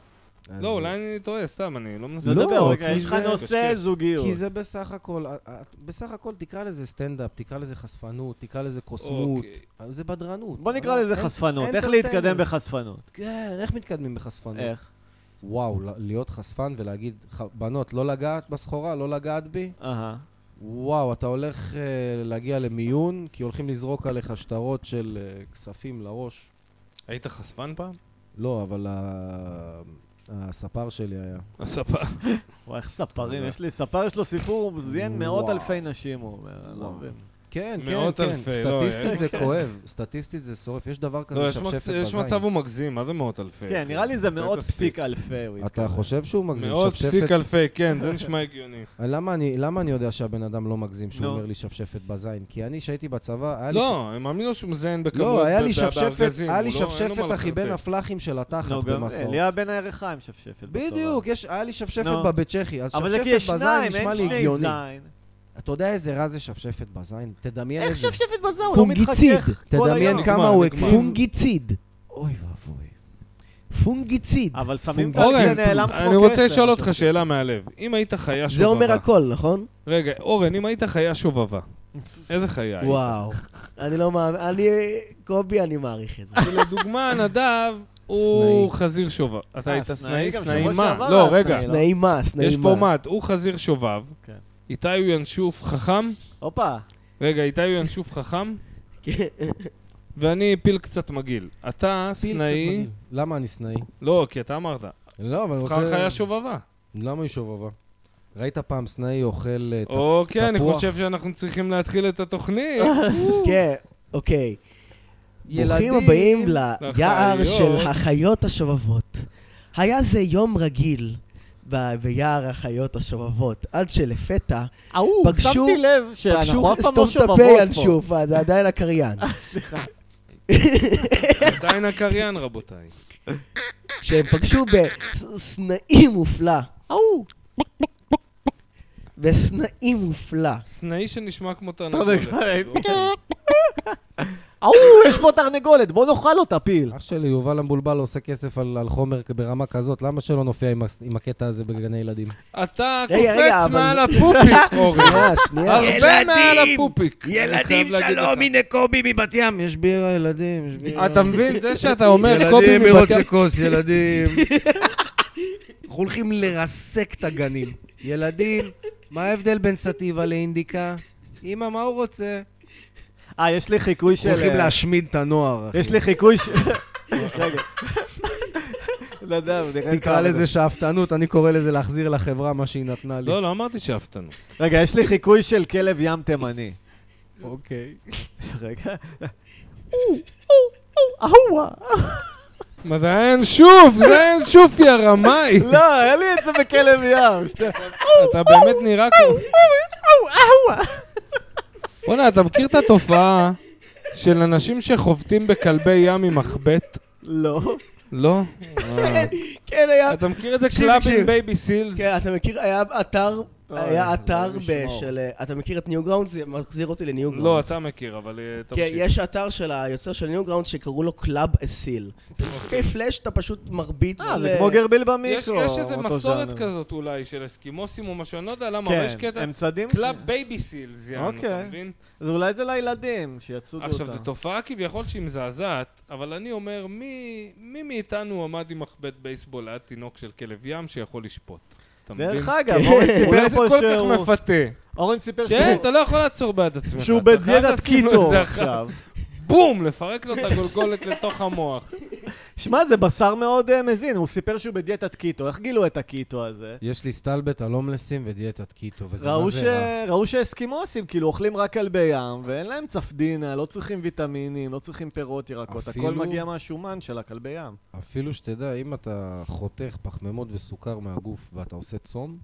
S1: לא, אולי אני טועה, סתם, אני לא מנסה. אוקיי.
S2: נו,
S4: לא,
S2: דבר, רגע,
S4: כי
S2: יש לך
S4: זה-
S2: נושא זוגיות.
S4: כי זה בסך הכל, אה, אה, בסך הכל תקרא לזה סטנדאפ, תקרא לזה חשפנות, תקרא לזה קוסמות,
S1: אוקיי.
S4: אה, זה בדרנות.
S2: בוא נקרא
S4: אבל
S2: לזה
S4: אין-
S2: חשפנות.
S4: אין
S2: איך
S4: entertainment.
S2: להתקדם בחשפנות?
S4: כן, איך מתקדמים בחשפנות?
S2: איך?
S4: וואו, ל- להיות חשפן ולהגיד, "ח- בנות, לא לגעת בסחורה, לא לגעת בי?
S2: אהה.
S4: וואו, אתה הולך uh, להגיע למיון, כי הולכים לזרוק עליך שטרות של uh, כספים לראש.
S1: היית חשפן פעם?
S4: לא, אבל ה... הספר שלי היה.
S1: הספה.
S2: וואי, איך ספרים, יש לי, ספר יש לו סיפור, הוא זיין מאות
S4: וואו.
S2: אלפי נשים, הוא אומר, אני לא
S4: וואו.
S2: מבין.
S4: כן, כן,
S1: מאות
S4: כן,
S1: אלפי, לא,
S4: סטטיסטית
S1: יש-
S4: זה כואב, סטטיסטית זה שורף, יש דבר
S1: לא,
S4: כזה
S1: יש
S4: שפשפת
S1: מצ-
S4: בזין.
S1: יש מצב הוא מגזים, מה זה מאות אלפי?
S2: כן,
S1: זה-
S2: נראה לי זה
S1: זה
S2: מאות
S1: תספיק.
S2: פסיק אלפי, הוא
S4: אתה
S2: התכוון.
S4: חושב שהוא מגזים
S1: מאות פסיק
S4: שפשפת?
S1: אלפי, כן, זה נשמע הגיוני.
S4: למה אני- למה אני יודע שהבן אדם לא מגזים שהוא
S2: נו.
S4: אומר לי שפשפת בזין? כי אני, שהייתי בצבא, היה לי...
S1: לא, אני מאמין לו שהוא מזיין בכמות,
S4: לא, היה לי
S1: ב-
S4: שפשפת,
S1: בארגזים,
S4: היה לי
S1: הוא לא- אין לו מה
S4: שפשפת, אחי, בין
S1: לחרטט.
S4: הפלאחים של התחת
S2: נו, גם
S4: במסעות.
S2: אליה בן הירכיים שפשפת. בצבא.
S4: בדיוק, יש, היה לי שפשפת
S2: נו.
S4: בבית צ'כי, אז
S2: אבל זה כי
S4: שפשפת
S2: יש
S4: בזין
S2: שניים,
S4: נשמע
S2: אין
S4: לי
S2: שני
S4: הגיוני.
S2: זין.
S4: אתה יודע איזה רע זה שפשפת בזין? תדמיין
S2: איך
S4: איזה.
S2: שפשפת בזין? הוא לא
S3: פונגיציד.
S2: מתחכך כל היום.
S4: תדמיין כמה
S1: נגמר,
S4: הוא
S1: נגמר.
S4: הקריב.
S3: פונגיציד.
S4: אוי ואבוי.
S3: פונגיציד.
S2: אבל שמים את
S1: אורן,
S2: זה נעלם כמו כסף.
S1: אני רוצה לשאול אותך שאלה מהלב. אם היית חיה שובבה...
S3: זה אומר הכל, נכון?
S1: רגע, אורן, אם היית חיה שובבה, איזה חיה היית?
S3: וואו. אני לא מאמין, אני... קובי, אני מעריך את זה.
S1: לדוגמה, נדב הוא חזיר שובב. אתה
S2: אה,
S1: היית סנאי?
S2: סנאי גם,
S1: סנאי
S2: שבוע
S1: מה?
S2: שעבר
S1: לא,
S2: היה
S1: רגע,
S2: סנאי, לא?
S3: סנאי מה, סנאי מה.
S1: יש פורמט, הוא חזיר שובב,
S2: כן.
S1: איתי הוא ינשוף חכם,
S2: הופה.
S1: רגע, איתי הוא ינשוף חכם,
S3: כן.
S1: ואני פיל קצת מגעיל. אתה
S4: פיל קצת
S1: סנאי,
S4: מגעיל. למה אני סנאי?
S1: לא, כי אתה אמרת,
S4: לא, אבל אני
S1: תבחר
S4: רוצה...
S1: חיה שובבה.
S4: למה היא שובבה? ראית פעם סנאי אוכל... אה, ת-
S1: אוקיי, אני
S4: תפוח.
S1: חושב שאנחנו צריכים להתחיל את התוכנית.
S3: כן, אוקיי. ברוכים
S4: ילדים.
S3: הבאים ליער
S1: לחיות.
S3: של החיות השובבות. היה זה יום רגיל ב- ביער החיות השובבות, עד שלפתע
S2: ההוא,
S3: פגשו-
S2: שמתי לב שאנחנו
S3: פגשו
S2: אף פעם לא
S3: סתום את
S2: שובבות
S3: הפה
S2: פה.
S3: ינשוף, אה, זה עדיין הקריין.
S2: סליחה.
S1: עדיין הקריין, רבותיי.
S3: כשהם פגשו בסנאי מופלא,
S2: ההוא.
S3: בסנאי מופלא.
S1: סנאי שנשמע כמו אוקיי.
S2: תרנגולת.
S1: תרנגולת.
S2: ההוא, יש פה תרנגולת, בוא נאכל אותה, פיל.
S4: אח שלי, יובל המבולבל עושה כסף על על חומר ברמה כזאת, למה שלא נופיע עם הס- עם הקטע הזה בגני ילדים?
S1: אתה
S3: רגע, רגע,
S1: קופץ
S3: אבל- לא,
S1: מעל הפופיק, אורן.
S3: שנייה,
S2: אה,
S3: שנייה.
S1: הרבה מעל הפופיק. ילדים
S4: לא
S1: שלום, הנה קובי מבת ים. יש בירה, ילדים, יש בירה. אתה מבין? זה שאתה אומר קובי מבת ים...
S4: כוס, ילדים. אנחנו הולכים לרסק את הגנים. ילדים, מה ההבדל בין סטיבה לאינדיקה? אמא, מה הוא רוצה?
S2: אה, יש לי חיקוי של... אה,
S4: להשמיד את הנוער,
S2: יש לי חיקוי של... רגע. לא יודע, הוא נראה לי
S4: תקרא
S2: ככה.
S4: לזה שאפתנות, אני קורא לזה להחזיר לחברה מה שהיא נתנה לי.
S1: לא, לא אמרתי שאפתנו.
S2: רגע, יש לי חיקוי של כלב ים תימני.
S4: אוקיי.
S2: רגע. או, או, או, אהואה.
S1: מה זה היה אין שוף? זה היה אין שוף, יא רמאי.
S2: לא, היה לי את זה בכלב ים. שתי-
S1: אתה באמת נראה כמו...
S2: או, אהואה.
S1: בוא'נה, אתה מכיר את התופעה של אנשים שחובטים בכלבי ים עם מחבט?
S2: לא.
S1: לא?
S3: כן, היה...
S1: אתה מכיר את זה
S3: תקשיב,
S1: קלאב עם
S3: תקשיב.
S1: בייבי סילס?
S3: כן, אתה מכיר, היה אתר,
S2: אוי,
S3: היה אתר
S2: אלוהים
S3: ב-
S2: ישמור.
S3: של... אה, אתה מכיר את ניוגראונד? זה מחזיר אותי לניוגראונד.
S1: לא, אתה מכיר, אבל אה,
S3: כן,
S1: תמשיך.
S3: יש אתר של היוצר של ניוגראונד שקראו לו קלאב אסיל.
S1: אוקיי.
S3: זה משחקי פלאש שאתה פשוט מרביץ
S2: אה,
S3: ל-
S2: זה כמו גרביל
S1: יש
S2: במיקרו.
S1: יש איזה
S2: אותו
S1: מסורת
S2: ז'אנר.
S1: כזאת אולי של אסקימוסים או משהו, אני לא יודע למה, אבל יש
S2: כן,
S1: קטע...
S2: הם צדים?
S1: קלאב בייבי סילס, יענו, אתה
S2: אוקיי.
S1: מבין?
S2: אז אולי זה לילדים, שיצודו אותה.
S1: עכשיו, זו תופעה כביכול שהיא מזעזעת, אבל אני אומר, מי מי מאיתנו עמד עם מחבט בייסבול ליד תינוק של כלב ים שיכול לשפוט? אתה מבין? כן.
S2: דרך אגב, אורן
S1: אולי זה
S2: סיפר פה
S1: כל כך
S2: שהוא...
S1: מפתה.
S2: אורן סיפר
S1: כן,
S2: שהוא-
S1: אתה לא יכול לעצור בעד עצמך.
S2: שהוא
S1: אתה חייב
S2: בדיאטת
S1: לשים לו
S2: קיטו
S1: איזה אחת.
S2: עכשיו.
S1: בום! לפרק לו את הגולגולת לתוך המוח.
S2: שמע, זה בשר מאוד אה, מזין, הוא סיפר שהוא בדיאטת קיטו, איך גילו את הקיטו הזה?
S4: יש לי סטלבט על הומלסים ודיאטת קיטו, וזה מה
S2: ראו, ש...
S4: זה רע.
S2: ראו שהאסקימוסים כאילו אוכלים רק כלבי ים, ואין להם צפדינה, לא צריכים ויטמינים, לא צריכים פירות, ירקות,
S4: אפילו-
S2: הכל מגיע מהשומן של הכלבי ים.
S4: אפילו שתדע, אם אתה חותך פחמימות וסוכר מהגוף ואתה עושה צום,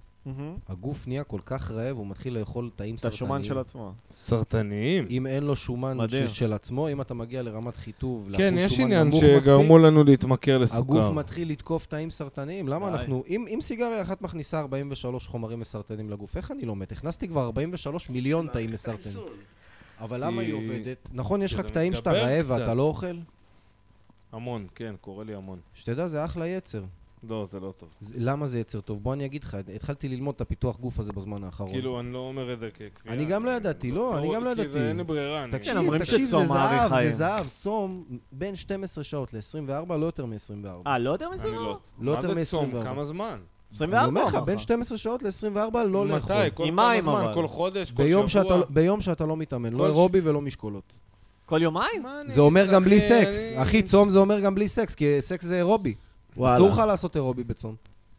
S4: הגוף נהיה כל כך רעב, הוא מתחיל לאכול תאים
S2: את השומן של
S4: סרטניים.
S2: עצמו.
S1: סרטניים.
S4: אם אין לו שומן
S2: מדהים.
S4: ש- של עצמו, אם אתה מגיע לרמת חיטוב,
S1: כן,
S4: לאחוז
S1: יש
S4: שומן
S1: עניין
S4: נמוך
S1: שגרמו
S4: מספיק,
S1: לנו להתמכר לסוכר.
S4: הגוף מתחיל לתקוף תאים סרטניים. למה
S2: די.
S4: אנחנו... אם אם סיגריה אחת מכניסה 43 חומרים מסרטנים לגוף, איך אני לא מת? הכנסתי כבר 43
S2: אה,
S4: מיליון תאים מסרטנים. אבל למה
S1: היא-
S4: היא עובדת? נכון, יש
S1: כי
S4: לך
S1: אתה
S4: קטעים שאתה
S1: מדבר
S4: רעב
S1: קצת.
S4: ואתה לא אוכל?
S1: המון, כן, קורה לי המון.
S4: שתדע, זה אחלה יצר.
S1: לא, זה לא טוב.
S4: זה- למה זה יצר טוב? בוא אני אגיד לך, התחלתי ללמוד את הפיתוח גוף הזה בזמן האחרון.
S1: כאילו, אני לא אומר את זה כקביעה.
S4: אני גם לא ידעתי, לא, אני גם לא
S1: כי זה
S4: ידעתי.
S1: אין ברירה. אני-
S2: כן, אומרים
S4: תקשיב, תקשיב,
S2: שצום
S4: זה
S2: מאריך
S4: זהב,
S2: חיים.
S4: זה זהב. צום בין 12 שעות ל-24, לא יותר מ-24.
S2: אה, לא יודע מה זה?
S1: אני לא...
S4: לא יותר
S1: מה זה צום?
S4: מ-24.
S1: כמה זמן?
S4: אני
S2: 24
S4: אומר לך,
S2: אמר
S4: בין 12 שעות ל-24 לא לאכול.
S1: מתי? כל
S2: עם
S1: כמה
S2: מים,
S1: זמן?
S2: אבל.
S1: כל חודש? כל
S4: ביום שאתה,
S1: שבוע?
S4: ביום שאתה לא מתאמן, לא
S1: כל ש-
S4: אירובי ולא משקולות.
S2: כל יומיים?
S1: מה אני
S4: זה אומר
S1: אגיד
S4: גם
S1: לך,
S4: בלי
S1: אחי,
S4: סקס.
S1: אני-
S4: אחי, צום זה אומר גם בלי סקס, כי סקס זה אירובי. אסור לך לעשות אירובי בצום.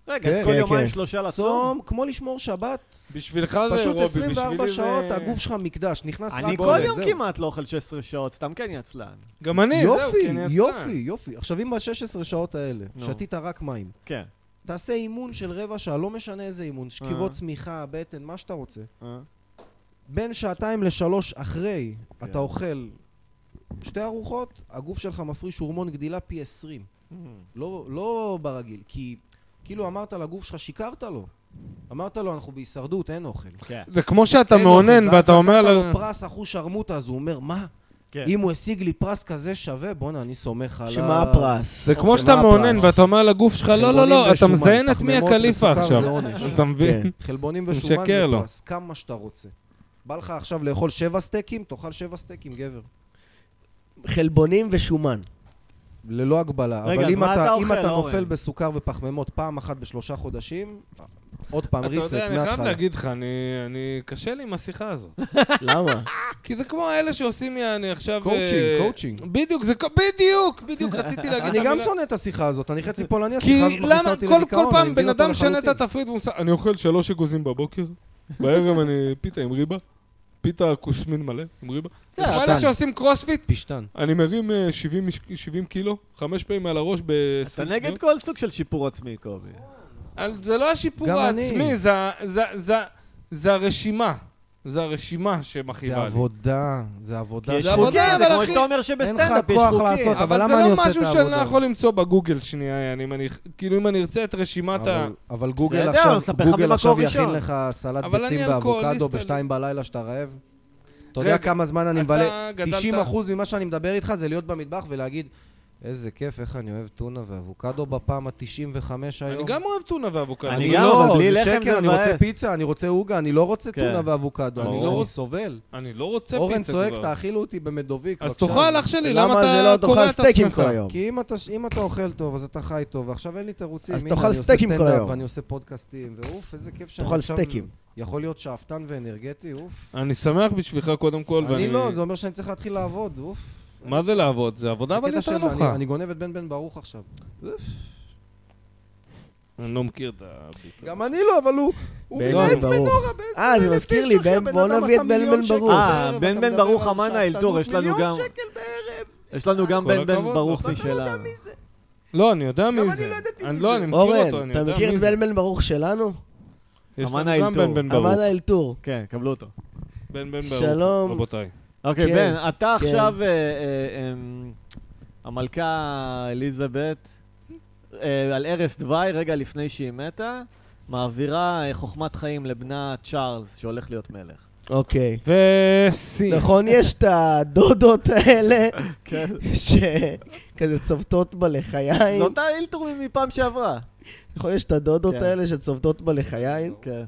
S2: רגע, אז
S4: כן,
S2: כל
S3: כן,
S2: יומיים
S3: כן.
S2: שלושה לצום?
S4: צום, כמו לשמור שבת,
S1: בשבילך זה
S4: פשוט
S1: אירובי, בשבילי זה...
S4: 24 שעות, הגוף שלך מקדש, נכנס רק...
S2: אני כל
S4: בורג,
S2: יום
S4: זהו.
S2: כמעט לא אוכל 16 שעות, סתם כן יצלן.
S1: גם אני, זהו, כי
S4: יופי,
S1: אני יצא.
S4: יופי, יופי. עכשיו, אם ב-16 שעות האלה
S2: נו.
S4: שתית רק מים,
S2: כן.
S4: תעשה אימון של רבע שעה, לא משנה איזה אימון, שכיבות צמיחה, בטן, מה שאתה רוצה.
S2: אה?
S4: בין שעתיים לשלוש אחרי,
S2: כן.
S4: אתה אוכל שתי ארוחות, הגוף שלך מפריש הורמון גדילה פי 20. לא, לא ברגיל, כי כאילו אמרת לגוף שלך, שיקרת לו. אמרת לו, אנחנו בהישרדות, אין אוכל.
S2: כן.
S1: זה כמו שאתה
S4: אין
S1: מאונן
S4: אוכל, ואז
S1: ואתה אומר...
S4: נתת
S1: ל-
S4: לו פרס אחוז שרמוטה, אז הוא אומר, מה?
S2: כן.
S4: אם הוא השיג לי פרס כזה שווה, בואנה, אני סומך עליו.
S2: אה,
S3: שמה הפרס?
S1: זה כמו
S4: אוקיי,
S1: שאתה
S4: מה
S1: מאונן
S4: הפרס?
S1: ואתה אומר לגוף שלך, לא, לא,
S4: חלבונים
S1: לא, אתה
S4: ושומן,
S1: מזיין את מי
S4: פחמימות
S1: הקליפה
S4: וסוכר
S1: עכשיו.
S4: זה עונש.
S1: אתה מבין?
S3: כן.
S4: חלבונים
S1: הוא
S4: ושומן
S1: משקר
S4: זה
S1: לו.
S4: פרס, כמה שאתה רוצה. בא לך עכשיו לאכול שבע סטייקים, תאכל שבע סטייקים, גבר.
S3: חלבונים ושומן.
S4: ללא הגבלה.
S2: רגע,
S4: אבל
S2: אז
S4: אם
S2: מה
S4: אתה,
S2: אתה
S4: אם
S2: אוכל,
S4: אתה
S2: אורן?
S4: נופל בסוכר ופחמימות פעם אחת בשלושה חודשים, עוד פעם
S1: אתה
S4: ריסט
S1: יודע, אני חייב
S4: מההתחלה.
S1: להגיד לך, אני- אני... קשה לי עם השיחה הזאת.
S3: למה?
S1: כי זה כמו אלה שעושים, יעני, עכשיו...
S4: קואוצ'ינג,
S1: אה,
S4: קואוצ'ינג.
S1: בדיוק, זה... כ- בדיוק, בדיוק, רציתי להגיד...
S4: אני
S1: את
S4: גם
S1: המילה-
S4: שונא את השיחה הזאת, אני חצי פולני,
S1: כי
S4: השיחה הזאת מכניסה
S1: למה
S4: אותי
S1: כל,
S4: לדיכאון,
S1: כל
S4: אני
S1: פעם
S4: מבין
S1: בן
S4: אותה
S1: אדם שנה את
S4: לחלוטין.
S1: התפריט והוא שם, אני אוכל שלוש אגוזים בבוקר, בערב אני פיתה עם ריבה, פיתה כושמין מלא עם ריבה.
S2: בסדר,
S1: כמו אלה
S4: שתיים.
S1: שעושים קרוספיט,
S4: פשטן.
S1: אני מרים אה, 70 מש- 70 קילו, חמש פעמים על הראש ב-20
S2: אתה
S1: שניות.
S2: נגד כל סוג של שיפור עצמי, קובי.
S1: על- זה לא השיפור
S4: גם אני.
S1: העצמי, זה ה- זה- זה- זה הרשימה. זה הרשימה
S4: זה
S1: שמכאיבה לי.
S4: עבודה, זה עבודה.
S2: כי יש
S1: זה עבודה,
S2: חוקים, זה
S1: אבל
S2: כמו
S1: אחי,
S2: שאתה אומר
S4: אין
S2: שבסטנדאפ
S4: לך
S2: יש
S4: כוח
S2: חוקים. אה,
S4: לעשות, אבל
S1: אבל זה
S4: למה אני
S1: לא
S4: עושה את
S1: משהו שאני לא
S4: העבודה?
S1: יכול למצוא בגוגל שנייה, יעני, אם אני- כאילו אם אני ארצה את רשימת ה...
S4: אבל- אבל גוגל
S2: בסדר, אני
S4: עכשיו,
S2: אספר לך
S4: גוגל
S2: ממקור
S4: עכשיו
S2: ראשון.
S4: יכין לך סלט
S1: אבל אני
S4: ביצים
S1: אלכוהוליסט,
S4: באבוקדו
S1: אני-
S4: בשתיים בלילה שאתה רעב? אתה
S1: רגע,
S4: יודע כמה זמן אני
S1: אתה
S4: מבלה?
S1: גדלת-
S4: 90 אחוז ממה שאני מדבר איתך זה להיות במטבח ולהגיד, איזה כיף, איך אני אוהב טונה ואבוקדו בפעם ה-95 היום.
S1: אני גם אוהב טונה ואבוקדו.
S2: אני
S4: אני
S2: גם,
S4: לא,
S2: אבל בלי
S4: זה
S2: לחם זה
S4: שקר, אני רוצה
S2: מבאס.
S4: פיצה, אני רוצה עוגה, אני לא רוצה
S2: כן.
S4: טונה ואבוקדו, אני
S2: ברור.
S4: לא רוצה- סובל.
S1: אני לא רוצה פיצה כבר.
S4: אורן צועק, תאכילו אותי במדוביק.
S1: אז
S4: בבקשה."
S1: תאכל אח שלי, למה
S3: זה לא
S1: אתה קורע
S3: תאכל
S1: את
S3: סטייקים
S1: עצמך?
S3: כל היום?
S4: כי אם אתה, אם אתה אוכל טוב, אז אתה חי טוב, ועכשיו אין לי תירוצים.
S3: אז
S4: הנה,
S3: תאכל
S4: אני עושה
S3: סטייקים כל
S4: סטנדאפ
S3: היום.
S4: ואני עושה פודקאסטים, ואוף, איזה כיף שאני
S3: תאכל
S4: עכשיו...
S3: סטייקים.
S4: יכול להיות שאפתן ואנרגטי, אוף.
S1: אני שמח בשבילך קודם כל, ואני...
S4: אני לא, זה אומר שאני צריך להתחיל לעבוד, אוף.
S1: מה זה לעבוד? זה עבודה לא, אבל
S4: הקטע
S1: יותר
S4: של- אני-
S1: נוחה.
S4: אני גונב את בן בן ברוך עכשיו.
S1: אני לא מכיר את הביט.
S4: גם אני לא, אבל הוא... הוא
S3: בן
S4: מת
S3: בן ברוך.
S4: מנורה בעשר
S3: אה, זה
S4: אלף
S3: מזכיר
S4: איש,
S3: לי,
S4: אחי,
S3: בן-
S4: הבן
S3: בוא
S4: אדם
S3: נביא
S4: עשה
S3: את בן-
S4: מיליון
S3: בן
S4: שקל
S3: ברור.
S2: אה,
S4: בערב,
S2: בן
S4: אתה
S2: בן
S4: מדבר
S2: ברוך
S4: על
S2: אמן
S4: שאפתנות,
S2: האלתור, יש לנו
S4: מיליון
S2: גם...
S4: שקל בערב.
S2: יש לנו גם
S1: כל
S2: בן בן
S1: הכבוד.
S2: ברוך
S1: אתה לא
S2: משלנו.
S1: לא, אני יודע
S4: אני
S1: מי זה.
S4: לא ידעתי
S1: אני-
S4: מי
S1: לא,
S4: זה.
S1: אני מכיר אותו,
S3: אורן,
S1: אני
S3: אתה
S1: יודע
S3: מכיר
S1: מי
S3: את
S1: זה.
S3: בן בן ברוך שלנו?
S1: יש
S2: אמן
S1: לנו גם בן
S2: האלתור.
S1: בן ברוך.
S3: אמן האלתור.
S2: כן, קבלו אותו.
S1: בן בן ברוך,
S3: שלום.
S1: רבותיי.
S2: אוקיי,
S3: כן,
S2: בן, אתה
S3: כן.
S2: עכשיו אה, אה, אמ, המלכה אליזבת, אה, על ערש דווי, רגע לפני שהיא מתה, מעבירה אה, חוכמת חיים לבנה צ'ארלס, שהולך להיות מלך.
S3: אוקיי.
S1: וסי.
S3: נכון, יש את הדודות האלה,
S2: כן.
S3: שכזה צובטות בלחיים.
S2: זאת האילתור מפעם שעברה.
S3: נכון, יש את הדודות
S2: כן.
S3: האלה שצובטות בלחיים.
S2: כן.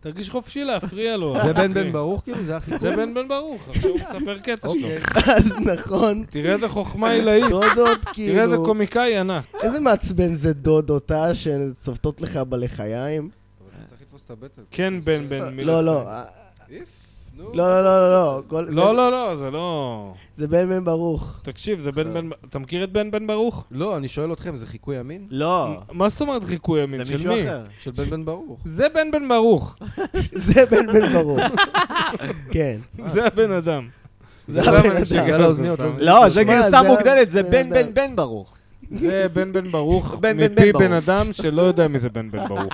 S1: תרגיש חופשי להפריע לו.
S4: זה
S1: אחי.
S4: בן בן ברוך כאילו? זה הכי...
S1: זה בן בן ברוך, עכשיו הוא מספר קטע שלו.
S4: אוקיי.
S3: אז נכון,
S1: תראה איזה חוכמה עילאית.
S3: דודות
S1: תראה איזה
S3: כאילו...
S1: קומיקאי ענק.
S3: איזה מעצבן זה דודות, אה? שצובטות לך בלחיים?
S4: צריך לתפוס את הבטן.
S1: כן בן בן מי
S3: לא, לא.
S1: לחיים.
S3: אה,
S4: איף, נו.
S3: לא, לא, לא, לא, לא. כל-
S1: לא,
S3: זה-
S1: לא, לא, זה לא...
S3: זה בן בן ברוך.
S1: תקשיב, זה בן בן... אתה מכיר את בן בן ברוך?
S4: לא, אני שואל אתכם, זה חיקוי ימין?
S2: לא,
S1: מה זאת אומרת חיקוי ימין?
S2: זה
S1: של
S2: מישהו
S1: מי?
S2: אחר. אה.
S4: של בן בן ברוך.
S1: זה בן בן ברוך.
S3: זה בן בן ברוך. כן.
S1: זה הבן אדם.
S3: זה
S1: זה
S3: הבן
S1: מה
S3: אדם.
S1: שגל
S4: בגלל האוזניות. לא זה-
S2: לא, זה
S3: מה,
S2: גרסה
S3: זה ה-
S2: מוגדלת, זה
S3: בן
S2: בן בן
S3: אדם.
S2: בן ברוך.
S1: זה בן בן ברוך
S2: בן בן
S1: מפי
S2: בן ברוך.
S1: בן אדם שלא יודע מי זה בן בן ברוך.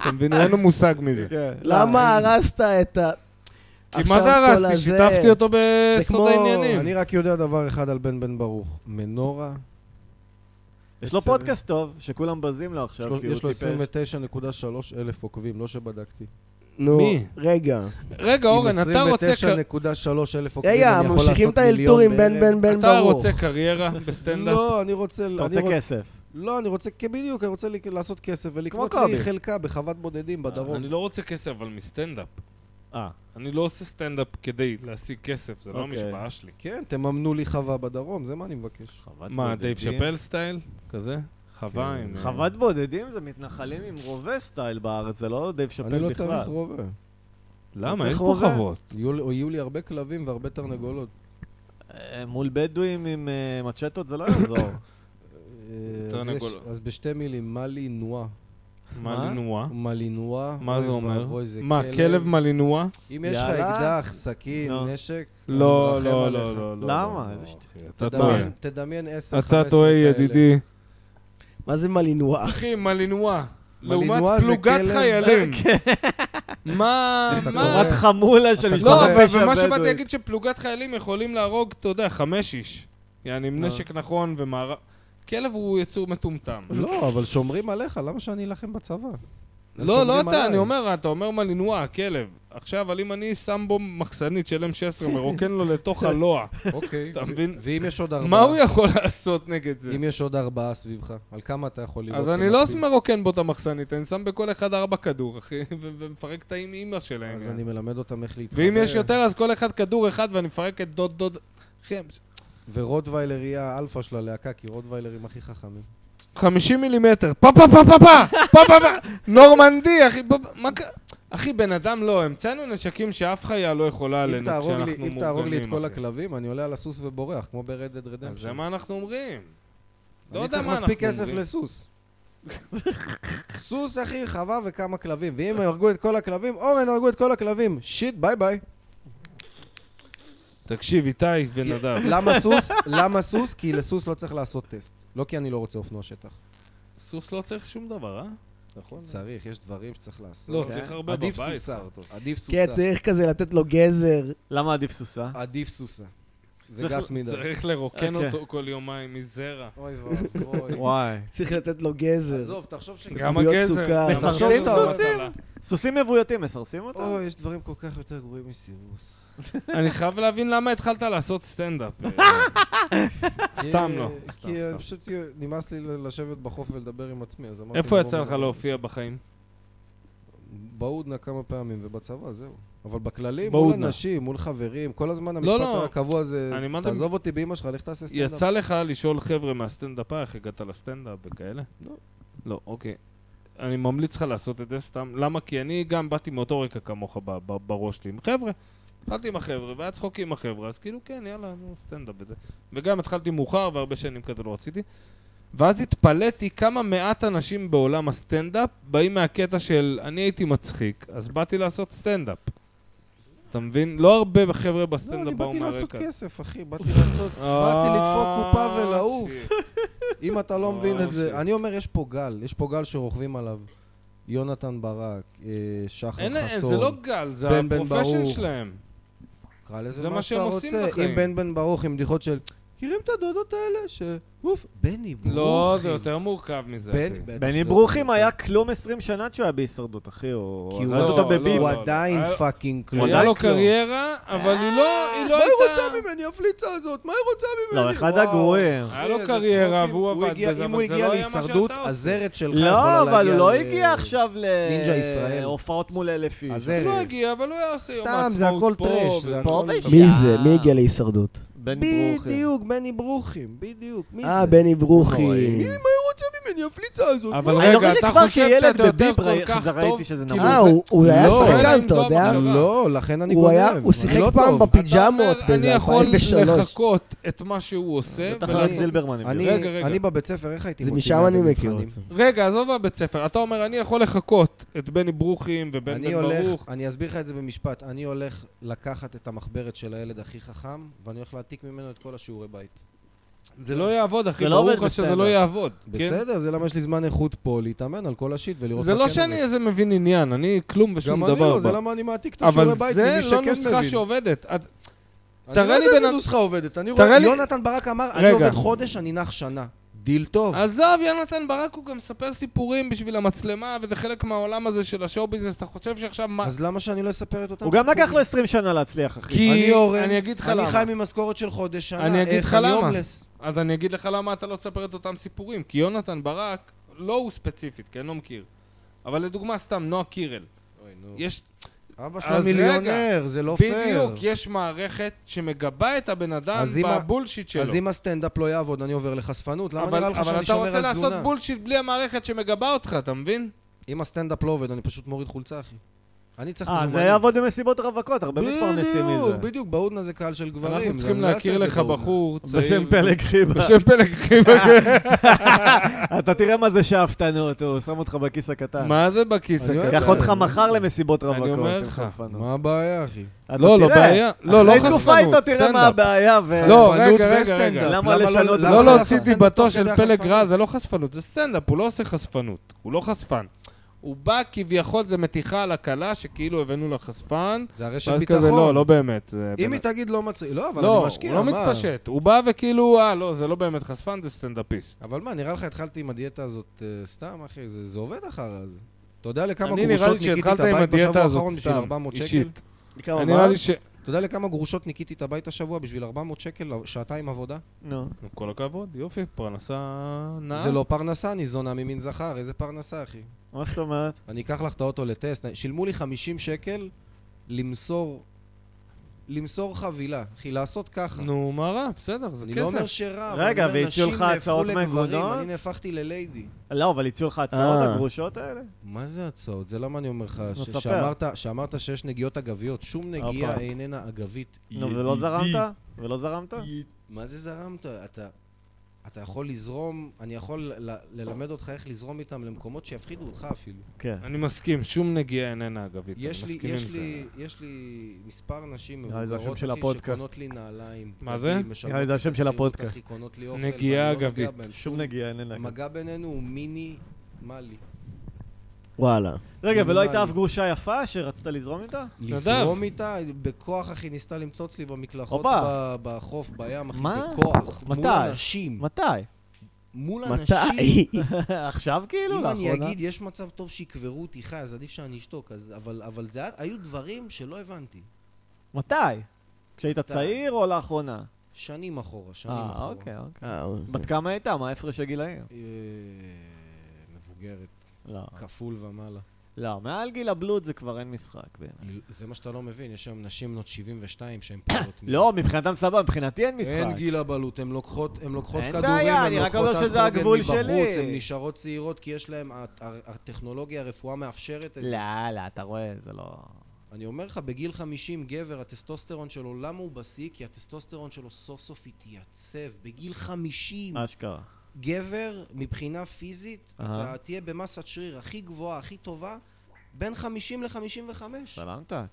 S1: אתה מבין? אין לו מושג מי זה.
S3: כן. למה הרסת את ה...
S1: לא, כי
S3: עכשיו
S1: מה זה
S3: כל
S1: הרסתי?
S3: הזה-
S1: שיתפתי אותו
S3: זה כמו-
S1: בסוד העניינים.
S3: כן.
S4: אני רק יודע דבר אחד על בן בן ברוך. מנורה,
S2: יש לו
S4: בסדר.
S2: פודקאסט טוב, שכולם בזים לו
S4: יש לו-
S2: עכשיו, כי הוא
S4: יש לו
S2: טיפש.
S4: 29.3 אלף עוקבים, לא שבדקתי.
S3: נו,
S1: מי?
S3: רגע.
S1: רגע, אורן, אתה רוצה... קר-
S4: עם 29.3 אלף עוקבים,
S3: רגע,
S4: אני יכול
S3: ממשיכים את
S4: לעשות מיליון
S3: האלתורים בין
S4: בערך.
S3: בין בין
S1: אתה
S3: ברור.
S1: רוצה קריירה בסטנדאפ?
S4: לא, אני רוצה...
S2: אתה
S4: אני
S2: רוצה
S4: רוצ-
S2: כסף.
S4: לא, אני רוצה... כן, בדיוק, אני רוצה לי- לעשות כסף ולקנות
S2: כמו
S4: לי
S2: קובי.
S4: חלקה בחוות בודדים בדרום.
S1: אני לא רוצה כסף, אבל מסטנדאפ.
S2: אה,
S1: אני לא עושה סטנדאפ כדי להשיג כסף, זה לא
S2: אוקיי.
S1: המשוואה שלי.
S4: כן, תממנו לי חווה בדרום, זה מה אני מבקש.
S2: חוות
S1: מה, דייב
S2: בודדים?
S1: שאפל סטייל? כזה? חווה עם... אה,
S2: חוות בודדים זה מתנחלים עם רובה סטייל בארץ, זה לא דייב
S4: אני
S2: שאפל
S4: לא צריך
S2: בכלל.
S4: רובה.
S1: למה?
S2: צריך
S1: אין פה
S2: רובה.
S1: חוות.
S4: יהיו לי- יהיו לי הרבה כלבים והרבה תרנגולות.
S2: אה, מול בדואים עם אה, מצ'טות זה לא יעזור.
S4: אה, אז
S1: תרנגולות.
S4: יש- אז בשתי מילים, מלינואה.
S2: מה?
S1: מלינואה.
S4: מלינואה.
S1: מה
S4: אוי
S1: זה אומר?
S4: ואבוי, זה
S1: מה, כלב מלינואה?
S4: אם יש לך
S2: יאללה.
S4: אקדח, סכין,
S2: נו.
S4: נשק... אני
S1: לא,
S4: מרחם
S1: לא,
S4: עליך.
S1: לא, לא, לא.
S2: למה?
S1: לא,
S2: איזה
S1: לא,
S2: שט-
S1: אחי,
S4: אוקיי.
S1: אתה טועה.
S4: תדמיין- תדמיין 10-15
S1: אתה טועה, ידידי.
S3: מה זה מלינואה?
S1: אחי, מלינואה.
S4: מלינואה
S1: לעומת
S4: זה
S1: פלוגת
S4: כלב? כן.
S1: חיילים. מה,
S4: אתה
S1: מה?
S2: תורת לא, חמולה של משפחה
S1: לא, אבל- ומה
S2: שהבדואית.
S1: שבאתי להגיד שפלוגת חיילים יכולים להרוג, אתה יודע, חמש איש. יעני,
S4: אה.
S1: עם נשק נכון ומערב... כלב הוא יצור מטומטם.
S4: לא, אבל שומרים עליך, למה שאני אלחם בצבא?
S1: לא,
S4: הם
S1: לא
S4: שומרים
S1: אתה,
S4: עליי.
S1: אני אומר, אתה אומר מלינואה, הכלב. עכשיו, אבל אם אני שם בו מחסנית של M16, מרוקן לו לתוך הלוע,
S4: אוקיי.
S1: אתה מבין?
S4: ואם יש עוד ארבעה...
S1: מה הוא יכול לעשות נגד זה?
S4: אם יש עוד ארבעה סביבך, על כמה אתה יכול לראות?
S1: אז אני לא מרוקן בו את המחסנית, אני שם בכל אחד ארבע כדור, אחי, ו- ומפרק את האם אימא שלהם. אה.
S4: אז אני מלמד אותם איך להתחבר.
S1: ואם יש יותר, אז כל אחד כדור אחד, ואני מפרק את דוד דוד... אחי, הם-
S4: ורוטוויילר יהיה האלפא של הלהקה, כי רוטוויילרים הכי חכמים.
S1: 50 מילימטר, פה פה פה פה פה, פה פה פה, נורמנדי, אחי, פה, פה, מה ק... אחי, בן אדם לא, המצאנו נשקים שאף חיה לא יכולה
S4: אם
S1: עלינו
S4: תהרוג
S1: כשאנחנו
S4: לי-
S1: מורגלים,
S4: אם תהרוג לי את כל
S1: אחי.
S4: הכלבים, אני עולה על הסוס ובורח, כמו ב-Red Dead Redemption.
S1: אז זה מה אנחנו אומרים. לא
S4: אני
S1: יודע
S4: צריך
S1: מה אנחנו
S4: מספיק כסף
S1: אומרים.
S4: לסוס. סוס, אחי, חווה וכמה כלבים. ואם הרגו את כל הכלבים, אורן, הרגו את כל הכלבים. שיט, ביי ביי.
S1: תקשיב, איתי ונדב,
S4: למה סוס? למה סוס? כי לסוס לא צריך לעשות טסט. לא כי אני לא רוצה אופנוע שטח.
S1: סוס לא צריך שום דבר, אה?
S4: נכון. צריך, יש דברים שצריך לעשות.
S1: לא, צריך הרבה
S4: עדיף
S1: בבית,
S4: סוסה.
S1: שר טוב.
S4: עדיף סוסה.
S3: כן, צריך כזה לתת לו גזר.
S2: למה עדיף סוסה?
S4: עדיף סוסה. זה
S2: צריך-
S4: גס מדי.
S1: צריך לרוקן
S2: אוקיי.
S1: אותו כל יומיים מזרע.
S4: אוי ואבוי.
S2: וואי.
S3: צריך לתת לו גזר.
S4: עזוב, תחשוב ש...
S1: גם
S3: קוביות
S1: הגזר.
S3: סוכר.
S1: גם
S2: מסרסים
S1: הגזר
S4: סוסים?
S1: הוא מטלה.
S2: סוסים מבויתים, מסרסים אותם?
S4: אוי, יש דברים כל כך יותר גרועים מסירוס.
S1: אני חייב להבין למה התחלת לעשות סטנדאפ. אה, סתם לא.
S4: כי-
S1: סתם,
S4: אה, כי
S1: סתם.
S4: פשוט כאילו, נמאס לי ל- לשבת בחוף ולדבר עם עצמי, אז אמרתי...
S1: איפה
S4: בוא
S1: יצא לך
S4: נדבר.
S1: להופיע בחיים?
S4: בהודנה כמה פעמים, ובצבא, זהו. אבל בכללי, מול
S1: בהודנה.
S4: אנשים, מול חברים, כל הזמן
S1: לא,
S4: המשפט
S1: לא.
S4: הקבוע הזה,
S1: אני מה זה-
S4: תעזוב אותי באמא שלך, לך תעשה סטנדאפ.
S1: יצא לך לשאול חבר'ה מהסטנדאפ, איך הגעת לסטנדאפ וכאלה?
S4: לא.
S1: לא, אוקיי. אני ממליץ לך לעשות את זה סתם. למה? כי אני גם באתי מאותו רקע כמוך ב- ב- בראש שלי עם חבר'ה. התחלתי עם החבר'ה, והיה צחוק עם החבר'ה, אז כאילו, כן, יאללה, נו, סטנדאפ וזה. וגם התחלתי מאוחר, והרבה שנים כזה לא רציתי. ואז התפלאתי כמה מעט אנשים בעולם הסטנדאפ באים מהקטע של אני הייתי מצחיק, אז באתי לעשות סטנדאפ. אתה מבין? לא הרבה חבר'ה
S4: לא, אני
S1: בסטנדאפ באו
S4: באתי
S1: מהרקע.
S4: לעשות כסף, אחי, באתי לעשות... באתי לדפוק קופה
S1: אה,
S4: ולעוף.
S1: שיט.
S4: אם אתה לא מבין
S1: וואו,
S4: את זה,
S1: שיט.
S4: אני אומר, יש פה גל, יש פה גל שרוכבים עליו. יונתן ברק, אה, שחר
S1: אין, אין,
S4: חסון.
S1: זה לא גל, זה
S4: בן בן
S1: הפרופשן
S4: ברוך.
S1: שלהם.
S4: קרא
S1: זה
S4: לזה
S1: מה
S4: מה
S1: שהם
S4: שאתה
S1: עושים
S4: רוצה.
S1: בחיים.
S4: עם בן בן ברוך, עם בדיחות של... מכירים את הדודות האלה? ש... אוף, בני ברוך.
S1: לא, זה יותר מורכב מזה, אחי.
S4: בן-
S2: בני
S4: זה-
S2: ברוכים היה כלום 20 שנה כשהוא היה בהישרדות, אחי, הוא...
S4: כי הוא-
S2: הרג
S1: לא,
S2: אותו בביב.
S4: הוא
S1: לא, לא.
S4: עדיין
S1: היה-
S4: פאקינג כלום.
S1: היה לו
S2: בדק לו.
S1: קריירה, אבל היא לא היא לא
S4: אה, מה היא
S1: הייתה...
S4: רוצה ממני, הפליצה הזאת? מה היא רוצה ממני?
S2: לא, אחד
S4: וואו.
S2: הגרועים.
S1: היה לו
S4: איזה
S1: קריירה,
S4: צחוקים.
S1: והוא
S4: הוא
S1: עבד
S4: הגיע-
S1: בזה,
S4: אם הוא
S1: אבל זה
S4: הגיע
S1: לא היה מה
S4: להישרדות,
S1: שאתה עושה.
S4: הזרת שלך יכולה
S2: לא,
S4: להגיע...
S2: אבל הוא לא
S4: ל-
S2: הגיע עכשיו ל-
S4: נינג'ה ישראל.
S2: הופעות מול אלף איש.
S4: אז
S1: הוא
S4: זה-
S1: לא הגיע, אבל הוא היה עושה יום
S4: סתם,
S1: העצמאות
S4: זה הכל
S1: פה,
S4: טרש,
S1: ופה,
S4: זה הכל...
S2: ושם.
S3: מי זה? מי הגיע להישרדות?
S2: בן ברוכים.
S4: בדיוק, בני ברוכים, בדיוק. מי
S3: אה,
S4: זה?
S3: בני
S2: אוי,
S3: ברוכי. אה,
S2: מי
S4: רוצה ממני הפליצה הזאת?
S1: אבל
S2: אני
S1: רגע,
S2: לא זוכר
S1: אתה
S2: שכבר
S1: חושב
S2: כילד
S1: שאתה יותר
S2: בביב
S1: כל
S2: ראי-
S1: כך
S2: ראיתי
S1: טוב?
S2: שזה
S1: כאילו,
S3: אה,
S1: זה-
S3: הוא- הוא היה
S1: לא,
S3: שחקן,
S1: אם
S3: אתה
S1: זו
S3: יודע?
S1: המחשבה.
S4: לא, לכן אני
S3: הוא
S4: גונב.
S3: היה- הוא
S4: אני
S3: שיחק
S4: לא
S3: פעם
S4: טוב.
S3: בפיג'מות
S1: אתה אומר, אני
S3: באיזה
S1: יכול
S3: 2003.
S1: לחקות את מה שהוא עושה.
S2: בטח
S1: ולעשות-
S2: רק זילברמן הביאו.
S4: אני-
S1: רגע, רגע.
S4: אני בבית ספר, איך הייתי
S3: זה
S4: מוציא
S3: משם
S4: מיד
S3: אני מכיר
S4: במבחנים?
S3: אותו.
S1: רגע, עזוב בבית ספר. אתה אומר, אני יכול לחקות את בני ברוכים ובן
S4: אני
S1: בן ברוך.
S4: הולך, אני אסביר לך את זה במשפט. אני הולך לקחת את המחברת של הילד הכי חכם, ואני הולך להעתיק ממנו את כל השיעורי בית.
S1: זה לא יעבוד, אחי.
S2: זה לא
S1: ברור
S2: עובד
S1: לך שזה לא
S2: בסטנדאפ.
S1: יעבוד. כן?
S4: בסדר, זה למה יש לי זמן איכות פה להתאמן על כל השיט ולראות...
S1: זה
S4: מה
S1: לא
S4: כן
S1: שאני
S4: עובד.
S1: איזה מבין עניין, אני כלום ושום דבר.
S4: גם אני לא, זה
S1: בה.
S4: למה אני מעתיק את השיעורי
S1: אבל
S4: בית.
S1: זה
S4: ממי שכן
S1: לא נוסחה
S4: מבין.
S1: שעובדת. את-
S4: אני
S1: תראה
S4: לא
S1: לי
S4: יודע
S1: בן
S4: איזה
S1: אד-
S4: נוסחה עובדת. אני
S1: תראה
S4: רואה,
S1: לי-
S4: יונתן ברק אמר, אני
S1: רגע.
S4: עובד חודש, אני נח שנה. דיל טוב.
S1: עזוב, יונתן ברק הוא גם מספר סיפורים בשביל המצלמה, וזה חלק מהעולם הזה של השואו ביזנס. אתה חושב שעכשיו מה...
S4: אז למה שאני לא אספר את אותם
S2: הוא גם לקח לו
S4: סיפורים?
S2: 20 שנה להצליח, אחי.
S1: כי...
S4: אני אורן,
S1: אני אגיד לך
S4: אני
S1: למה.
S4: חי ממשכורת של חודש שנה.
S1: אני אגיד
S4: איך
S1: לך
S4: אני
S1: למה.
S4: הומלס?
S1: אז אני אגיד לך למה אתה לא תספר את אותם סיפורים. כי יונתן ברק, לא הוא ספציפית, כי אני לא מכיר. אבל לדוגמה, סתם, נועה קירל. יש
S4: אבא
S1: אז
S4: שלו
S1: רגע.
S4: מיליונר, זה לא פייר.
S1: בדיוק, יש מערכת שמגבה את הבן אדם
S4: אז אם ה-
S1: בבולשיט שלו.
S4: אז אם הסטנדאפ לא יעבוד, אני עובר לחשפנות. למה
S1: אבל,
S4: נראה לך
S1: אבל
S4: שאני
S1: אתה
S4: שומר
S1: רוצה
S4: על
S1: לעשות
S4: תזונה?
S1: בולשיט בלי המערכת שמגבה אותך, אתה מבין?
S4: אם הסטנדאפ לא עובד, אני פשוט מוריד חולצה, אחי. אני צריך
S2: אה, זה
S4: מזומנים.
S2: יעבוד במסיבות רווקות, הרבה מתפרנסים
S4: בדיוק,
S2: מזה.
S4: בדיוק, בהודנה זה קהל של גברים.
S1: אנחנו
S4: זה-
S1: צריכים
S4: אני לא
S1: להכיר
S4: אעשה את
S1: לך
S4: זה בהודנה.
S1: בחור צעיר.
S2: בשם פלג חיבה.
S1: בשם פלג, אחי.
S2: אתה תראה מה זה שאפתנות, הוא שם אותך בכיס הקטן.
S1: מה זה בכיס
S4: אני לא אוהב
S1: הקטן?
S2: קח אותך מחר למסיבות
S1: אני
S2: רווקות.
S1: אומר
S2: עם
S1: לך,
S2: חשפנות.
S4: מה הבעיה, אחי?
S2: אתה
S1: לא, לא
S2: תראה.
S1: בעיה. לא, לא
S2: אחרי תקופה
S1: חשפנות,
S2: איתו תראה מה
S1: סטנדאפ.
S2: הבעיה ו...
S1: לא,
S4: חשפנות
S1: רגע, רגע,
S4: וסטנדאפ.
S1: רגע.
S2: למה לשנות
S4: למה
S1: לא
S2: למה
S1: להוציא
S4: לעשות
S1: דיבתו
S4: סטנדאפ תוך
S1: של
S4: כדי
S1: פלג
S4: החשפנות?
S1: רע, זה לא חשפנות, זה סטנדאפ, הוא לא עושה חשפנות. הוא לא חשפן. הוא בא כביכול, זה מתיחה על הכלה, שכאילו הבאנו לה חשפן,
S4: זה הרשת
S1: ואז
S4: ביטחון.
S1: כזה, לא, לא באמת. זה
S4: אם
S1: בן-
S4: היא תגיד לא מצחיק, לא, אבל
S1: לא,
S4: אני משקיע,
S1: הוא לא
S4: מה?
S1: מתפשט. הוא בא וכאילו, אה, לא, זה לא באמת חשפן, זה סטנדאפיסט.
S4: אבל מה, נראה לך התחלתי עם הדיאטה הזאת אה, סתם, אחי? זה זה עובד אחר זה. אתה יודע לכמה
S1: אני נראה לי
S4: גרושות ניקיתי
S1: שהתחלת
S4: את
S1: עם
S4: הבית בשבוע
S1: הדיאטה הזאת
S4: האחרון בשביל
S1: סתם,
S4: 400 שקל?
S1: אישית.
S3: כמה
S2: לא,
S1: אני נראה
S3: מה?
S1: לי ש...
S4: אתה יודע לכמה גרושות ניקיתי את הבית השבוע בשביל 400 שקל, לא, שעתיים עבודה?
S2: נו.
S1: נו, כל הכבוד, יופי, פרנסה נאה.
S4: זה לא פרנסה, אני זונה ממין זכר, איזה פרנסה, אחי?
S2: מה זאת אומרת?
S4: אני אקח לך את האוטו לטסט, שילמו לי 50 שקל למסור, למסור חבילה, אחי, לעשות ככה.
S1: נו, מה רע? בסדר, זה
S4: אני לא אומר
S1: כסף.
S4: שרע, אבל
S2: רגע,
S4: אני אומר,
S2: והציעו
S4: נשים
S2: לך
S4: נהפכו
S2: הצעות
S4: לגברים,
S2: מגונות?
S4: אני נהפכתי לליידי.
S2: לא, אבל הציעו לך הצעות
S3: אה.
S2: הגרושות האלה?
S4: מה זה הצעות? זה למה אני אומר לך, ש-
S2: ספר.
S4: שאמרת- שאמרת שיש נגיעות אגביות, שום נגיעה
S2: הופה.
S4: איננה אגבית.
S2: נו, ולא זרמת? ולא זרמת?
S4: מה זה זרמת? אתה... אתה יכול לזרום, אני יכול ל- ללמד אותך איך לזרום איתם למקומות שיפחידו אותך אפילו.
S2: כן.
S1: אני מסכים, שום נגיעה איננה אגבית, אני
S4: יש לי,
S1: מסכים עם
S4: יש
S1: זה.
S4: לי, יש לי מספר נשים
S2: נראה לי זה
S4: מבוגרות,
S2: השם של
S4: אחי,
S2: הפודקאסט.
S4: שקונות לי נעליים.
S1: מה זה?
S4: אחי, משלמות
S2: נראה לי זה
S4: לי
S2: השם
S4: את
S2: של
S4: השכירות,
S2: הפודקאסט.
S4: אחי, קונות לי אוכל,
S1: נגיעה
S4: ואני לא נוגע
S1: אגבית.
S4: בהן.
S2: שום נגיעה, אין לנגע.
S4: המגע בינינו הוא מינימלי.
S3: וואלה.
S2: רגע, ולא הייתה
S4: מינימלי.
S2: אף גרושה יפה שרצית לזרום איתה?
S1: נדב.
S4: לזרום איתה, בכוח אחי ניסתה למצוץ לי במקלחות,
S2: הופה.
S4: ב- בחוף, בים, אחי,
S2: מה?
S4: בכוח. מול
S2: מתי?
S4: אנשים.
S2: מתי?
S4: מול אנשים.
S3: מתי?
S2: עכשיו כאילו?
S4: אם אני
S2: לאחרונה?
S4: אגיד, יש מצב טוב שיקברו אותי חי, אז עדיף שאני אשתוק. אז- אבל אבל זה היה- היו דברים שלא הבנתי.
S2: מתי? כשהיית צעיר או לאחרונה?
S4: שנים אחורה, שנים אחורה.
S2: אה, אוקיי, אוקיי.
S3: אה,
S2: בת כמה הייתה? מה ההפרש הגילאים?
S4: אה, מבוגרת,
S2: לא.
S4: כפול ומעלה.
S2: לא, מעל גיל הבלוד זה כבר אין משחק. באמת.
S4: זה מה שאתה לא מבין, יש היום נשים בנות 72 שהן פחות... מ-
S2: לא, מבחינתם סבבה, מבחינתי אין
S4: אין
S2: משחק.
S4: גיל הבעלות, הן לוקחות הן לוקחות
S2: אין
S4: כדורים,
S2: בעיה,
S4: הן
S2: אני רק
S4: לוקחות
S2: אומר שזה
S4: אסטרוגן
S2: הגבול
S4: מבחוץ,
S2: שלי.
S4: הן נשארות צעירות כי יש להן, הט- הר- הטכנולוגיה, הרפואה מאפשרת את זה.
S2: לא, לא, אתה רואה, זה לא...
S4: אני אומר לך, בגיל 50 גבר, הטסטוסטרון שלו, למה הוא בשיא? כי הטסטוסטרון שלו סוף סוף התייצב. בגיל 50,
S2: אשכרה.
S4: גבר, מבחינה פיזית,
S2: אהה.
S4: אתה תהיה במסת שריר הכי גבוהה, הכי טובה, בין 50 ל-55.
S2: סלמתק.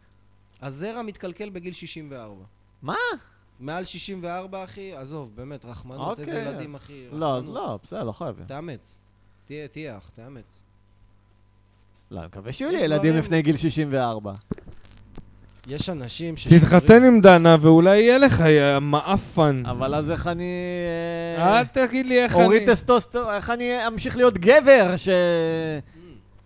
S4: הזרע מתקלקל בגיל 64.
S2: מה?
S4: מעל 64, אחי, עזוב, באמת, רחמנות,
S2: אוקיי.
S4: איזה ילדים, אחי.
S2: לא, אז
S4: רחמנות.
S2: לא, בסדר, לא חייבים.
S4: תאמץ. תהיה, תהיה אח, תאמץ.
S2: לא, אני מקווה שיהיו לי
S4: יש
S2: ילדים
S4: דברים-
S2: לפני גיל 64.
S4: יש אנשים ש...
S1: תתחתן עם דנה ואולי יהיה לך יא מעפן.
S2: אבל אז איך אני... אה,
S1: אל תגיד לי איך
S2: אוריד
S1: אני...
S2: טסטוסטר, איך אני אמשיך להיות גבר ש...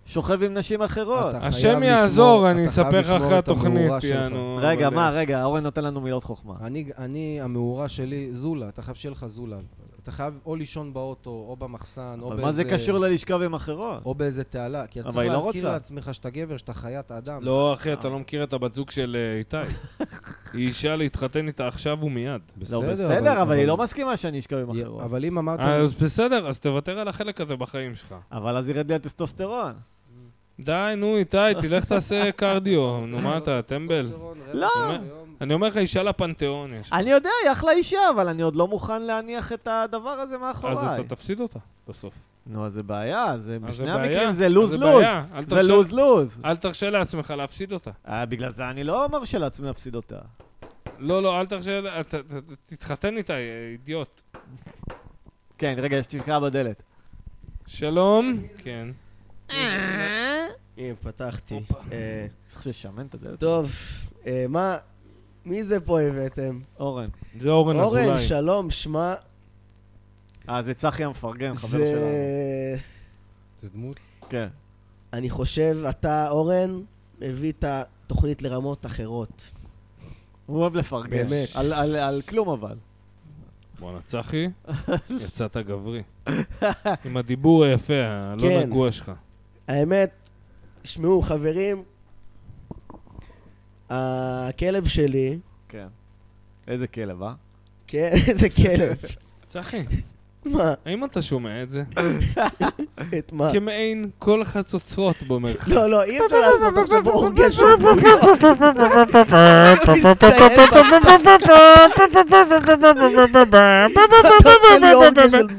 S2: שוכב עם נשים אחרות?
S4: אתה חייב
S1: השם
S4: לשמור-
S1: יעזור,
S4: אתה
S1: אני
S4: חייב
S1: אספר לך
S4: לשמור
S1: אחרי
S4: את המאורה
S1: התוכנית,
S4: שלך.
S1: יענו.
S2: רגע,
S1: אבל-
S2: מה, רגע, אורן נותן לנו מילות חוכמה.
S4: אני, אני, המאורה שלי, זולה, אתה חייב שיהיה לך זולה. אתה חייב או לישון באוטו, או במחסן, או
S2: אבל
S4: לא באיזה...
S2: מה זה קשור ללשכב עם אחרות?
S4: או באיזה תעלה, כי אתה
S2: אבל
S4: צריך
S2: היא לא
S4: להזכיר
S2: רוצה.
S4: לעצמך שאתה גבר, שאתה חיית אדם.
S1: לא, אחי, אתה לא מכיר את הבת זוג של אה, איתי. היא אישה להתחתן איתה עכשיו ומיד.
S2: לא, בסדר, אבל היא לא מסכימה שאני אשכב עם אחרות.
S4: אבל אם אמרת...
S1: אה, אז בסדר, אז תוותר על החלק הזה בחיים שלך.
S2: אבל אז ירד לי הטסטוסטרון.
S1: די, נו, איתי, תלך תעשה קרדיו. נו, מה אתה, טמבל?
S2: לא.
S1: אני אומר לך, אישה לפנתיאון יש.
S2: אני יודע, היא אחלה אישה, אבל אני עוד לא מוכן להניח את הדבר הזה
S1: אז
S2: מאחוריי.
S1: אתה תפסיד אותה בסוף.
S2: נו, אז זה בעיה, זה
S1: אז
S2: בשני
S1: בעיה,
S2: המקרים זה
S1: אז
S2: לוז-לוז.
S1: בעיה, אל
S2: זה
S1: תרשה-
S2: לוז-לוז.
S1: אל תרשה לעצמך להפסיד אותה.
S2: אה, בגלל זה אני לא מרשה לעצמי להפסיד אותה.
S1: לא, לא, אל תרשה, לה- ת- ת- ת- תתחתן איתה, אה, אידיוט.
S2: כן, רגע, יש תפקעה בדלת.
S1: שלום. כן.
S6: Ah.
S3: הנה, פתחתי. אה,
S2: צריך לשמן את הדלת.
S3: טוב, אה, מה... מי זה פה הבאתם?
S2: אורן.
S1: זה אורן
S3: אורן,
S1: אזולאי.
S3: שלום, שמע...
S2: אה, זה צחי המפרגן, חבר
S3: זה...
S2: שלנו.
S4: זה דמות.
S2: כן.
S3: אני חושב, אתה, אורן, הביא את התוכנית לרמות אחרות.
S2: הוא אוהב לפרגן.
S4: באמת.
S2: על- על- על כלום אבל.
S1: בואנה, צחי, יצאת גברי. עם הדיבור היפה, הלא
S3: כן.
S1: נגוע שלך.
S3: האמת, שמעו, חברים, הכלב שלי,
S2: כן. איזה כלב, אה?
S3: כן, איזה כלב.
S1: צחי,
S3: מה?
S1: האם אתה שומע את זה?
S3: את מה?
S1: כמעין כל חצוצרות במרחב.
S3: לא, לא, אי אפשר לעשות עכשיו באורגזמה. אני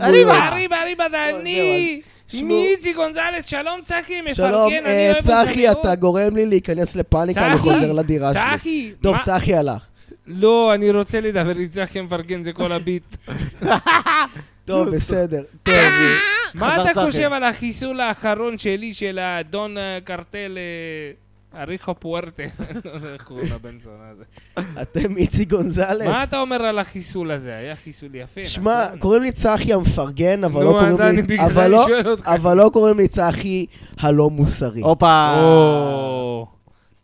S1: אריבה, אריבה, אריבה, זה אני!
S3: לא. שמעו.
S1: מיצי גונזלס, שלום צחי, מפרגן, אני
S3: שלום,
S1: אוהב אותך.
S3: אה, צחי,
S1: מאוד.
S3: אתה גורם לי להיכנס לפאניקה, אני
S1: צחי,
S3: חוזר לדירה שלי.
S1: צחי!
S3: טוב,
S1: מה-
S3: צחי הלך.
S1: לא, אני רוצה לדבר עם צחי מפרגן, זה כל הביט.
S3: טוב, בסדר. טוב,
S1: מה אתה
S2: צחי.
S1: חושב על החיסול האחרון שלי של האדון אה, קרטל אה, אריחו פוארטה? אני לא יודע איך קוראים לבן זונה הזה.
S3: אתם איצי גונזלס.
S1: מה אתה אומר על החיסול הזה? היה חיסול יפה, נכון?
S3: שמע, קוראים לי צחי המפרגן, אבל
S1: נו,
S3: לא
S1: אז
S3: קוראים
S1: אני
S3: לי...
S1: בגלל
S3: אבל
S1: אני
S3: לא-
S1: שואל אותך.
S3: אבל לא קוראים לי צחי הלא מוסרי.
S2: הופה!
S1: או,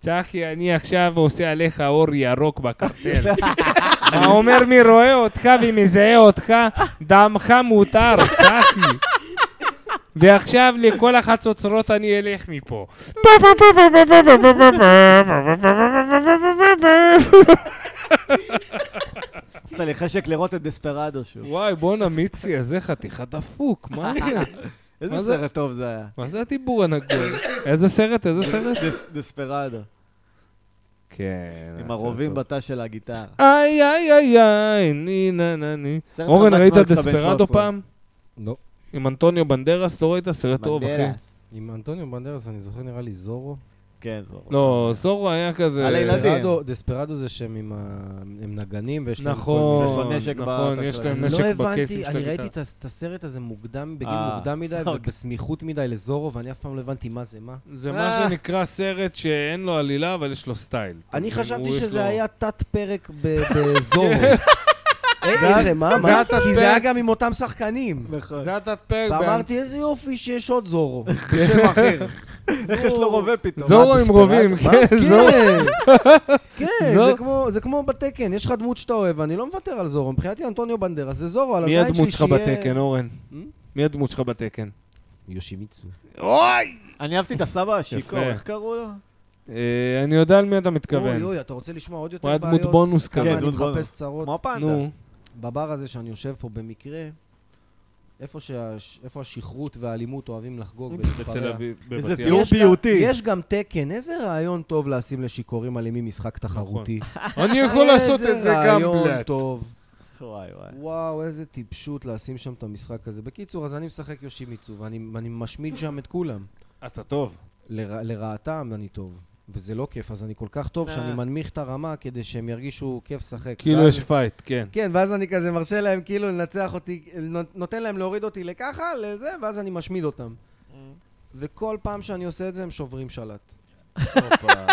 S1: צחי, אני עכשיו עושה עליך אור ירוק בקרטל. מה אומר מי רואה אותך ומזהה אותך, דמך מותר, צחי. ועכשיו לכל החצוצרות אני אלך מפה.
S2: עשית לי חשק לראות את דספרדו שוב.
S1: וואי, בואנה מיצי, איזה חתיכה דפוק, מה זה?
S2: איזה
S1: מה זה?
S2: סרט טוב זה היה.
S1: מה זה הדיבור הנגול? איזה סרט, איזה סרט?
S2: דס- דספרדו.
S1: אה, כן.
S2: עם הרובים בתא של הגיטרה.
S1: איי, איי, איי, איי, ני, נה, נה, ני.
S2: סרט
S1: אורן,
S2: חזק
S1: ראית
S2: מאוד
S1: את
S2: שאתה בן
S1: דספרדו
S2: 13.
S1: פעם?
S4: לא.
S1: עם אנטוניו בנדרס? לא ראית סרט טוב, אחי?
S2: בנדרס.
S4: עם אנטוניו בנדרס, אני זוכר נראה לי זורו.
S2: כן, זו.
S1: לא, זורו היה כזה...
S2: על הילדים.
S4: דספרדו- דספרדו זה שהם עם ה- הם נגנים ויש להם...
S1: נכון,
S2: כאילו, יש לו נשק
S1: נכון,
S2: בתא
S1: יש
S2: שלהם.
S1: להם
S4: לא
S1: נשק
S4: הבנתי,
S1: בקייסים של
S4: אני ראיתי
S1: הגיטרה.
S4: את הס- את הסרט הזה מוקדם, בגיל
S2: אה,
S4: מוקדם מדי
S2: אוקיי.
S4: ובסמיכות מדי לזורו, ואני אף פעם לא הבנתי מה זה מה.
S1: זה
S2: אה.
S1: מה שנקרא סרט שאין לו עלילה, אבל יש לו סטייל. אתה
S4: אני
S1: מבין?
S4: חשבתי
S1: הוא יש לו- כן.
S4: שזה היה תת-פרק ב- בזורו.
S3: איזה, מה,
S1: זה
S3: מה?
S1: היה כן,
S4: כי זה היה
S1: תת-פרק-
S4: גם עם אותם שחקנים.
S2: נכון.
S1: זה היה תת-פרק.
S4: ואמרתי, איזה יופי שיש עוד זורו. כן.
S2: שם אחר. איך יש לו רובה פתאום?
S1: זורו עם רובים, כן, זורו.
S4: כן, כן,
S1: זורו.
S4: זה כמו- זה כמו בתקן, יש לך דמות שאתה אוהב, אני לא מוותר על זורו. מבחינתי אנטוניו בנדרס זה זורו, על
S1: מי
S4: הזין
S1: הדמות שלך
S4: שלי שיהיה...
S1: בתקן, אורן?
S4: Hmm?
S1: מי הדמות שלך בתקן?
S4: יושימיצו.
S1: אוי!
S2: אני אהבתי את הסבא השיכור,
S1: יפה.
S2: איך קראו לו?
S1: אה, אני יודע על מי אתה
S4: אוי
S1: מתכוון.
S4: אוי, אתה רוצה לשמוע עוד
S1: הוא
S4: יותר
S1: היה
S4: בעיות?
S1: דמות בונוס
S4: כמה
S1: כזה.
S2: כן,
S4: אני
S2: דמות בונוס.
S4: מחפש צרות.
S2: כמו הפנדה.
S1: נו,
S4: בבר הזה שאני יושב פה במקרה, איפה שה- איפה השכרות והאלימות אוהבים לחגוג ולהתפרע.
S1: בתל אביב,
S2: איזה
S1: בבת ים.
S2: תיאור.
S4: יש גם-
S2: פיוטי.
S4: יש גם תקן, איזה רעיון טוב לשים לשיכורים אלימים משחק תחרותי.
S1: אני נכון. יכול לעשות את זה גם
S4: איזה רעיון
S1: בלאט.
S4: טוב.
S2: וואי וואי.
S4: וואו, איזה טיפשות לשים שם את המשחק הזה. בקיצור, אז אני משחק יושימיצו, ואני ואני משמיד שם את כולם.
S1: אתה טוב.
S4: לר- לרעתם אני טוב. וזה לא כיף, אז אני כל כך טוב
S2: אה.
S4: שאני מנמיך את הרמה כדי שהם ירגישו כיף לשחק.
S1: כאילו
S4: ואז-
S1: יש פייט, כן.
S4: כן, ואז אני כזה מרשה להם כאילו לנצח אותי, נות- נותן להם להוריד אותי לככה, לזה, ואז אני משמיד אותם.
S2: Mm.
S4: וכל פעם שאני עושה את זה, הם שוברים שלט.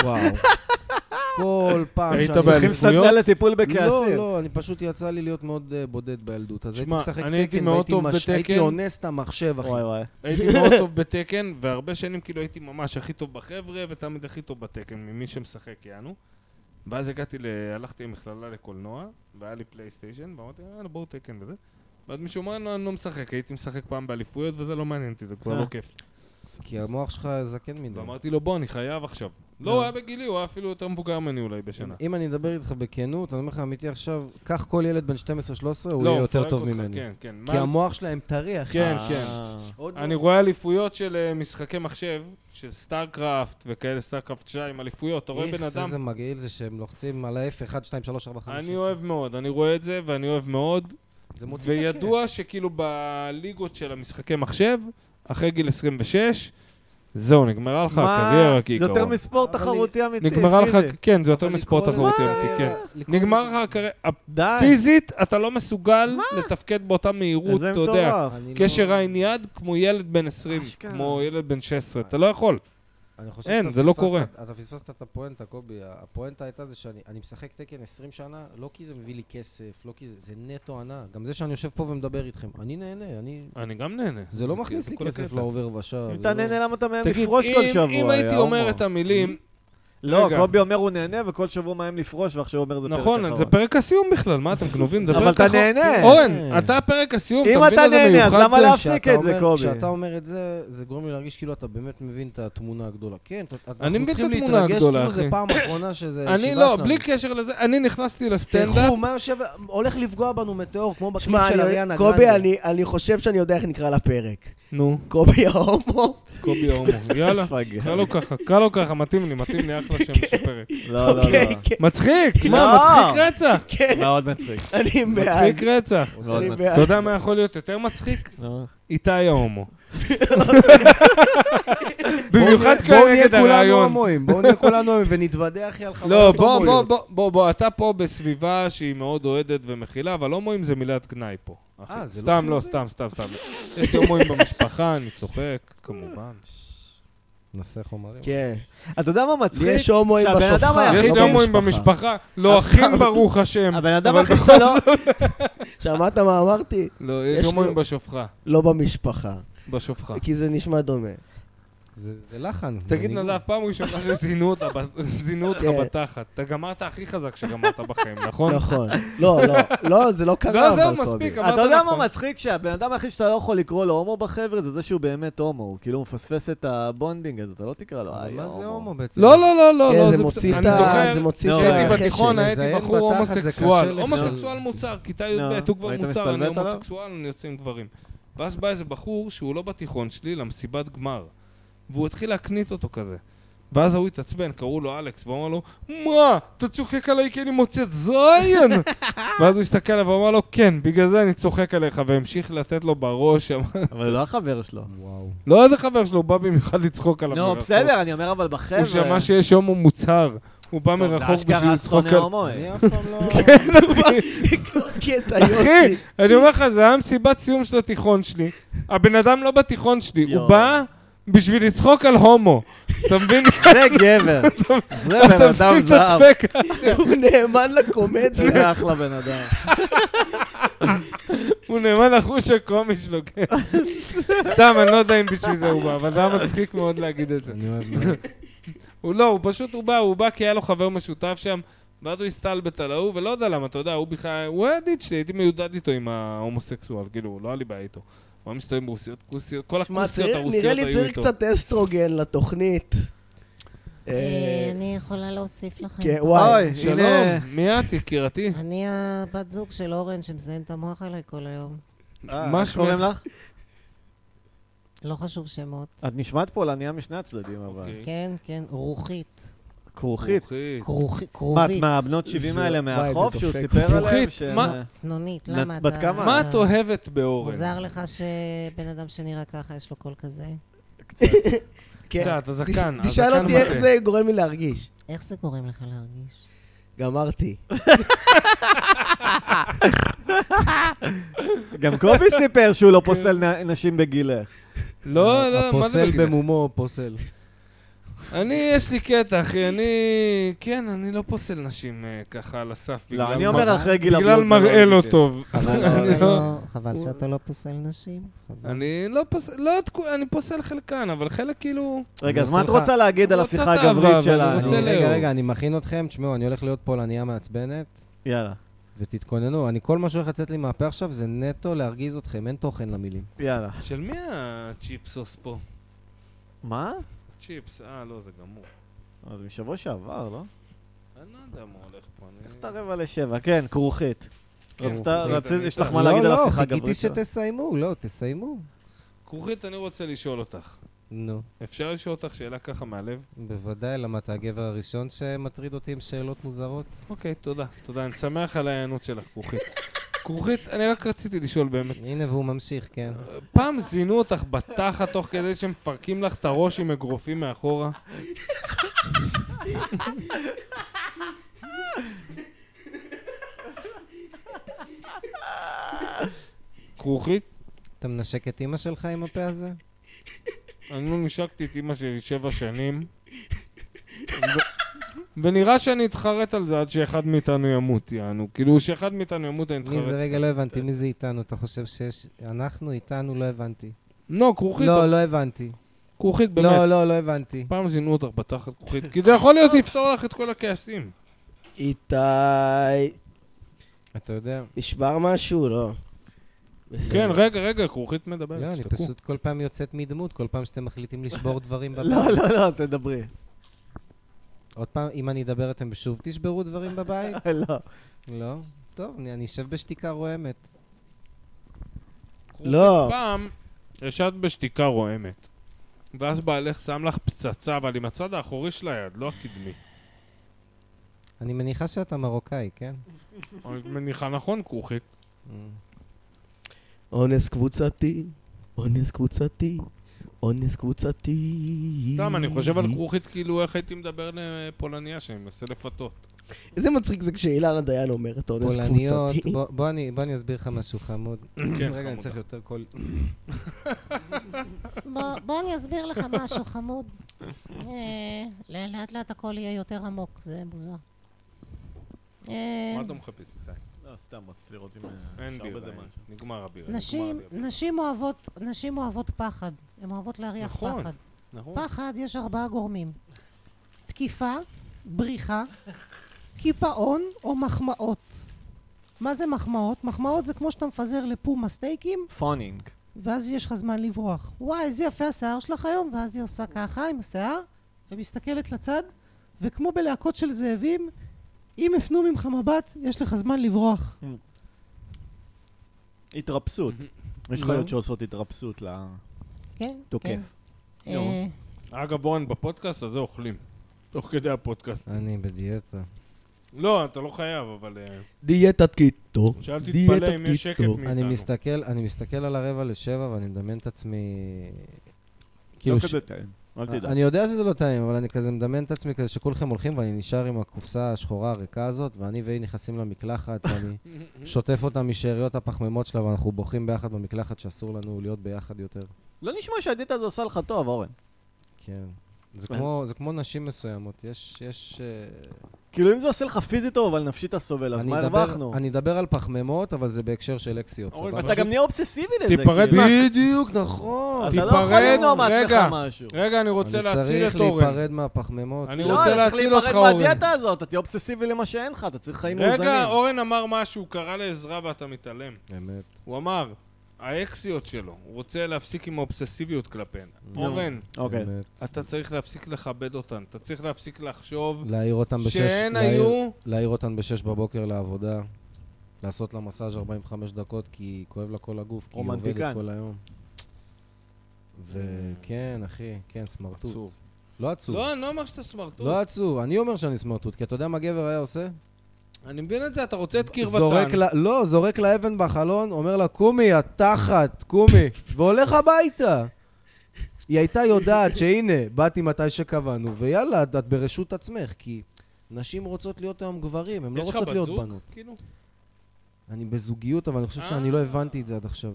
S4: וואו. כל פעם
S1: היית
S4: שאני...
S1: באליפות?
S2: צריכים סדנה לטיפול
S4: לא,
S2: בכעסים.
S4: לא, אני פשוט יצא לי להיות מאוד אה, בודד בילדות. אז הייתי
S1: שמע,
S4: משחק
S1: אני הייתי
S4: תקן,
S1: מאוד
S4: והייתי
S1: טוב
S4: מש-
S1: בתקן.
S4: הייתי אונס את המחשב, אחי.
S2: וואי וואי.
S1: הייתי מאוד טוב בתקן, והרבה שנים כאילו הייתי ממש הכי טוב בחבר'ה, ותמיד הכי טוב בתקן, ממי שמשחק, יענו. ואז הגעתי, ל... הלכתי למכללה לקולנוע, והיה לי פלייסטיישן, ואמרתי, יאללה, בואו תקן וזה. ואז מישהו אמר, לא, אני לא משחק, הייתי משחק פעם באליפויות, וזה לא מעניין אותי, זה כבר
S2: אה.
S1: לא כיף.
S4: כי המוח שלך זקן מדי.
S1: ואמרתי לו, בוא, אני חייב עכשיו.
S4: אה.
S1: לא, הוא היה בגילי, הוא היה אפילו יותר מבוגר ממני אולי בשנה.
S4: אם אני אדבר איתך בכנות, אני אומר לך אמיתי עכשיו, קח כל ילד בן 12-13, הוא
S1: לא,
S4: יהיה
S1: מפרק
S4: יותר טוב
S1: אותך,
S4: ממני.
S1: כן, כן.
S4: כי
S1: מה-
S4: המוח שלהם טרי, אחי.
S1: כן, כן.
S2: אה.
S4: עוד לא-
S1: אני רואה אליפויות של אה, משחקי מחשב, של סטארקראפט וכאלה, סטארקראפט 2, אליפויות, אתה רואה
S4: איך
S1: בן
S4: זה-
S1: אדם...
S4: זה מגעיל זה שהם לוחצים על ה-F, 1, 2, 3, 4, 5.
S1: אני אוהב מאוד, אני רואה את זה ואני אוהב מאוד,
S4: זה מוציא את הכיף.
S1: וידוע שכאילו בליגות של המשחקי מחשב, אחרי גיל 26, זהו, נגמרה לך הקריירה
S2: זה יותר
S1: כעיקרון.
S2: מספורט
S4: אבל
S2: תחרותי אמיתי.
S1: נגמרה לך,
S2: פיזי.
S1: כן, זה יותר
S4: אה, אבל
S1: מספורט
S4: לקרוא
S1: תחרותי
S4: לזה
S1: אמיתי, כן.
S4: קריירה- לקרוא
S1: נגמר
S4: לזה-
S1: לך הקריירה,
S2: די.
S1: פיזית אתה לא מסוגל לתפקד באותה מהירות,
S2: איזה
S1: אתה יודע.
S2: מטורף.
S4: אני לא-
S1: קשר עין יד כמו ילד בן 20,
S2: אשכרה.
S1: כמו ילד בן 16, אתה לא יכול.
S4: אני חושב
S1: אין,
S4: שאתה
S1: זה לא
S4: פספסת-
S1: קורה.
S4: אתה פספסת את הפואנטה, קובי. הפואנטה הייתה זה שאני אני משחק תקן 20 שנה, לא כי זה מביא לי כסף, לא כי זה... זה נטו ענה. גם זה שאני יושב פה ומדבר איתכם, אני נהנה, אני...
S1: אני גם נהנה. כאילו
S4: זה לא מכניס לי
S1: כל
S4: כסף
S1: הקטע.
S4: לעובר ושב. לא-
S2: אם אתה נהנה, למה אתה מאיים
S1: תגיד,
S2: לפרוש כל
S1: אם-
S2: שבוע?
S1: אם הייתי
S2: יא
S1: אומר
S2: הומו?
S1: את המילים,
S2: לא,
S1: רגע.
S2: קובי אומר הוא נהנה, וכל שבוע מאיים לפרוש, ועכשיו הוא אומר זה פרק אחרון.
S1: נכון, זה פרק הסיום בכלל, מה אתם גנובים? זה
S2: אבל
S1: פרק
S2: אתה
S1: אחרון.
S2: נהנה. כן.
S1: אורן, אתה פרק הסיום,
S2: אם
S1: אתה מבין
S2: אתה
S1: איזה
S2: נהנה, אז
S1: מיוחד
S2: למה
S1: זה?
S2: להפסיק? את זה, קובי.
S4: כשאתה אומר את זה, זה גורם לי להרגיש כאילו אתה באמת מבין את התמונה הגדולה. כן, אתה-
S1: מבין
S4: אנחנו
S1: את
S4: צריכים
S1: התמונה
S4: להתרגש
S1: הגדולה,
S4: כאילו זה
S1: אחי.
S4: פעם אחרונה שזה הישיבה
S1: אני
S4: שלנו.
S1: לא, בלי קשר לזה, אני נכנסתי לסטנדאפ,
S4: תלכו, מה יושב... הולך לפגוע בנו מטאור, כמו בקליפ
S3: שמע,
S4: של
S3: אני-
S4: אריאנה
S3: קובי,
S4: גרנדה.
S3: אני- אני חושב שאני יודע איך נקרא לפרק.
S1: נו,
S3: קובי ההומו.
S1: קובי ההומו, יאללה.
S2: פגע.
S1: קרא לו ככה, קרא לו ככה, מתאים לי, מתאים לי אחלה שם של פרק.
S2: לא, לא,
S3: אוקיי,
S2: לא.
S3: כן,
S1: מצחיק,
S2: לא. כן.
S1: מה, מצחיק רצח?
S3: כן,
S2: מאוד מצחיק.
S3: אני בעד.
S1: מצחיק רצח.
S2: מאוד
S3: אני
S2: מצחיק.
S1: אתה
S3: בעד.
S1: יודע מה יכול להיות יותר מצחיק?
S2: נו.
S1: איתי ההומו. במיוחד
S4: בואו
S1: כאן
S4: נהיה-
S1: נגד
S4: בואו נהיה כולנו
S1: הרעיון.
S4: הומואים, בואו נהיה כולנו הומואים ונתוודע אחי על חברות
S1: לא, בוא,
S4: הומואים.
S1: בוא, בוא, בוא, בוא, אתה פה בסביבה שהיא מאוד אוהדת ומכילה, אבל הומואים זה מילת גנאי פה. אחי.
S4: אה, זה לא
S1: סתם, לא,
S4: חיובי?
S1: סתם, סתם, סתם. יש לי הומואים במשפחה, אני צוחק, כמובן.
S4: נעשה חומרים.
S3: כן.
S2: אתה יודע מה
S3: לי יש
S2: מצחיק?
S3: הומואים
S2: שהבן אדם
S3: בסופה.
S2: היחיד
S1: יש
S2: לא
S1: לי הומואים במשפחה, לא
S3: אז
S1: אחים
S3: סתם.
S1: ברוך השם.
S2: הבן אדם
S1: אבל
S2: הכי שאתה לא...
S3: שמעת מה אמרתי?
S1: לא, יש
S3: יש
S1: הומואים
S3: לו-
S1: בשופחה.
S3: לא במשפחה.
S1: בשופחה.
S3: כי זה נשמע דומה.
S1: נכון.
S4: זה זה לחן.
S1: תגיד
S4: אני-
S1: נדב, פעם ראשונה שזינו אותה ב- זינו אותך
S3: כן.
S1: בתחת. אתה גמרת הכי חזק שגמרת בחיים, נכון?
S3: נכון. לא, לא, לא, זה לא קרה,
S1: לא, זהו,
S3: אבל קובי.
S1: מספיק, אמרת נכון.
S2: אתה יודע מה מצחיק? שהבן אדם היחיד שאתה לא יכול לקרוא לו הומו בחבר'ה זה זה שהוא באמת הומו. הוא כאילו מפספס את הבונדינג הזה, אתה לא תקרא לו.
S4: אבל
S2: "היי,
S4: מה זה הומו בעצם?
S1: לא, לא, לא, לא,
S3: כן,
S1: לא,
S3: זה
S1: זה בסדר.
S3: מוציא את
S1: אני
S3: ה-
S1: זוכר
S3: זה מוציא
S2: לא,
S3: את
S1: כשהייתי
S3: החשק.
S1: בתיכון הייתי
S4: לזיין
S1: בחור
S4: כן, בתחת זה קשה לא,
S1: הומוסקסואל.
S4: לגדול.
S1: הומוסקסואל מוצר, כיתה
S2: נו,
S1: י"ב, הוא כבר
S2: היית
S1: מוצר, אני
S2: מסתלבט
S4: לא?
S2: עליו?
S1: הומוסקסואל, אני יוצא עם גברים. ואז בא איזה בחור שהוא לא בתיכון שלי, למסיבת גמר. והוא התחיל להקנית אותו כזה. ואז ההוא התעצבן, קראו לו אלכס, והוא אמר לו, מה, אתה צוחק עליי כי אני מוצאת זין? ואז הוא הסתכל עליו ואמר לו, כן, בגלל זה אני צוחק עליך, והמשיך לתת לו בראש.
S2: אבל הוא לא החבר שלו.
S4: וואו.
S1: לא איזה חבר שלו, הוא בא במיוחד לצחוק עליו.
S2: נו,
S1: מרחוק.
S2: בסדר, אני אומר אבל בחבר'ה.
S1: לא, הוא שמע שיש הומו מוצהר. הוא בא
S2: טוב, זה
S1: מרחוק בשביל
S2: אשכרה אה.
S1: לצחוק
S2: שונא
S1: על...
S2: הומואים.
S4: אני אף פעם לא...
S3: קטע
S1: אחי,
S3: יופי.
S1: אני אומר לך, זה היה מסיבת סיום של התיכון שלי. הבן אדם לא בתיכון שלי, הוא
S2: יואו.
S1: בא בשביל לצחוק על הומו. אתה מבין?
S2: זה גבר. זה בן
S1: אתה
S2: אדם
S1: מבין את
S2: זהב.
S1: הדפק?
S3: הוא נאמן
S1: כן.
S3: לקומדיה.
S2: זה אחלה בן אדם.
S1: הוא נאמן לחוש הקומי שלו, כן. סתם, אני לא יודע אם בשביל זה הוא בא, אבל זה היה מצחיק מאוד להגיד את זה.
S4: אני אוהב מאוד.
S1: הוא לא, הוא פשוט, הוא בא, הוא בא כי היה לו חבר משותף שם, ואז הוא הסתלבט על ההוא, ולא יודע למה, אתה יודע, הוא בכלל, הוא היה ידיד שלי, הייתי מיודד איתו עם ההומוסקסואל, כאילו, לא היה לי בעיה איתו. הוא היה מסתובב עם רוסיות, כוסיות, כל
S3: מה,
S1: הכוסיות
S3: צריך-
S1: הרוסיות
S3: נראה לי
S1: היו
S3: צריך
S1: איתו.
S3: קצת אסטרוגן לתוכנית.
S7: אה,
S3: אה,
S7: אני יכולה להוסיף לכם.
S3: כן, וואי.
S2: אוי,
S1: שלום,
S2: הנה...
S1: מי את, יקירתי?
S7: אני הבת זוג של אורן שמזיין את המוח עליי כל היום.
S2: אה,
S1: מה
S2: איך
S1: שמך?
S2: קוראים לך?
S7: לא חשוב שמות.
S2: את נשמעת פולניה משני הצדדים, אבל.
S1: אוקיי.
S7: כן, כן, רוחית.
S2: כרוכית.
S1: רוחית.
S7: כרוכי-
S2: מה, את
S7: כרובית.
S2: מהבנות 70
S3: זה-
S2: האלה
S3: וואי,
S2: מהחוף
S3: זה
S2: שהוא
S3: דופק.
S2: סיפר עליהם?
S1: כרוכית,
S2: שהם,
S1: מה?
S2: אה,
S7: צנונית,
S2: נת-
S7: למה אתה...
S2: בת כמה?
S1: מה
S3: אה.
S1: את אוהבת באורן?
S7: מוזר לך שבן אדם שנראה ככה יש לו קול כזה?
S3: כן.
S1: קצת, הזקן,
S3: תש-
S1: הזקן
S3: תשאל אותי איך
S1: מטעה.
S3: זה גורם לי להרגיש.
S7: איך זה גורם לך להרגיש?
S3: גמרתי.
S2: אה, גם קובי סיפר שהוא
S1: כן.
S2: לא פוסל נ- נשים בגילך.
S1: לא, לא, מה זה
S4: הפוסל
S1: בגיל?
S4: במומו פוסל.
S1: אני, יש לי קטע, אחי, אני... כן, אני לא פוסל נשים אה, ככה על הסף.
S2: לא,
S1: בגלל
S2: אני
S1: מראה-
S2: אומר אחרי גיל הבלוט.
S1: בגלל
S2: זה לא
S1: מראה לא
S2: לגיטימי.
S1: טוב.
S7: חבל
S1: אני
S7: שאתה
S1: לא-
S7: לא- חבל שאתה לא פוסל נשים. חבל.
S1: אני לא פוסל, לא, את כו- אני פוסל חלקן, אבל חלק כאילו...
S2: רגע, אז
S4: אני
S2: מה את
S4: עושה לך-
S2: רוצה להגיד על
S1: רוצה
S2: השיחה
S1: את האהבה,
S2: הגברית
S1: אבל אני
S2: שלנו?
S1: רוצה ל-
S4: רגע, רגע, אני מכין אתכם. תשמעו, אני הולך להיות פולניה מעצבנת,
S2: יאללה,
S4: ותתכוננו. אני, כל מה שהולך לצאת לי מהפה עכשיו זה נטו להרגיז אתכם, אין תוכן למילים.
S2: יאללה.
S1: של מי הצ'יפסוס פה?
S2: מה?
S1: צ'יפס, אה, לא, זה גמור.
S2: אז משבוע שעבר, לא?
S1: אני לא יודע מה הולך פה, אני...
S2: איך אתה רבע לשבע? כן, כרוכית.
S1: כן,
S2: רצית,
S1: כרוכית,
S2: רצית,
S1: אני-
S2: יש לך
S1: לא,
S2: מה להגיד על השיחה
S4: לא, חיכיתי
S2: הגברית שלנו?
S4: שתסיימו, לא, תסיימו.
S1: כרוכית, אני רוצה לשאול אותך.
S4: נו,
S1: אפשר לשאול אותך שאלה ככה מהלב?
S4: בוודאי, למה אתה הגבר הראשון שמטריד אותי עם שאלות מוזרות?
S1: אוקיי, תודה. תודה, אני שמח על ההיענות שלך, כרוכית. כרוכית, אני רק רציתי לשאול באמת.
S4: הנה, והוא ממשיך, כן.
S1: פעם זינו אותך בתחת תוך כדי שמפרקים לך את הראש עם אגרופים מאחורה? כרוכית?
S4: אתה מנשק את אימא שלך עם הפה הזה?
S1: אני לא נשקתי את אימא שלי שבע שנים, ו- ונראה שאני אתחרט על זה עד שאחד מאיתנו ימות, יענו. כאילו, שאחד מאיתנו ימות, אני
S4: מי זה?
S1: אתחרט.
S4: רגע, לא הבנתי. מי זה איתנו? אתה חושב שיש... אנחנו איתנו? לא הבנתי.
S1: לא, כרוכית,
S4: לא, לא הבנתי.
S1: כרוכית באמת.
S4: לא, לא, לא הבנתי.
S1: פעם זינו אותך בתחת כרוכית, כי זה יכול להיות לפתור לך את כל הכעסים.
S3: איתי,
S4: אתה יודע...
S3: נשבר משהו? לא.
S1: כן,
S3: בסדר.
S1: רגע, רגע, כרוכית מדברת,
S4: לא, אני
S1: שתקו.
S4: פשוט כל פעם יוצאת מדמות, כל פעם שאתם מחליטים לשבור דברים בבית.
S2: לא, לא, לא, תדברי.
S4: עוד פעם, אם אני אדבר, אתם שוב תשברו דברים בבית?
S2: לא.
S4: לא? טוב, אני אני אשב בשתיקה רועמת.
S1: כרוכית
S3: לא.
S1: פעם ישבת בשתיקה רועמת, ואז בעלך שם לך פצצה, אבל עם הצד האחורי של היד, לא הקדמי.
S4: אני מניחה שאתה מרוקאי, כן?
S1: אני מניחה נכון, כרוכית.
S3: אונס קבוצתי, אונס קבוצתי, אונס קבוצתי.
S1: סתם, אני חושב על כרוכית כאילו איך הייתי מדבר לפולניה שאני מנסה לפתות.
S3: איזה מצחיק זה כשאילנה דיין אומרת אונס
S4: פולניות,
S3: קבוצתי.
S4: בוא- בוא אני בוא אני אסביר לך משהו חמוד.
S1: כן,
S4: רגע, אני
S1: חמודה.
S4: צריך יותר קול.
S7: בוא, בוא אני אסביר לך משהו, חמוד. אה, לאט לאט הכל יהיה יותר עמוק, זה מוזר. אה,
S1: מה אתה מחפש איתי?
S2: לא, סתם, רציתי לראות אם...
S1: אין בירה, אין. נגמר הבירה. נגמר
S7: נשים,
S1: הבירה.
S7: נשים, אוהבות, נשים אוהבות פחד, הן אוהבות להריח
S1: נכון.
S7: פחד.
S1: נכון.
S7: פחד יש ארבעה גורמים. תקיפה, בריחה, קיפאון או מחמאות. מה זה מחמאות? מחמאות זה כמו שאתה מפזר לפומה סטייקים,
S2: פונינג.
S7: ואז יש לך זמן לברוח. וואי, איזה יפה השיער שלך היום, ואז היא עושה ככה עם השיער, ומסתכלת לצד, וכמו בלהקות של זאבים, אם הפנו ממך מבט, יש לך זמן לברוח.
S2: התרפסות. יש
S1: לא.
S2: חיות שעושות התרפסות
S7: כן, כן.
S2: לתוקף.
S7: אה,
S2: נו.
S1: אגב, אורן, בפודקאסט הזה אוכלים. תוך כדי הפודקאסט.
S4: אני בדיאטה.
S1: לא, אתה לא חייב, אבל... אה,
S3: דיאטת קיטו,
S1: שאל
S3: דיאטת
S1: תתפלא אם יש שקט
S3: קיטו.
S1: מאיתנו.
S4: אני מסתכל, אני מסתכל על הרבע לשבע ואני מדמיין את עצמי... כאילו...
S2: לא
S4: ש-
S2: כזה טעים,
S1: אה,
S2: אל תדאג.
S4: אני יודע שזה לא טעים, אבל אני כזה מדמיין את עצמי כזה שכולכם הולכים ואני נשאר עם הקופסה השחורה הריקה הזאת, ואני והיא נכנסים למקלחת ואני שוטף אותה משאריות הפחמימות שלה ואנחנו בוכים ביחד במקלחת שאסור לנו להיות ביחד יותר.
S2: לא נשמע שהדיאטה הזו עושה לך טוב, אורן.
S4: כן. זה כמו, זה כמו נשים מסוימות, יש... יש אה,
S2: כאילו, אם זה עושה לך פיזית טוב, אבל נפשית אתה סובל, אז
S4: אני
S2: מה
S4: אדבר-
S2: הרווחנו?
S4: אני אדבר על פחמימות, אבל זה בהקשר של אקסיות,
S1: אורן,
S4: סבבה?
S2: אתה גם נהיה אובססיבי לזה,
S1: תיפרד
S2: כאילו.
S1: מה-
S4: בדיוק, נכון.
S2: אתה לא יכול
S1: תיפרד,
S2: למנוע מעצמך
S1: רגע.
S2: משהו.
S1: רגע, אני רוצה
S4: אני
S1: להציל
S4: צריך
S1: את אורן.
S4: להיפרד מהפחמימות.
S1: אני
S2: לא,
S1: רוצה
S2: אתה צריך
S1: להציל אותך,
S2: להיפרד
S1: אורן.
S2: מהדיאטה הזאת, אתה תהיה אובססיבי למה שאין לך, אתה צריך חיים מאוזנים.
S1: רגע, אורן אמר משהו, קרא לעזרה ואתה מתעלם.
S4: באמת.
S1: הוא אמר, האקסיות שלו, הוא רוצה להפסיק עם האובססיביות כלפיהן. אורן,
S2: אוקיי.
S4: באמת.
S1: אתה צריך להפסיק לכבד אותן, אתה צריך להפסיק לחשוב
S4: להעיר אותם בשש...
S1: שהן
S4: להעיר-
S1: היו...
S4: להעיר אותן בשש בבוקר לעבודה, לעשות לה מסאז' 45 דקות, כי כואב לה כל הגוף, כי היא
S2: רומנטיקן.
S4: עובדת כל היום. וכן, אחי, כן, סמרטוט.
S1: עצוב.
S4: לא עצוב.
S1: לא, אני לא אומר שאתה סמרטוט.
S4: לא עצוב, אני אומר שאני סמרטוט, כי אתה יודע מה גבר היה עושה?
S1: אני מבין את זה, אתה רוצה את
S4: זורק
S1: קרבתן.
S4: לה, לא, זורק לה אבן בחלון, אומר לה, קומי, את תחת, קומי, והולך הביתה. היא הייתה יודעת שהנה, באתי מתי שקבענו, ויאללה, את את ברשות עצמך, כי נשים רוצות להיות היום גברים, הן לא
S1: יש לך
S4: רוצות
S1: בת
S4: להיות
S1: זוג?
S4: בנות.
S1: כאילו?
S4: אני בזוגיות, אבל אני חושב שאני
S1: אה.
S4: לא הבנתי את זה עד עכשיו.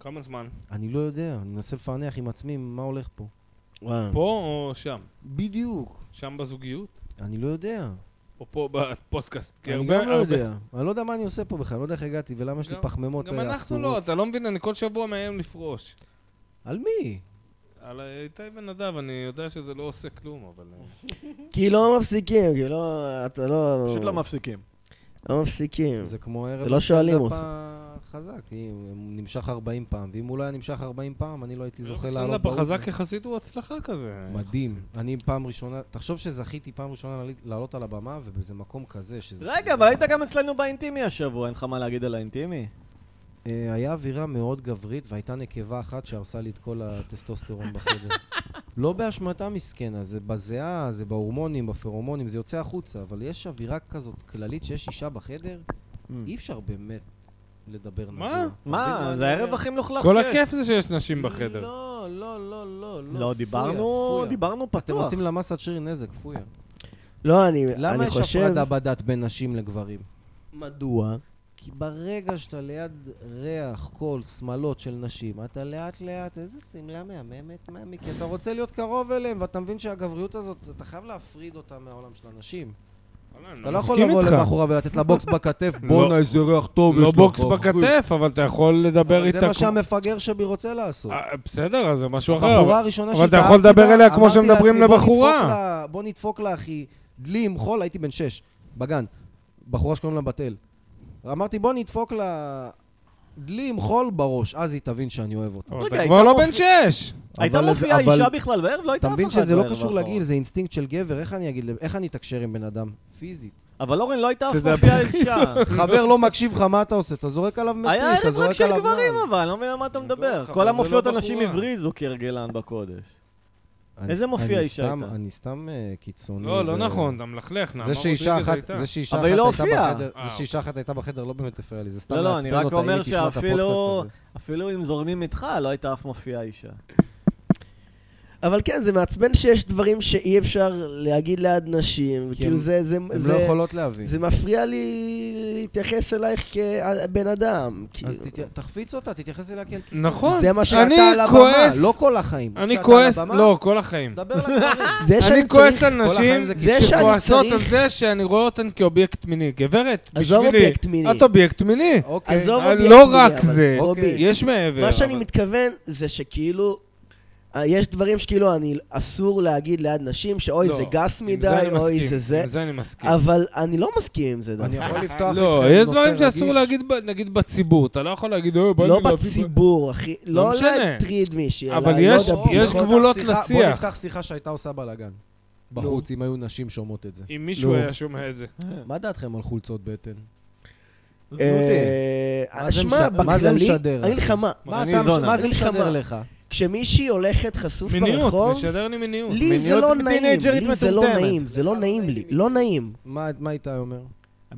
S1: כמה זמן?
S4: אני לא יודע, אני מנסה לפענח עם עצמי מה הולך פה.
S3: וואו.
S1: פה או שם?
S4: בדיוק.
S1: שם בזוגיות?
S4: אני לא יודע.
S1: או פה בפודקאסט? כי
S4: אני
S1: הרבה-
S4: גם לא
S1: הרבה-
S4: יודע. אני לא יודע מה אני עושה פה בכלל, אני לא יודע איך הגעתי ולמה יש לי
S1: גם-
S4: פחמימות
S1: גם
S4: אה,
S1: אנחנו לא,
S4: אסורות.
S1: אתה לא מבין, אני כל שבוע מאיים לפרוש.
S4: על מי?
S1: על אה, איתי בן אדם, אני יודע שזה לא עושה כלום, אבל... אה,
S3: כי לא מפסיקים, כי לא... אתה לא...
S2: פשוט לא מפסיקים.
S3: לא מפסיקים.
S4: זה כמו ערב
S3: זה לא שואלים
S4: הסטנדאפ
S3: אותך.
S4: החזק, אם הוא נמשך 40 פעם, ואם הוא לא היה נמשך 40 פעם, אני לא הייתי זוכה לעלות
S1: הסטנדאפ
S4: באוטו.
S1: החזק יחסית הוא הצלחה כזה. אה,
S4: מדהים. אני פעם ראשונה, תחשוב שזכיתי פעם ראשונה לעלי- לעלות על הבמה, ובאיזה מקום כזה, שזה...
S2: רגע, אבל היית גם אצלנו באינטימי השבוע, אין לך מה להגיד על האינטימי?
S4: אה, היה אווירה מאוד גברית, והייתה נקבה אחת שהרסה לי את כל הטסטוסטרון בחדר. לא באשמתה מסכנה, זה בזיעה, זה בהורמונים, בפרומונים, זה יוצא החוצה, אבל יש אווירה כזאת כללית שיש אישה בחדר, אי אפשר באמת לדבר
S1: מה?
S4: נגוע. אתה מבין
S2: Mm. מה,
S4: אני
S2: זה הערב
S4: אומר?
S2: הכי מלוכלך
S1: כל
S2: שיש.
S1: הכיף זה שיש נשים בחדר.
S4: לא, לא, לא, לא, לא.
S2: לא,
S4: פויה,
S2: דיברנו,
S4: פויה.
S2: דיברנו
S4: אתם
S2: פתוח.
S4: עושים למסת שיר נזק, פויה.
S3: לא, אני,
S4: למה
S3: אני
S4: יש
S3: חושב...
S4: הפרדה בדת בין נשים לגברים?
S3: מדוע?
S4: כי ברגע שאתה ליד ריח, קול, שמלות של נשים, אתה לאט לאט, איזה שמלה מהממת, מאמי, כי אתה רוצה להיות קרוב אליהם, ואתה מבין שהגבריות הזאת, אתה חייב להפריד אותה מהעולם של הנשים. אתה לא יכול לבוא לבחורה ולתת לה בוקס בכתף, בואנה איזה ריח טוב יש
S1: לא
S4: לך.
S1: בוקס
S4: אחי."
S1: בכתף, אבל אתה יכול לדבר
S4: אבל
S1: איתה...
S4: זה מה
S1: כמו-
S4: שהמפגר שבי רוצה לעשות.
S1: אה, בסדר, אז זה משהו אחר.
S4: הבחורה
S1: אבל-
S4: הראשונה
S1: אבל אתה יכול לדבר אליה כמו שמדברים לבחורה.
S4: בוא נדפוק לה, אחי, דלי עם חול, הייתי בן שש, בגן. בחורה שקוראים לה בת אל. אמרתי, בוא נדפוק לה דלי עם חול בראש, אז היא תבין שאני אוהב אותה.
S1: אבל
S2: רגע,
S1: אתה כבר
S2: הייתה
S1: לא
S2: מופ-
S1: בן שש!
S2: הייתה
S4: אבל-
S2: מופיעה
S4: אבל-
S2: אישה בכלל בערב? לא הייתה
S4: אתה
S2: אף אחד
S4: מבין שזה לא
S2: בערב
S4: קשור
S2: האחרון.
S4: לגיל, זה אינסטינקט של גבר, איך אני אגיד, ל- איך אני אתקשר עם בן אדם? פיזית.
S2: אבל אורן, לא הייתה אף
S1: תדבר.
S2: מופיעה אישה.
S4: חבר לא מקשיב לך, מה אתה עושה? אתה זורק עליו מציא,
S2: היה
S4: אתה
S2: ערב רק
S4: זורק
S2: של
S4: עליו
S2: גברים,
S4: מים.
S2: אבל, אני לא מבין על מה אתה
S1: אני מדבר
S2: מדבר.
S1: איתך, אבל
S2: כל
S1: זה
S2: המופיעות
S1: לא
S2: הנשים
S1: בחורה.
S2: הבריזו כהרגלן בקודש.
S4: אני-
S2: איזה מופיע
S4: אני
S2: אישה
S4: סתם-
S2: הייתה?
S4: אני סתם אה, קיצוני.
S1: לא,
S4: ו-
S1: לא נכון, אתה מלכלך, נעמה
S4: זה שאישה
S1: רודריגז
S4: אחת,
S1: הייתה.
S4: זה שאישה
S2: אבל
S4: אחת
S2: היא לא
S4: הייתה
S2: הופיעה.
S4: בחדר,
S1: אה.
S4: זה שאישה אחת הייתה בחדר לא באמת הפריע לי, זה סתם
S2: לא, לא, אני
S4: מעצבן
S2: רק
S4: אותה, אם
S2: אומר
S4: היא תשמע את
S2: שאפילו
S4: הפודקאסט הזה.
S2: אפילו אם זורמים איתך, לא הייתה אף מופיעה אישה.
S3: אבל כן, זה מעצבן שיש דברים שאי אפשר להגיד ליד נשים,
S4: הם-
S3: כאילו זה... זה-
S4: הן
S3: זה-
S4: לא יכולות להבין.
S3: זה מפריע לי להתייחס אלייך כבן אדם.
S4: אז אה,
S3: כאילו.
S4: תת- תחפיץ אותה, תתייחס אליה כאל כיסא.
S1: נכון.
S3: זה מה ש-
S1: אני
S4: כשאתה על הבמה,
S1: כועס,
S4: לא כל החיים.
S1: אני
S4: כשאתה
S1: כועס,
S4: על הבמה,
S1: לא, כל החיים.
S4: דבר לגברים.
S3: זה שאני
S1: אני
S3: צריך...
S1: כועס על נשים
S4: החיים זה
S3: זה שאני
S1: שכועסות
S3: צריך-
S1: על זה שאני רואה אותן כאובייקט מיני. גברת,
S3: עזוב
S1: בשבילי,
S3: אובייקט מיני.
S1: את אובייקט מיני.
S4: אוקיי.
S3: עזוב
S1: אה,
S3: אובייקט
S1: לא
S3: מיני,
S1: רק
S3: אבל
S1: זה. אוקיי.
S3: קובי,
S1: יש מעבר.
S3: מה שאני
S1: אבל-
S3: מתכוון זה שכאילו... אה, יש דברים שכאילו אני אסור להגיד ליד נשים, שאוי
S1: לא,
S3: זה גס
S1: עם
S3: מדי,
S1: זה אני
S3: אוי
S1: מסכים,
S3: זה זה,
S1: עם זה אני מסכים.
S3: אבל אני לא מסכים עם זה
S4: אני
S3: דווקא.
S4: יכול לפתוח
S1: לא,
S4: איתכם
S1: יש
S4: נושא
S1: דברים שאסור
S4: רגיש.
S1: להגיד, ב- נגיד בציבור. אתה לא יכול להגיד, "אה, בא לי
S3: לא
S1: להביא-
S3: בציבור, אחי,
S1: לא
S3: לא
S1: משנה.
S3: להטריד מישהי, אלא
S1: אבל
S3: לא
S1: יש-
S3: לדבר.
S1: יש
S4: בוא נפתח
S1: גבולות
S4: שיחה- בוא
S1: לשיח.
S4: נפתח שיחה שהייתה עושה בלאגן. בחוץ, אם היו נשים שומעות את זה.
S1: אם מישהו
S4: לא.
S1: היה שומע את זה.
S4: מה דעתכם על חולצות בטן?
S3: אה,
S4: מה זה
S3: שמע,
S4: משדר? מה זה
S3: בכללי,
S4: משדר,
S3: אני אגיד לך
S4: אחי?
S3: מה,
S4: מה
S2: אני
S4: אתה-
S2: זונה.
S4: מה זה
S3: אני
S4: משדר
S3: חמה.
S4: לך?
S3: כשמישהי הולכת חשוף
S1: מיניות,
S3: ברחוב,
S1: משדר לי מיניות.
S3: נכון. לי זה לא
S2: מיניות
S3: נעים,
S2: טינג'רית
S3: לי זה לא
S2: מטומטמת.
S3: נעים, זה לא נעים לי, לא נעים.
S4: מה מה איתי אומר?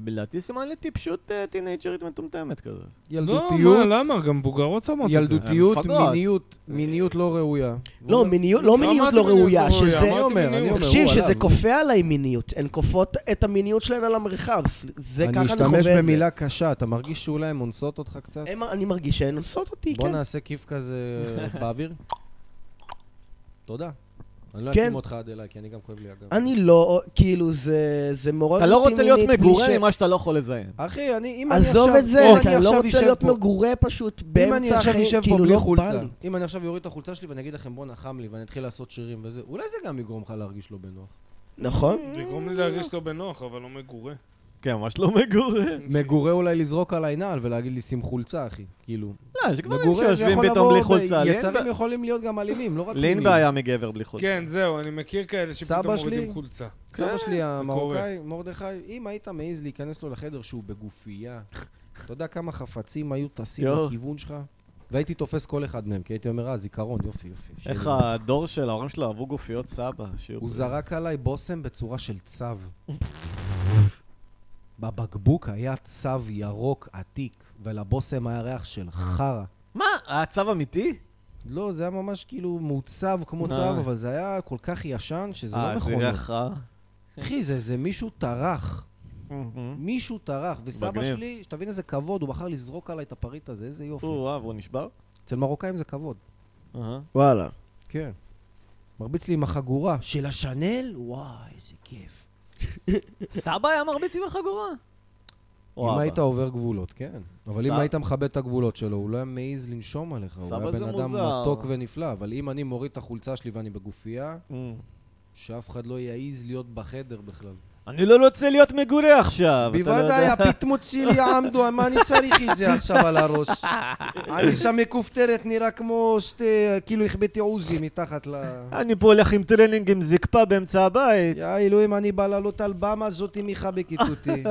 S2: לדעתי סימן לטיפשות אה, טינג'רית מטומטמת כזאת.
S1: לא,
S4: ילדותיות,
S1: מה, למה? גם מבוגרות שמות את זה.
S4: ילדותיות,
S2: מפגרות.
S4: מיניות, מיניות לא ראויה.
S3: לא, מיניות לא מיניות לא ראויה, שזה...
S1: אמרתי
S4: אומר, אני
S1: מיניות.
S4: אומר.
S3: תקשיב,
S4: הוא
S3: שזה
S4: עליו.
S3: כופה עליי מיניות, הן כופות את המיניות שלהן על המרחב, ס- זה ככה
S4: אני
S3: אני חווה
S4: אשתמש
S3: את זה.
S4: במילה קשה, אתה מרגיש שאולי הן אונסות אותך קצת?
S3: הם- אני מרגיש שהן אונסות אותי,
S4: בוא
S3: אה, כן.
S4: נעשה כיף כזה באוויר. תודה. אני לא
S3: כן.
S4: אקים אותך עד אליי, כי אני גם כואב לי הגב.
S3: אני לא, כאילו, זה זה מעורר
S2: אתה
S3: אותי
S2: לא
S3: מינית.
S2: רוצה להיות
S3: בלי
S2: מגורה
S3: ש-
S2: ממה שאתה לא יכול לזיין.
S4: אחי, אני, אם אני עכשיו...
S3: עזוב את זה,
S4: אם
S3: כי אני לא
S4: עכשיו
S3: רוצה
S4: אשב
S3: להיות
S4: פה-
S3: מגורה פשוט
S4: אם אני
S3: באמצע
S4: עכשיו
S3: החיים,
S4: אשב פה
S3: כאילו
S4: בלי
S3: לא בא
S4: חולצה,
S3: לי.
S4: אם אני עכשיו אוריד את החולצה שלי ואני אגיד לכם בואנה חם לי ואני אתחיל לעשות שירים וזה, אולי זה גם יגרום לך להרגיש לא בנוח.
S3: נכון?
S1: זה יגרום לי להרגיש לא בנוח, אבל לא מגורה.
S2: כן, ממש לא מגורה.
S4: מגורה אולי לזרוק עליי נעל ולהגיד לי שים חולצה אחי, כאילו.
S2: לא, יש גברים
S4: מגורה זה
S2: שיושבים
S4: יכול
S2: פתאום
S4: לבוא
S2: בלי
S4: ב-
S2: חולצה. לי אין
S4: יצרים
S2: בע-
S4: יכולים להיות גם אלימים, לא רק
S2: לי אין
S4: מינים.
S2: בעיה מגבר בלי חולצה.
S1: כן, זהו, אני מכיר כאלה שפתאום
S4: סבא שלי?
S1: מורידים חולצה.
S2: כן,
S4: סבא שלי המרוקאי,
S1: קורה.
S4: מרדכי, אם היית מעז להיכנס לו לחדר שהוא בגופייה, אתה יודע כמה חפצים היו טסים
S2: יואו.
S4: בכיוון שלך? והייתי תופס כל אחד מהם, כי הייתי אומר, אה, זיכרון, יופי, יופי.
S2: איך
S4: שיהיה לי."
S2: הדור של ההורים שלו אהבו גופיות סבא. שיהיו-
S4: הוא זרק עליי בושם בצורה של צו. בבקבוק היה צו ירוק עתיק, ולבושם היה ריח של חרא.
S2: מה? היה צו אמיתי?
S4: לא, זה היה ממש כאילו מעוצב כמו צו,
S2: אה.
S4: אבל זה היה כל כך ישן, שזה
S2: אה,
S4: לא
S2: זה
S4: נכון.
S2: ריח רע.
S4: אחי, זה זה מישהו טרח. מישהו טרח, וסבא
S2: מגניב.
S4: שלי, שתבין איזה כבוד, הוא בחר לזרוק עליי את הפריט הזה, איזה יופי.
S2: או, וואו, הוא נשבר?
S4: אצל מרוקאים זה כבוד.
S2: אהה.
S3: וואלה.
S4: כן. מרביץ לי עם החגורה של השנל, וואי, איזה כיף.
S2: סבא היה מרביץ עם החגורה. או
S4: אם
S2: אבא.
S4: היית עובר גבולות, כן. אבל אם
S2: סבא.
S4: היית מכבד את הגבולות שלו, הוא לא היה מעז לנשום עליך. הוא
S2: סבא
S4: היה
S2: זה
S4: בן אדם
S2: מוזר.
S4: מתוק ונפלא, אבל אם אני מוריד את החולצה שלי ואני בגופייה,
S2: אמ.
S4: שאף אחד לא יעז להיות בחדר בכלל.
S2: אני לא רוצה להיות מגורה עכשיו. אתה לא
S4: בוודאי,
S2: יודע.
S4: הפיטמות שלי יעמדו, מה אני צריך את זה עכשיו על הראש? אני שם מכופתרת, נראה כמו שתי, כאילו החבאתי עוזי מתחת ל...
S2: אני פה הולך עם טרנינג עם זקפה באמצע הבית.
S4: יא אלוהים, אני בא לעלות על במה, זאתי מחבקת אותי.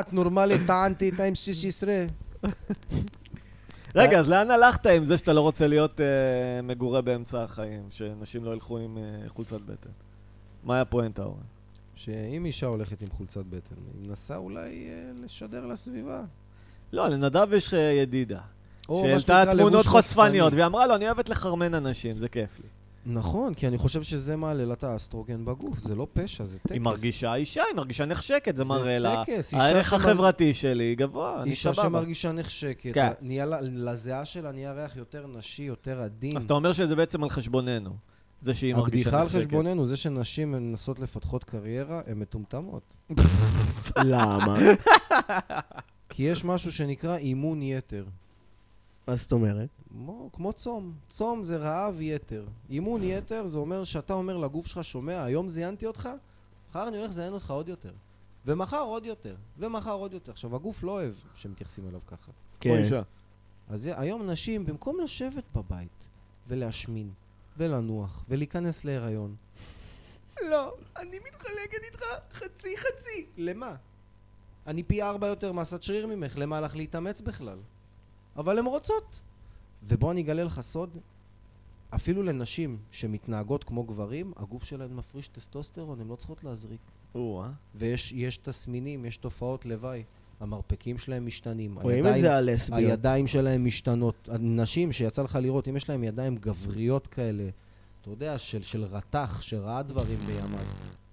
S4: את נורמלית, טענתי את ה-M16.
S2: רגע, אז לאן הלכת עם זה שאתה לא רוצה להיות אה, מגורה באמצע החיים? שאנשים לא ילכו עם אה, חולצת בטן. מה היה פואנטה, אורן?
S4: שאם אישה הולכת עם חולצת בטן, היא מנסה אולי אה, לשדר לסביבה.
S2: לא, לנדב יש אה, ידידה.
S4: או
S2: שהעלתה
S4: מה שנקרא,
S2: תמונות
S4: לבוש חושפני.
S2: חושפניות, והיא אמרה לו, אני אוהבת לחרמן אנשים, זה כיף לי.
S4: נכון, כי אני חושב שזה מעלה לה את האסטרוגן בגוף, זה לא פשע, זה טקס.
S2: היא מרגישה אישה, היא מרגישה נחשקת, זה
S4: זה
S2: מראה לה.
S4: טקס, אישה
S2: הערך
S4: שמר-
S2: החברתי שלי גבוה, אני
S4: אישה
S2: סבבה.
S4: שמרגישה נחשקת,
S2: כן.
S4: נהיה לה- לזיעה שלה נהיה ריח יותר נשי, יותר עדין.
S2: אז אתה אומר שזה בעצם על חשבוננו. זה שהיא מרגישה
S4: הבדיחה על
S2: נחשקת.
S4: חשבוננו, זה שנשים מנסות לפתחות קריירה, הן מטומטמות.
S3: למה?
S4: כי יש משהו שנקרא אימון יתר.
S3: מה זאת אומרת?
S4: כמו- כמו צום. צום זה רעב יתר. אימון יתר זה אומר שאתה אומר לגוף שלך, שומע, היום זיינתי אותך, מחר אני הולך לזיין אותך עוד יותר. ומחר עוד יותר, ומחר עוד יותר. עכשיו, הגוף לא אוהב שמתייחסים אליו ככה.
S3: כן.
S4: אז זה- היום נשים, במקום לשבת בבית ולהשמין ולנוח ולהיכנס להיריון,
S8: לא, אני מתחלקת איתך חצי חצי.
S4: למה? אני פי ארבע יותר מסת שריר ממך, למה לך להתאמץ בכלל? אבל הן רוצות. ובוא אני אגלה לך סוד, אפילו לנשים שמתנהגות כמו גברים, הגוף שלהן מפריש טסטוסטרון, הן לא צריכות להזריק.
S2: או-אה.
S4: ויש יש תסמינים, יש תופעות לוואי. המרפקים שלהם משתנים.
S3: רואים את
S4: הידיים-
S3: זה על לסביות.
S4: הידיים שלהם משתנות. נשים שיצא לך לראות, אם יש להם ידיים גבריות כאלה, אתה יודע, של, של רתח שראה דברים בימיו,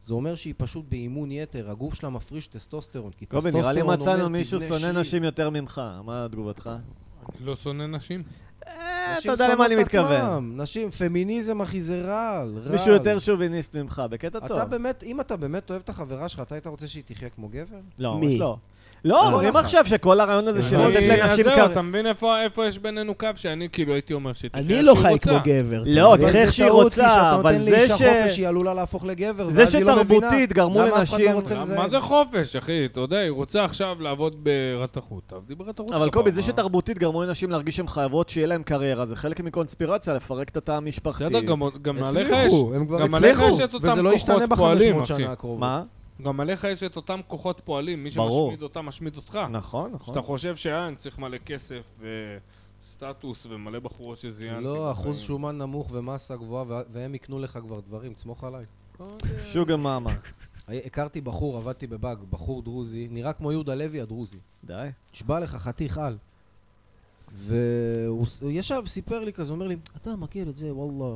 S4: זה אומר שהיא פשוט באימון יתר, הגוף שלה מפריש טסטוסטרון, כי
S2: רובי, נראה לי
S4: טסטוסטרון
S2: מצאנו
S4: אומר,
S2: מישהו
S4: "תבנה
S2: שונא
S4: שריר".
S2: נשים יותר ממך. מה תגובתך?
S1: לא שונא נשים.
S2: אה, אתה
S4: נשים
S2: יודע למה אני
S4: שונאות
S2: מתכוון.
S4: עצמם, נשים, פמיניזם אחי זה רעל, רעל.
S2: מישהו יותר שוביניסט ממך, בקטע טוב.
S4: אתה באמת, אם אתה באמת אוהב את החברה שלך, אתה היית רוצה שהיא תחיה כמו גבר?
S2: לא,
S3: מי?
S2: ממש לא. לא,
S1: אה,
S4: לא
S2: אומרים
S4: נכון.
S2: עכשיו שכל הרעיון הזה של לתת
S1: אני- אז
S2: לנשים
S1: זהו,
S2: קר...
S1: אתה מבין איפה איפה יש בינינו קו שאני כאילו הייתי אומר שתקרא
S3: אני לא חי כמו גבר.
S2: לא,
S4: אבל
S2: תראה
S4: זה
S2: איך שהיא
S4: טעות, כי
S2: רוצה,
S4: כשאתה
S2: אבל
S4: נותן
S2: זה
S4: לאישה
S2: ש...
S4: חופש, היא עלולה להפוך לגבר,
S2: זה
S4: ואז היא לא מבינה.
S2: שתרבותית גרמו
S4: למה אף אחד
S2: לנשים-
S4: לא רוצה לזהות?
S1: מה זה חופש, אחי? אתה יודע, היא רוצה עכשיו לעבוד ברתחות. תעבדי ברתחות.
S2: אבל
S1: כפרה.
S2: קובי, זה שתרבותית גרמו לנשים להרגיש שהן חייבות שיהיה להן קריירה, זה חלק מקונספירציה לפרק את התא המשפחתי.
S1: בסדר, גם- גם עליך יש...
S4: הצליחו, הם כבר
S1: גם עליך
S4: הצליחו,
S1: יש את אותם
S4: וזה לא ישתנה
S1: כוחות פועלים,
S4: ב-500
S1: אחי.
S4: שנה הקרובות.
S2: מה?
S1: גם עליך יש את אותם כוחות פועלים, מי
S2: ברור.
S1: שמשמיד אותם משמיד אותך.
S2: נכון, נכון.
S1: שאתה חושב שאין, צריך מלא כסף וסטטוס ומלא בחורות שזיינתי.
S4: לא, אחוז
S1: בחיים.
S4: שומן נמוך ומסה גבוהה, וה- והם יקנו לך כבר דברים, תסמוך עליי.
S1: לא
S2: שוגה מאמה.
S4: הי- הכרתי בחור, עבדתי בבאג, בחור דרוזי, נראה כמו יהודה לוי הדרוזי.
S2: די.
S4: נשבע לך, חתיך על. והוא ס- הוא ישב, סיפר לי כזה, אומר לי, אתה מכיר את זה, וואלה.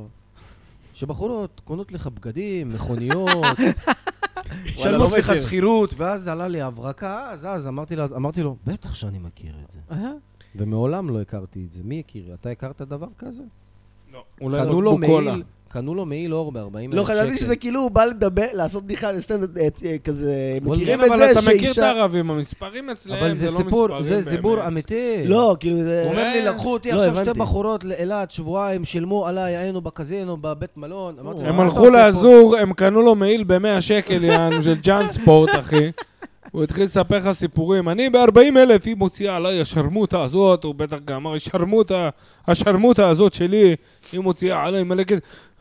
S4: שבחורות קונות לך בגדים, מכוניות,
S2: לא
S4: משלמות לך
S2: מכיר.
S4: שכירות, ואז עלה לי הברקה, אז, אז אמרתי, לה, אמרתי לו, בטח שאני מכיר את זה. ומעולם לא הכרתי את זה. מי הכיר? אתה הכרת דבר כזה?
S1: לא, אולי
S4: קנו לו
S1: בקבוקולה.
S4: מעיל, קנו לו מעיל אור ב-40 אלף שקל.
S3: לא, חשבתי שזה כאילו הוא בא לדבר, לעשות בדיחה לסטנדאפ אה, אה, כזה,
S4: וואלה.
S1: כן,
S3: מכירים את
S1: אבל
S3: זה
S1: אתה מכיר את
S3: שאישה...
S1: הערבים, המספרים אצלהם
S4: אבל זה
S1: זה לא
S4: סיפור,
S1: מספרים
S4: זה סיפור
S1: באמת.
S4: אמיתי.
S3: לא, כאילו זה...
S4: הוא אומר לי, לקחו אותי
S3: לא,
S4: עכשיו
S3: הבנתי.
S4: שתי בחורות לאילת, שבועיים, שילמו עליי, היינו בקזינו, בבית מלון. אמרתי לו,
S1: הם
S4: "מה אתה
S1: הלכו
S4: עושה פה?"
S1: לאזור, הם קנו לו מעיל ב-100 שקל, יענו, של ג'אנט ספורט, אחי. הוא התחיל לספר לך סיפורים. אני ב-40 אלף, היא מוציאה עליי השרמוטה הזאת, הוא בטח גם אמר, השרמוטה, השרמוטה הזאת שלי, היא מוציאה עליי מלא קטע.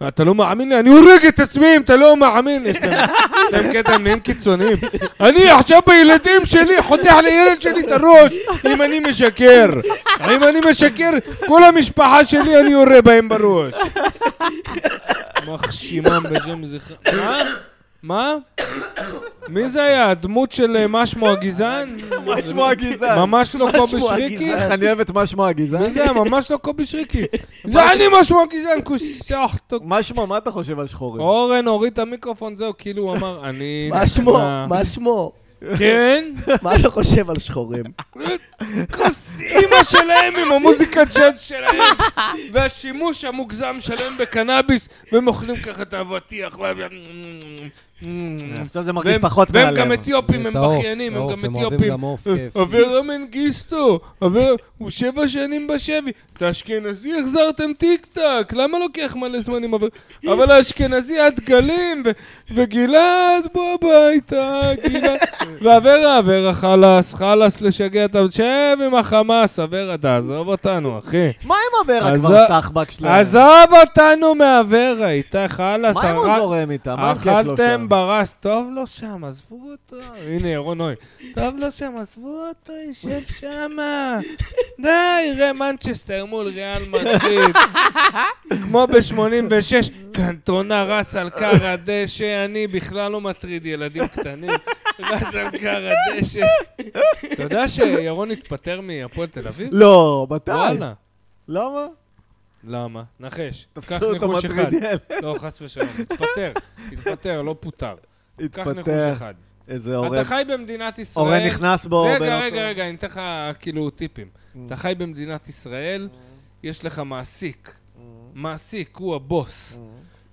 S1: אתה לא מאמין לי? אני הורג את עצמי אם אתה לא מאמין. יש להם יש להם קטע, הם נהיים קיצוניים. אני עכשיו בילדים שלי, חותך לילד שלי את הראש, אם אני משקר. אם אני משקר, כל המשפחה שלי, אני יורה בהם בראש. יימח שימם בשם זכר... מה? מה? מי זה היה? הדמות של אה, מה שמו הגזען?
S2: מה שמו הגזען?
S1: ממש לא קובי שריקי?
S2: איך אני אוהב את מה שמו הגזען.
S1: מי זה היה? ממש לא קובי שריקי. זה אני מה שמו הגזען, כוסחתו.
S2: מה שמו, מה אתה חושב על שחורים?
S1: אורן הוריד את המיקרופון, זהו, כאילו הוא אמר, אני...
S3: מה שמו?
S1: אה,
S3: מה שמו?
S1: כן?
S3: מה אתה חושב על שחורים?
S1: כוס אימא שלהם עם המוזיקה ג'אז שלהם, והשימוש המוגזם שלהם בקנאביס, והם אוכלים ככה את האבטיח. והם-
S2: אה, עכשיו זה מרגיש פחות
S1: אה. והם
S2: מהלב.
S1: גם אתיופים, הם
S4: את העוף,
S1: בכיינים, הם
S4: העוף,
S1: גם
S4: הם אוהבים
S1: אתיופים.
S4: גם עוף,
S1: אה,
S4: כיף.
S1: אברה מנגיסטו, אברה- הוא שבע שנים בשבי. את האשכנזי החזרתם טיק טק, למה לוקח מלא זמן עם אברה? אבל האשכנזי הדגלים, ו- וגלעד בוא הביתה, גלעד. ואברה, אברה חלאס, חלאס לשגע את ה... שב עם החמאס, אברה, תעזוב אותנו, אחי.
S2: מה עם אברה
S1: אז
S2: כבר,
S1: ה-
S2: סחבק
S4: כן.
S2: שלהם?
S1: עזוב אותנו מאברה, איתה חלאס,
S2: מה אם הוא
S1: הרג-
S2: זורם איתם? מה הכיף לו
S1: אכלתם
S2: שם?
S1: ברס, טוב לו שם, עזבו אותו. הנה, ירון נוי. טוב לו שם, עזבו אותו, יושב שמה. די, ראה מנצ'סטר מול ריאל מדריד. כמו ב-86, קנטונה רץ על כר הדשא, אני בכלל לא מטריד ילדים קטנים. רץ על כר הדשא. אתה יודע שירון התפטר מהפועל תל אביב?
S2: לא, מתי?
S1: וואלה.
S2: למה?
S1: למה? נחש. קח
S2: תפסו אותו
S1: ניחוש אחד.
S2: מטרידל.
S1: לא, חס ושלום. התפטר. התפטר, לא פוטר. קח ניחוש
S2: התפטר.
S1: אחד.
S2: איזה
S1: אתה
S2: אורן.
S1: חי במדינת ישראל...
S2: אורן נכנס בו. בין
S1: רגע,
S2: אותו-
S1: רגע, רגע, אני אתן לך כאילו טיפים. אתה חי במדינת ישראל, יש לך מעסיק. מעסיק, הוא הבוס.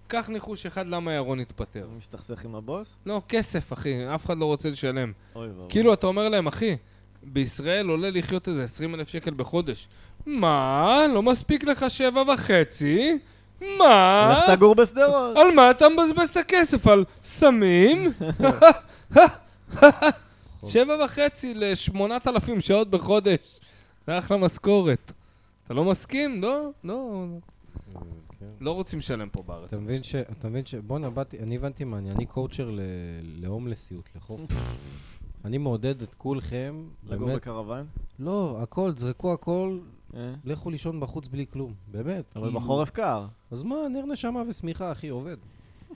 S1: קח ניחוש אחד למה ירון התפטר.
S2: מסתכסך עם הבוס?
S1: לא, כסף, אחי, אף אחד לא רוצה לשלם.
S2: אוי ואבוי.
S1: כאילו, אתה אומר להם, אחי, בישראל עולה לחיות איזה 20 אלף שקל בחודש. מה? לא מספיק לך שבע וחצי? מה?
S2: לך תגור בשדרות.
S1: על מה אתה מבזבז את הכסף? על סמים? שבע וחצי לשמונת אלפים שעות בחודש. זה אחלה משכורת. אתה לא מסכים? לא, לא. לא רוצים לשלם פה בארץ.
S4: אתה מבין ש... אתה מבין ש... בואנה, באתי- אני הבנתי מה, אני- אני קואוצ'ר ל- להומלסיות, לחוף. אני מעודד את כולכם,
S2: לגור
S4: באמת.
S2: בקרוון?
S4: לא, הכל, תזרקו הכל,
S2: אה.
S4: לכו לישון בחוץ בלי כלום, באמת.
S2: אבל
S4: כאילו-
S2: בחורף קר.
S4: אז מה, נר נשמה ושמיכה, אחי, עובד.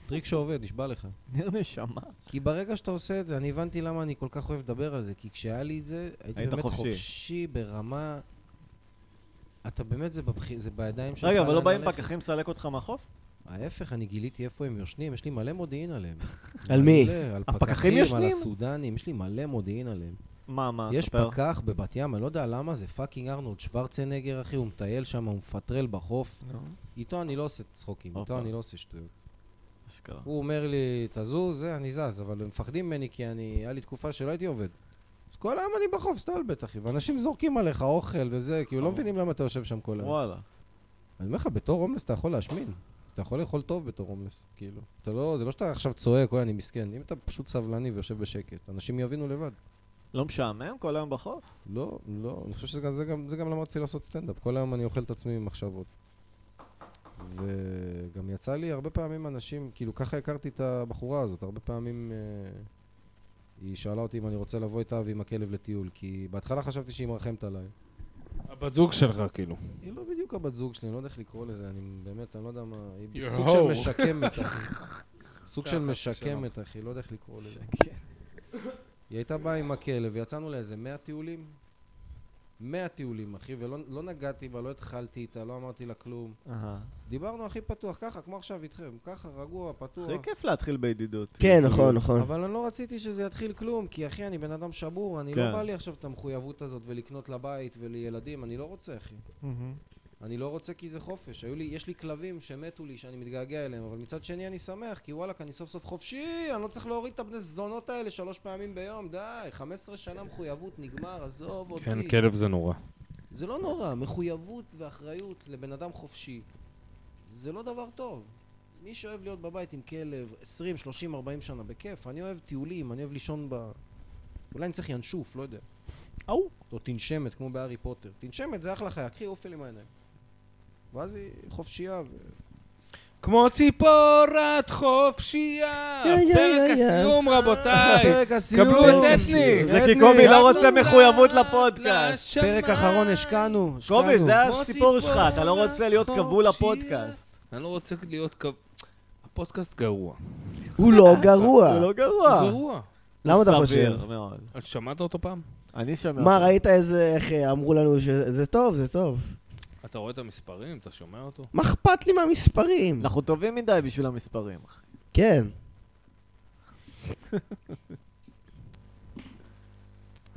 S4: טריק שעובד, נשבע לך.
S2: נר נשמה.
S4: כי ברגע שאתה עושה את זה, אני הבנתי למה אני כל כך אוהב לדבר על זה, כי כשהיה לי את זה, הייתי
S2: היית
S4: באמת
S2: חופשי.
S4: חופשי ברמה... אתה באמת, זה, בבח... זה בידיים שלך.
S2: רגע, אבל לא
S4: לאן
S2: באים
S4: ללכת.
S2: פקחים לסלק אותך מהחוף?
S4: ההפך, אני גיליתי איפה הם יושנים, יש לי מלא מודיעין עליהם.
S3: על מי?
S4: מלא, על
S2: הפקחים
S4: פקחים, על
S2: ישנים?
S4: הסודנים, יש לי מלא מודיעין עליהם.
S2: מה, מה,
S4: יש
S2: ספר.
S4: פקח בבת ים, אני לא יודע למה, זה פאקינג ארנולד שוורצנגר, אחי, הוא מטייל שם, הוא מפטרל בחוף.
S2: נו,
S4: איתו אני לא עושה צחוקים,
S2: הופה.
S4: איתו אני לא עושה שטויות.
S2: אשכרה.
S4: הוא אומר לי, תזוז, זה, אני זז, אבל הם מפחדים ממני כי אני, היה לי תקופה שלא הייתי עובד. אז כל היום אני בחוף, סטלבט, אחי, ואנשים זורקים עליך אוכל וזה, כאילו לא
S2: חמור.
S4: מבינים למה אתה יושב שם כל היום.
S2: וואלה.
S4: אני אומר לך, בתור הומלס אתה יכול להשמין. אתה יכול לאכול טוב בתור הומלס, כאילו. אתה לא, זה לא שאתה עכשיו צועק, אוי, אני מסכן. אם אתה פשוט סבלני ויושב בשקט, אנשים יבינו לבד.
S2: לא משעמם כל היום בחוף?
S4: לא, לא, אני חושב שזה גם, זה גם, זה גם למדתי לעשות סטנדאפ. כל היום אני אוכל את עצמי ממחשבות. וגם יצא לי הרבה פעמים אנשים, כאילו ככה הכרתי את הבחורה הזאת, הרבה פעמים אה, היא שאלה אותי אם אני רוצה לבוא איתה ועם הכלב לטיול, כי בהתחלה חשבתי שהיא מרחמת עליי.
S1: הבת זוג שלך, כאילו.
S4: היא לא בדיוק הבת זוג שלי, אני לא יודע איך לקרוא לזה, אני באמת, אני לא יודע מה... היא
S1: יואו.
S4: סוג של משקמת, אחי. סוג של
S1: ככה,
S4: משקמת, אחי, לא יודע איך לקרוא לזה.
S2: שקט.
S4: היא הייתה באה עם הכלב, ויצאנו לאיזה 100 טיולים. 100 טיולים, אחי, ולא לא נגעתי בה, לא התחלתי איתה, לא אמרתי לה כלום.
S2: אהה.
S4: דיברנו הכי פתוח, ככה, כמו עכשיו איתכם, ככה, רגוע, פתוח.
S2: הכי כיף להתחיל בידידות. כאילו.
S3: כן, נכון, נכון.
S4: אבל אני לא רציתי שזה יתחיל כלום, כי אחי, אני בן אדם שבור, אני
S2: כן.
S4: לא בא לי עכשיו את המחויבות הזאת ולקנות לבית ולילדים, אני לא רוצה, אחי. אני לא רוצה כי זה חופש. היו לי, יש לי כלבים שמתו לי, שאני מתגעגע אליהם, אבל מצד שני אני שמח, כי וואלכ, אני סוף סוף חופשי, אני לא צריך להוריד את הבני זונות האלה שלוש פעמים ביום, די, 15 שנה מחויבות, נגמר, עזוב אותי.
S1: כן, כלב זה נורא.
S4: זה לא נורא, מחויבות ואחריות לבן אדם חופשי, זה לא דבר טוב. מי שאוהב להיות בבית עם כלב 20, 30, 40 שנה, בכיף, אני אוהב טיולים, אני אוהב לישון ב... אולי אני צריך ינשוף, לא יודע.
S2: אהו.
S4: או תנשמת, כמו בהארי פוטר. תנשמת זה אחלה חיה, קחי אופל עם העיניים. ואז היא חופשייה ו...
S1: כמו ציפורת חופשייה!
S3: יא, יא,
S1: פרק
S3: יא, יא.
S1: הסיום, רבותיי!
S4: פרק הסיום!
S1: קבלו את אתני!
S2: זה כי קובי לא רוצה מחויבות לפודקאסט.
S4: פרק אחרון השקענו, השקענו.
S2: קובי, זה
S1: כמו
S2: הסיפור שלך, אתה לא
S1: ציפורה
S2: רוצה להיות כבול
S1: חופשייה.
S2: לפודקאסט.
S1: אני לא רוצה להיות כ... הפודקאסט גרוע.
S3: הוא לא גרוע.
S2: זה לא
S1: הוא
S2: גרוע.
S1: גרוע.
S3: למה אתה חושב?
S2: סביר מאוד.
S1: אז שמעת אותו פעם?
S2: אני שומע.
S3: מה,
S2: אותך.
S3: ראית איזה, איך אה, אמרו לנו שזה טוב, זה טוב.
S1: אתה רואה את המספרים? אתה שומע אותו?
S3: מה אכפת לי מהמספרים?
S2: אנחנו טובים מדי בשביל המספרים, אחי.
S3: כן.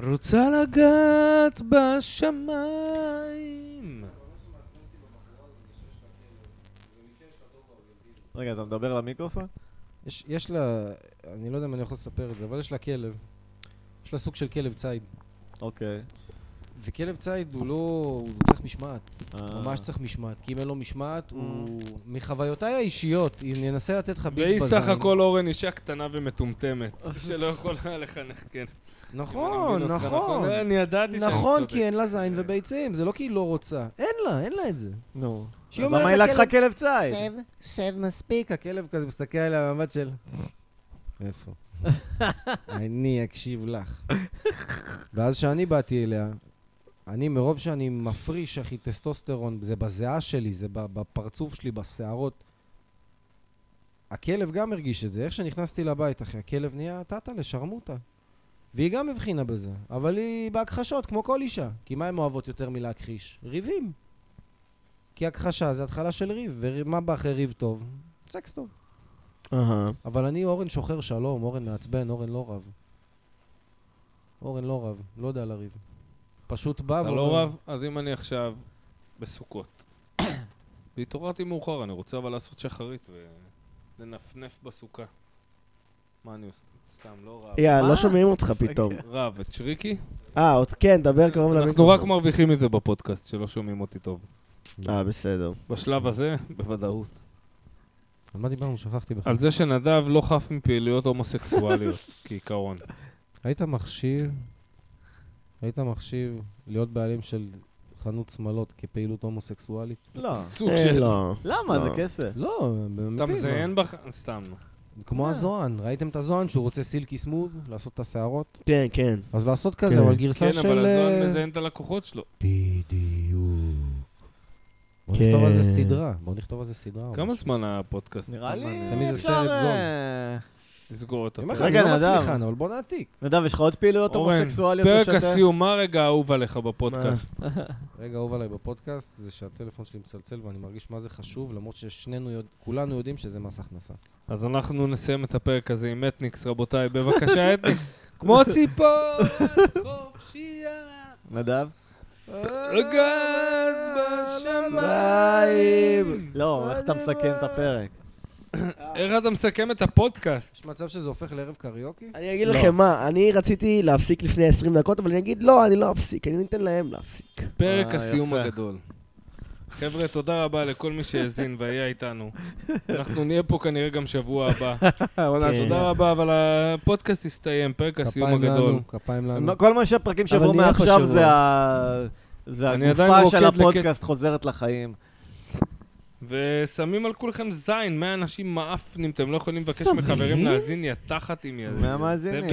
S1: רוצה לגעת בשמיים.
S2: רגע, אתה מדבר למיקרופון?
S4: יש, יש לה, אני לא יודע אם אני יכול לספר את זה, אבל יש לה כלב. יש לה סוג של כלב ציד.
S2: אוקיי.
S4: וכלב ציד הוא לא, הוא צריך משמעת.
S2: אה.
S4: ממש צריך משמעת. כי אם אין לו משמעת, הוא...
S1: אה.
S4: מחוויותיי האישיות, אם ננסה לתת לך ביס
S1: והיא
S4: בזין...
S1: סך הכל אורן אישה קטנה ומטומטמת, שלא יכולה לחנך, כן.
S4: נכון,
S1: אם אני מבין אותך לא,
S4: נכון.
S1: אני ידעתי שאני צודק.
S4: נכון, כי אין לה זין וביצים, זה לא כי היא לא רוצה. אין לה, אין לה את זה.
S2: נו. אז
S4: שהיא אומרת
S2: למה היא לקחה
S4: לכלב,
S2: כלב ציד?
S7: שב
S4: מספיק, הכלב כזה מסתכל עליה במבט של... איפה? אני אקשיב לך. ואז כשאני באתי אליה, אני מרוב שאני מפריש, אחי, טסטוסטרון, זה בזיעה שלי, זה ב- בפרצוף שלי, בשערות. הכלב גם הרגיש את זה. איך שנכנסתי לבית, אחי, הכלב נהיה טאטה לשרמוטה. והיא גם הבחינה בזה, אבל היא בהכחשות, כמו כל אישה. כי מה הן אוהבות יותר מלהכחיש? ריבים. כי הכחשה זה התחלה של ריב, ומה בא אחרי ריב טוב? סקס טוב.
S3: אהה.
S4: אבל אני אורן שוחר שלום, אורן מעצבן, אורן לא רב. אורן לא רב, לא יודע לריב. פשוט בא
S1: אתה לא רב? אז אם אני עכשיו בסוכות, והתעוררתי מאוחר, אני רוצה אבל לעשות שחרית ולנפנף בסוכה. מה אני עושה? סתם, לא רב.
S3: יא,
S2: מה?
S3: לא שומעים אותך פתאום.
S1: רב, את שריקי?
S3: אה, עוד כן, דבר קרוב
S1: אנחנו רק
S3: למיקרופון.
S1: מרוויחים מזה בפודקאסט, שלא שומעים אותי טוב.
S3: אה, בסדר.
S1: בשלב הזה, בוודאות.
S4: על מה דיברנו? שכחתי בכלל.
S1: על זה שנדב לא חף מפעילויות הומוסקסואליות, כעיקרון.
S4: היית מחשיב, היית מחשיב להיות בעלים של חנות שמלות כפעילות הומוסקסואלית?
S2: לא.
S1: סוג
S3: אה,
S1: של...
S3: לא.
S2: למה?
S3: לא.
S2: זה כסף.
S4: לא, באמת.
S1: אתה
S4: לא.
S1: מזיין אה. בח... סתם. לא.
S4: כמו הזוהן, ראיתם את הזוהן שהוא רוצה סילקי סמוב, לעשות את השערות?
S3: כן, כן.
S4: אז לעשות
S3: כן.
S4: כזה, אבל גרסה
S1: כן,
S4: של...
S1: אבל הזוהן
S4: אה,
S1: מזיין את הלקוחות שלו.
S4: בדיוק. בוא נכתוב על
S3: כן.
S4: זה סדרה, בוא נכתוב על זה סדרה. או
S1: כמה
S4: משהו.
S1: זמן הפודקאסט?
S2: נראה לי
S4: זה מזה
S2: אפשר...
S4: סרט זול.
S2: אה,
S1: תסגור את
S4: אני אומר לך,
S1: הפרק.
S4: אני
S2: רגע,
S4: לא
S2: נדב.
S4: מצליחן, אבל בוא נעתיק.
S2: נדב, יש לך עוד פעילויות
S1: אורן,
S2: הומוסקסואליות
S1: פרק
S2: לשתף?
S1: הסיום, מה הרגע האהוב עליך בפודקאסט?
S4: רגע, אהוב עליי בפודקאסט, זה שהטלפון שלי מצלצל ואני מרגיש מה זה חשוב, למרות ששנינו, יודע- כולנו יודעים שזה מס הכנסה.
S1: אז אנחנו נסיים את הפרק הזה עם אתניקס, רבותיי. בבקשה, אתניקס. כמו ציפור, את חופשייה.
S2: נדב?
S1: רגעת בשמיים.
S2: לא, איך אתה מסכם את הפרק?
S1: איך אתה מסכם את הפודקאסט?
S4: יש מצב שזה הופך לערב קריוקי?
S3: אני אגיד
S2: לא.
S3: לכם מה, אני רציתי להפסיק לפני 20 דקות, אבל אני אגיד, לא, אני לא אפסיק, אני ניתן להם להפסיק.
S1: פרק
S2: אה,
S1: הסיום
S2: יפה.
S1: הגדול. חבר'ה, תודה רבה לכל מי שהאזין והיה איתנו. אנחנו נהיה פה כנראה גם שבוע הבא.
S2: העונה
S3: כן.
S1: תודה רבה, אבל הפודקאסט הסתיים, פרק הסיום
S4: כפיים
S1: הגדול.
S4: לנו, כפיים לנו.
S2: כל מה שהפרקים
S3: אבל
S2: שיבואו
S3: נהיה פה
S2: מעכשיו
S3: שבוע.
S2: זה ה... זה
S1: אני עדיין
S2: הגופה של
S1: רוקד לקט-
S2: הפודקאסט חוזרת לחיים.
S1: ושמים על כולכם זין, 100 אנשים מעפנים, אתם לא יכולים לבקש
S3: שמים?
S1: מחברים להאזין, יא תחת עם יא...
S2: מהמאזינים.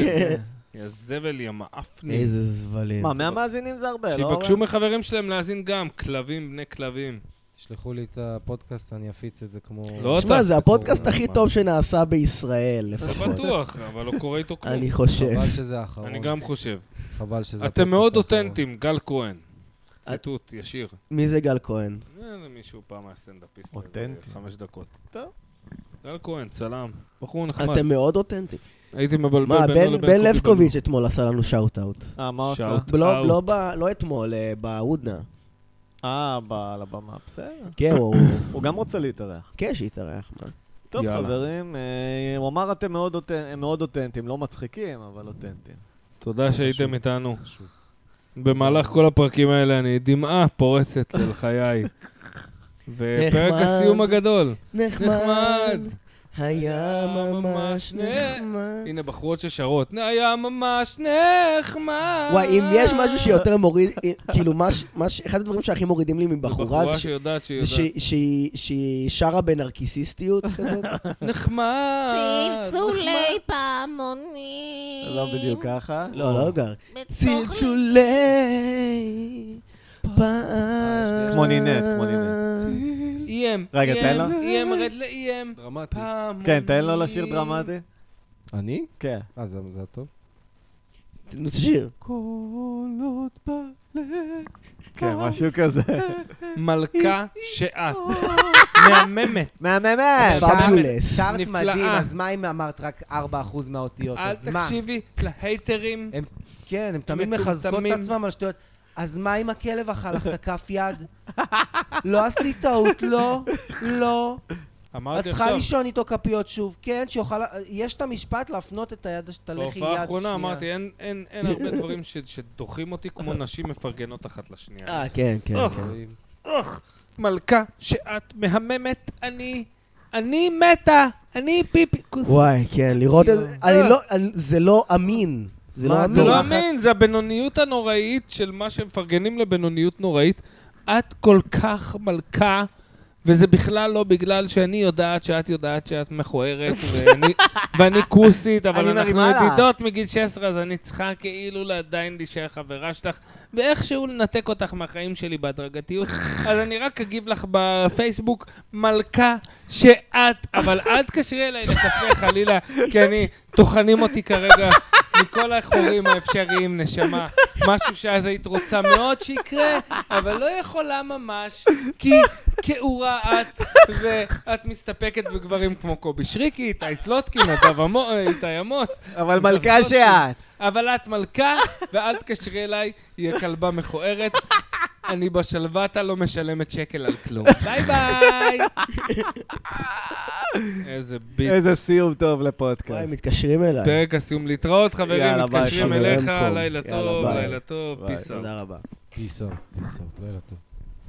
S1: יא זבל, יא זבל, יא מעפנים.
S3: כן. איזה זבלים.
S2: מה, מהמאזינים זה הרבה, לא?
S1: שיבקשו
S2: אורן?
S1: מחברים שלהם להאזין גם, כלבים בני כלבים.
S4: תשלחו לי את הפודקאסט, אני אפיץ את זה כמו...
S1: לא
S3: תשמע,
S1: אתה,
S3: זה הפודקאסט הכי
S1: מה?
S3: טוב שנעשה בישראל,
S1: זה
S3: לפחות.
S1: בטוח, אבל לא קורה איתו כלום.
S3: נכון. אני חושב.
S4: חבל שזה האחרון.
S1: אני גם חושב.
S4: חבל שזה
S1: אתם
S4: הפודקאסט
S1: מאוד
S4: האחרון.
S1: אותנטיים, גל כהן. ציטוט ישיר.
S3: מי זה גל כהן?
S1: אה, זה מישהו פעם היה סטנדאפיסט.
S2: אותנטי.
S1: חמש דקות.
S2: טוב.
S1: גל כהן, צלם. בחור נחמד.
S3: אתם מאוד אותנטיים.
S1: הייתי מבלבל
S3: מה,
S1: בינו
S3: בן-
S1: לבין קובי
S3: בן לבקוביץ' אתמול עשה לנו שאוט-אאוט.
S2: אה, מה עושה?
S1: שאוט.
S3: לא-
S1: Out.
S3: לא ב- לא אתמול, אה, בהודנה.
S2: אה, בעל הבמה, בסדר.
S3: כן, הוא...
S2: הוא גם רוצה להתארח.
S3: כן, שיתארח. מה.
S2: טוב,
S1: יאללה.
S2: חברים, אה, הוא אמר אתם מאוד אותנ- הם מאוד אותנטיים, לא מצחיקים, אבל אותנטיים.
S1: תודה שהייתם איתנו.
S4: חשוב.
S1: במהלך כל הפרקים האלה אני דמעה פורצת אל חיי. ופרק
S3: נחמד.
S1: הסיום הגדול.
S3: נחמד.
S1: נחמד.
S3: היה ממש נחמד.
S1: הנה בחורות ששרות. היה ממש נחמד.
S3: וואי, אם יש משהו שיותר מוריד, כאילו, מה ש- מה ש- אחד הדברים שהכי מורידים לי מבחורה
S1: בחורה
S3: זה ש-
S1: שיודעת שהיא
S3: זה
S1: יודעת.
S3: שהיא- שהיא- שהיא שרה בנרקיסיסטיות כזאת.
S1: נחמד.
S9: צלצולי פעמונים.
S2: לא בדיוק ככה.
S3: לא, לא גר.
S9: בתוך
S3: צלצולי פעם.
S2: כמו נינט, כמו נינט.
S1: איים.
S2: רגע, תן לו.
S1: איים, רד לאיים.
S4: דרמטי.
S1: פעם.
S2: כן, תן לו לשיר דרמטי.
S4: אני?
S2: כן.
S4: אה, זה זה הטוב.
S3: נו, שיר.
S2: קולות בלב. כן, משהו כזה.
S1: מלכה שאת. מהממת.
S2: אה,
S4: מהממת!
S3: פאבולס.
S1: שרת נפלאה. אה, מדהים, אז
S4: מה אם אמרת רק 4% מהאותיות?
S1: אל תקשיבי להייטרים.
S4: הם, כן, הם
S1: תמיד מחזקות את עצמם
S4: על שטויות. אז מה אם הכלב אכל לך את הכף יד? לא עשית טעות, לא, לא.
S1: אמרתי
S4: את צריכה
S1: עכשיו,
S4: לישון איתו כפיות שוב, כן, שיוכל... יש את המשפט להפנות את היד, את הלחי יד
S1: בהופעה האחרונה
S4: שנייה.
S1: אמרתי, אין- אין אין הרבה דברים ש- שדוחים אותי כמו נשים מפרגנות אחת לשנייה.
S3: אה, כן, כן.
S1: אוח, אוח, מלכה שאת מהממת, אני... אני מתה, אני פיפי... כוס.
S3: וואי, כן, לראות את זה, אני לא, אני- זה לא אמין. זה לא
S4: מה,
S1: זה
S3: אמין.
S1: לא
S4: בורחת.
S1: אמין, זה הבינוניות הנוראית של מה שמפרגנים לבינוניות נוראית. את כל כך מלכה, וזה בכלל לא בגלל שאני יודעת שאת יודעת שאת מכוערת, ואני, ואני כוסית, אבל
S2: אני
S1: אנחנו
S2: מרימה לך.
S1: ידידות מגיל 16, אז אני צריכה כאילו עדיין להישאר חברה שלך, ואיכשהו לנתק אותך מהחיים שלי בהדרגתיות. אז אני רק אגיב לך בפייסבוק, מלכה שאת, אבל אל תקשרי אליי לקפה חלילה, כי אני, טוחנים אותי כרגע מכל החורים האפשריים, נשמה. משהו שאז היית רוצה מאוד שיקרה, אבל לא יכולה ממש, כי, כאורה את, ואת מסתפקת בגברים כמו קובי שריקי, איתי סלוטקין, נדב עמו- אה, איתי עמוס,
S2: אבל מלכה שאת.
S1: אבל את מלכה, ואל תקשרי אליי, היא כלבה מכוערת. אני בשלוותה לא משלמת שקל על כלום. ביי ביי! איזה ביט.
S2: איזה סיום טוב
S3: וואי,
S2: לפודקאסט.
S3: מתקשרים אליי.
S1: פרק הסיום להתראות, חברים,
S2: יאללה, ביי,
S1: מתקשרים
S3: חברים,
S1: אליך,
S3: קום.
S1: לילה
S3: יאללה,
S1: טוב,
S3: ביי.
S1: לילה טוב,
S2: ביי.
S1: פיס אאוט.
S3: תודה רבה.
S5: פיסה, פיסה, לילה טוב.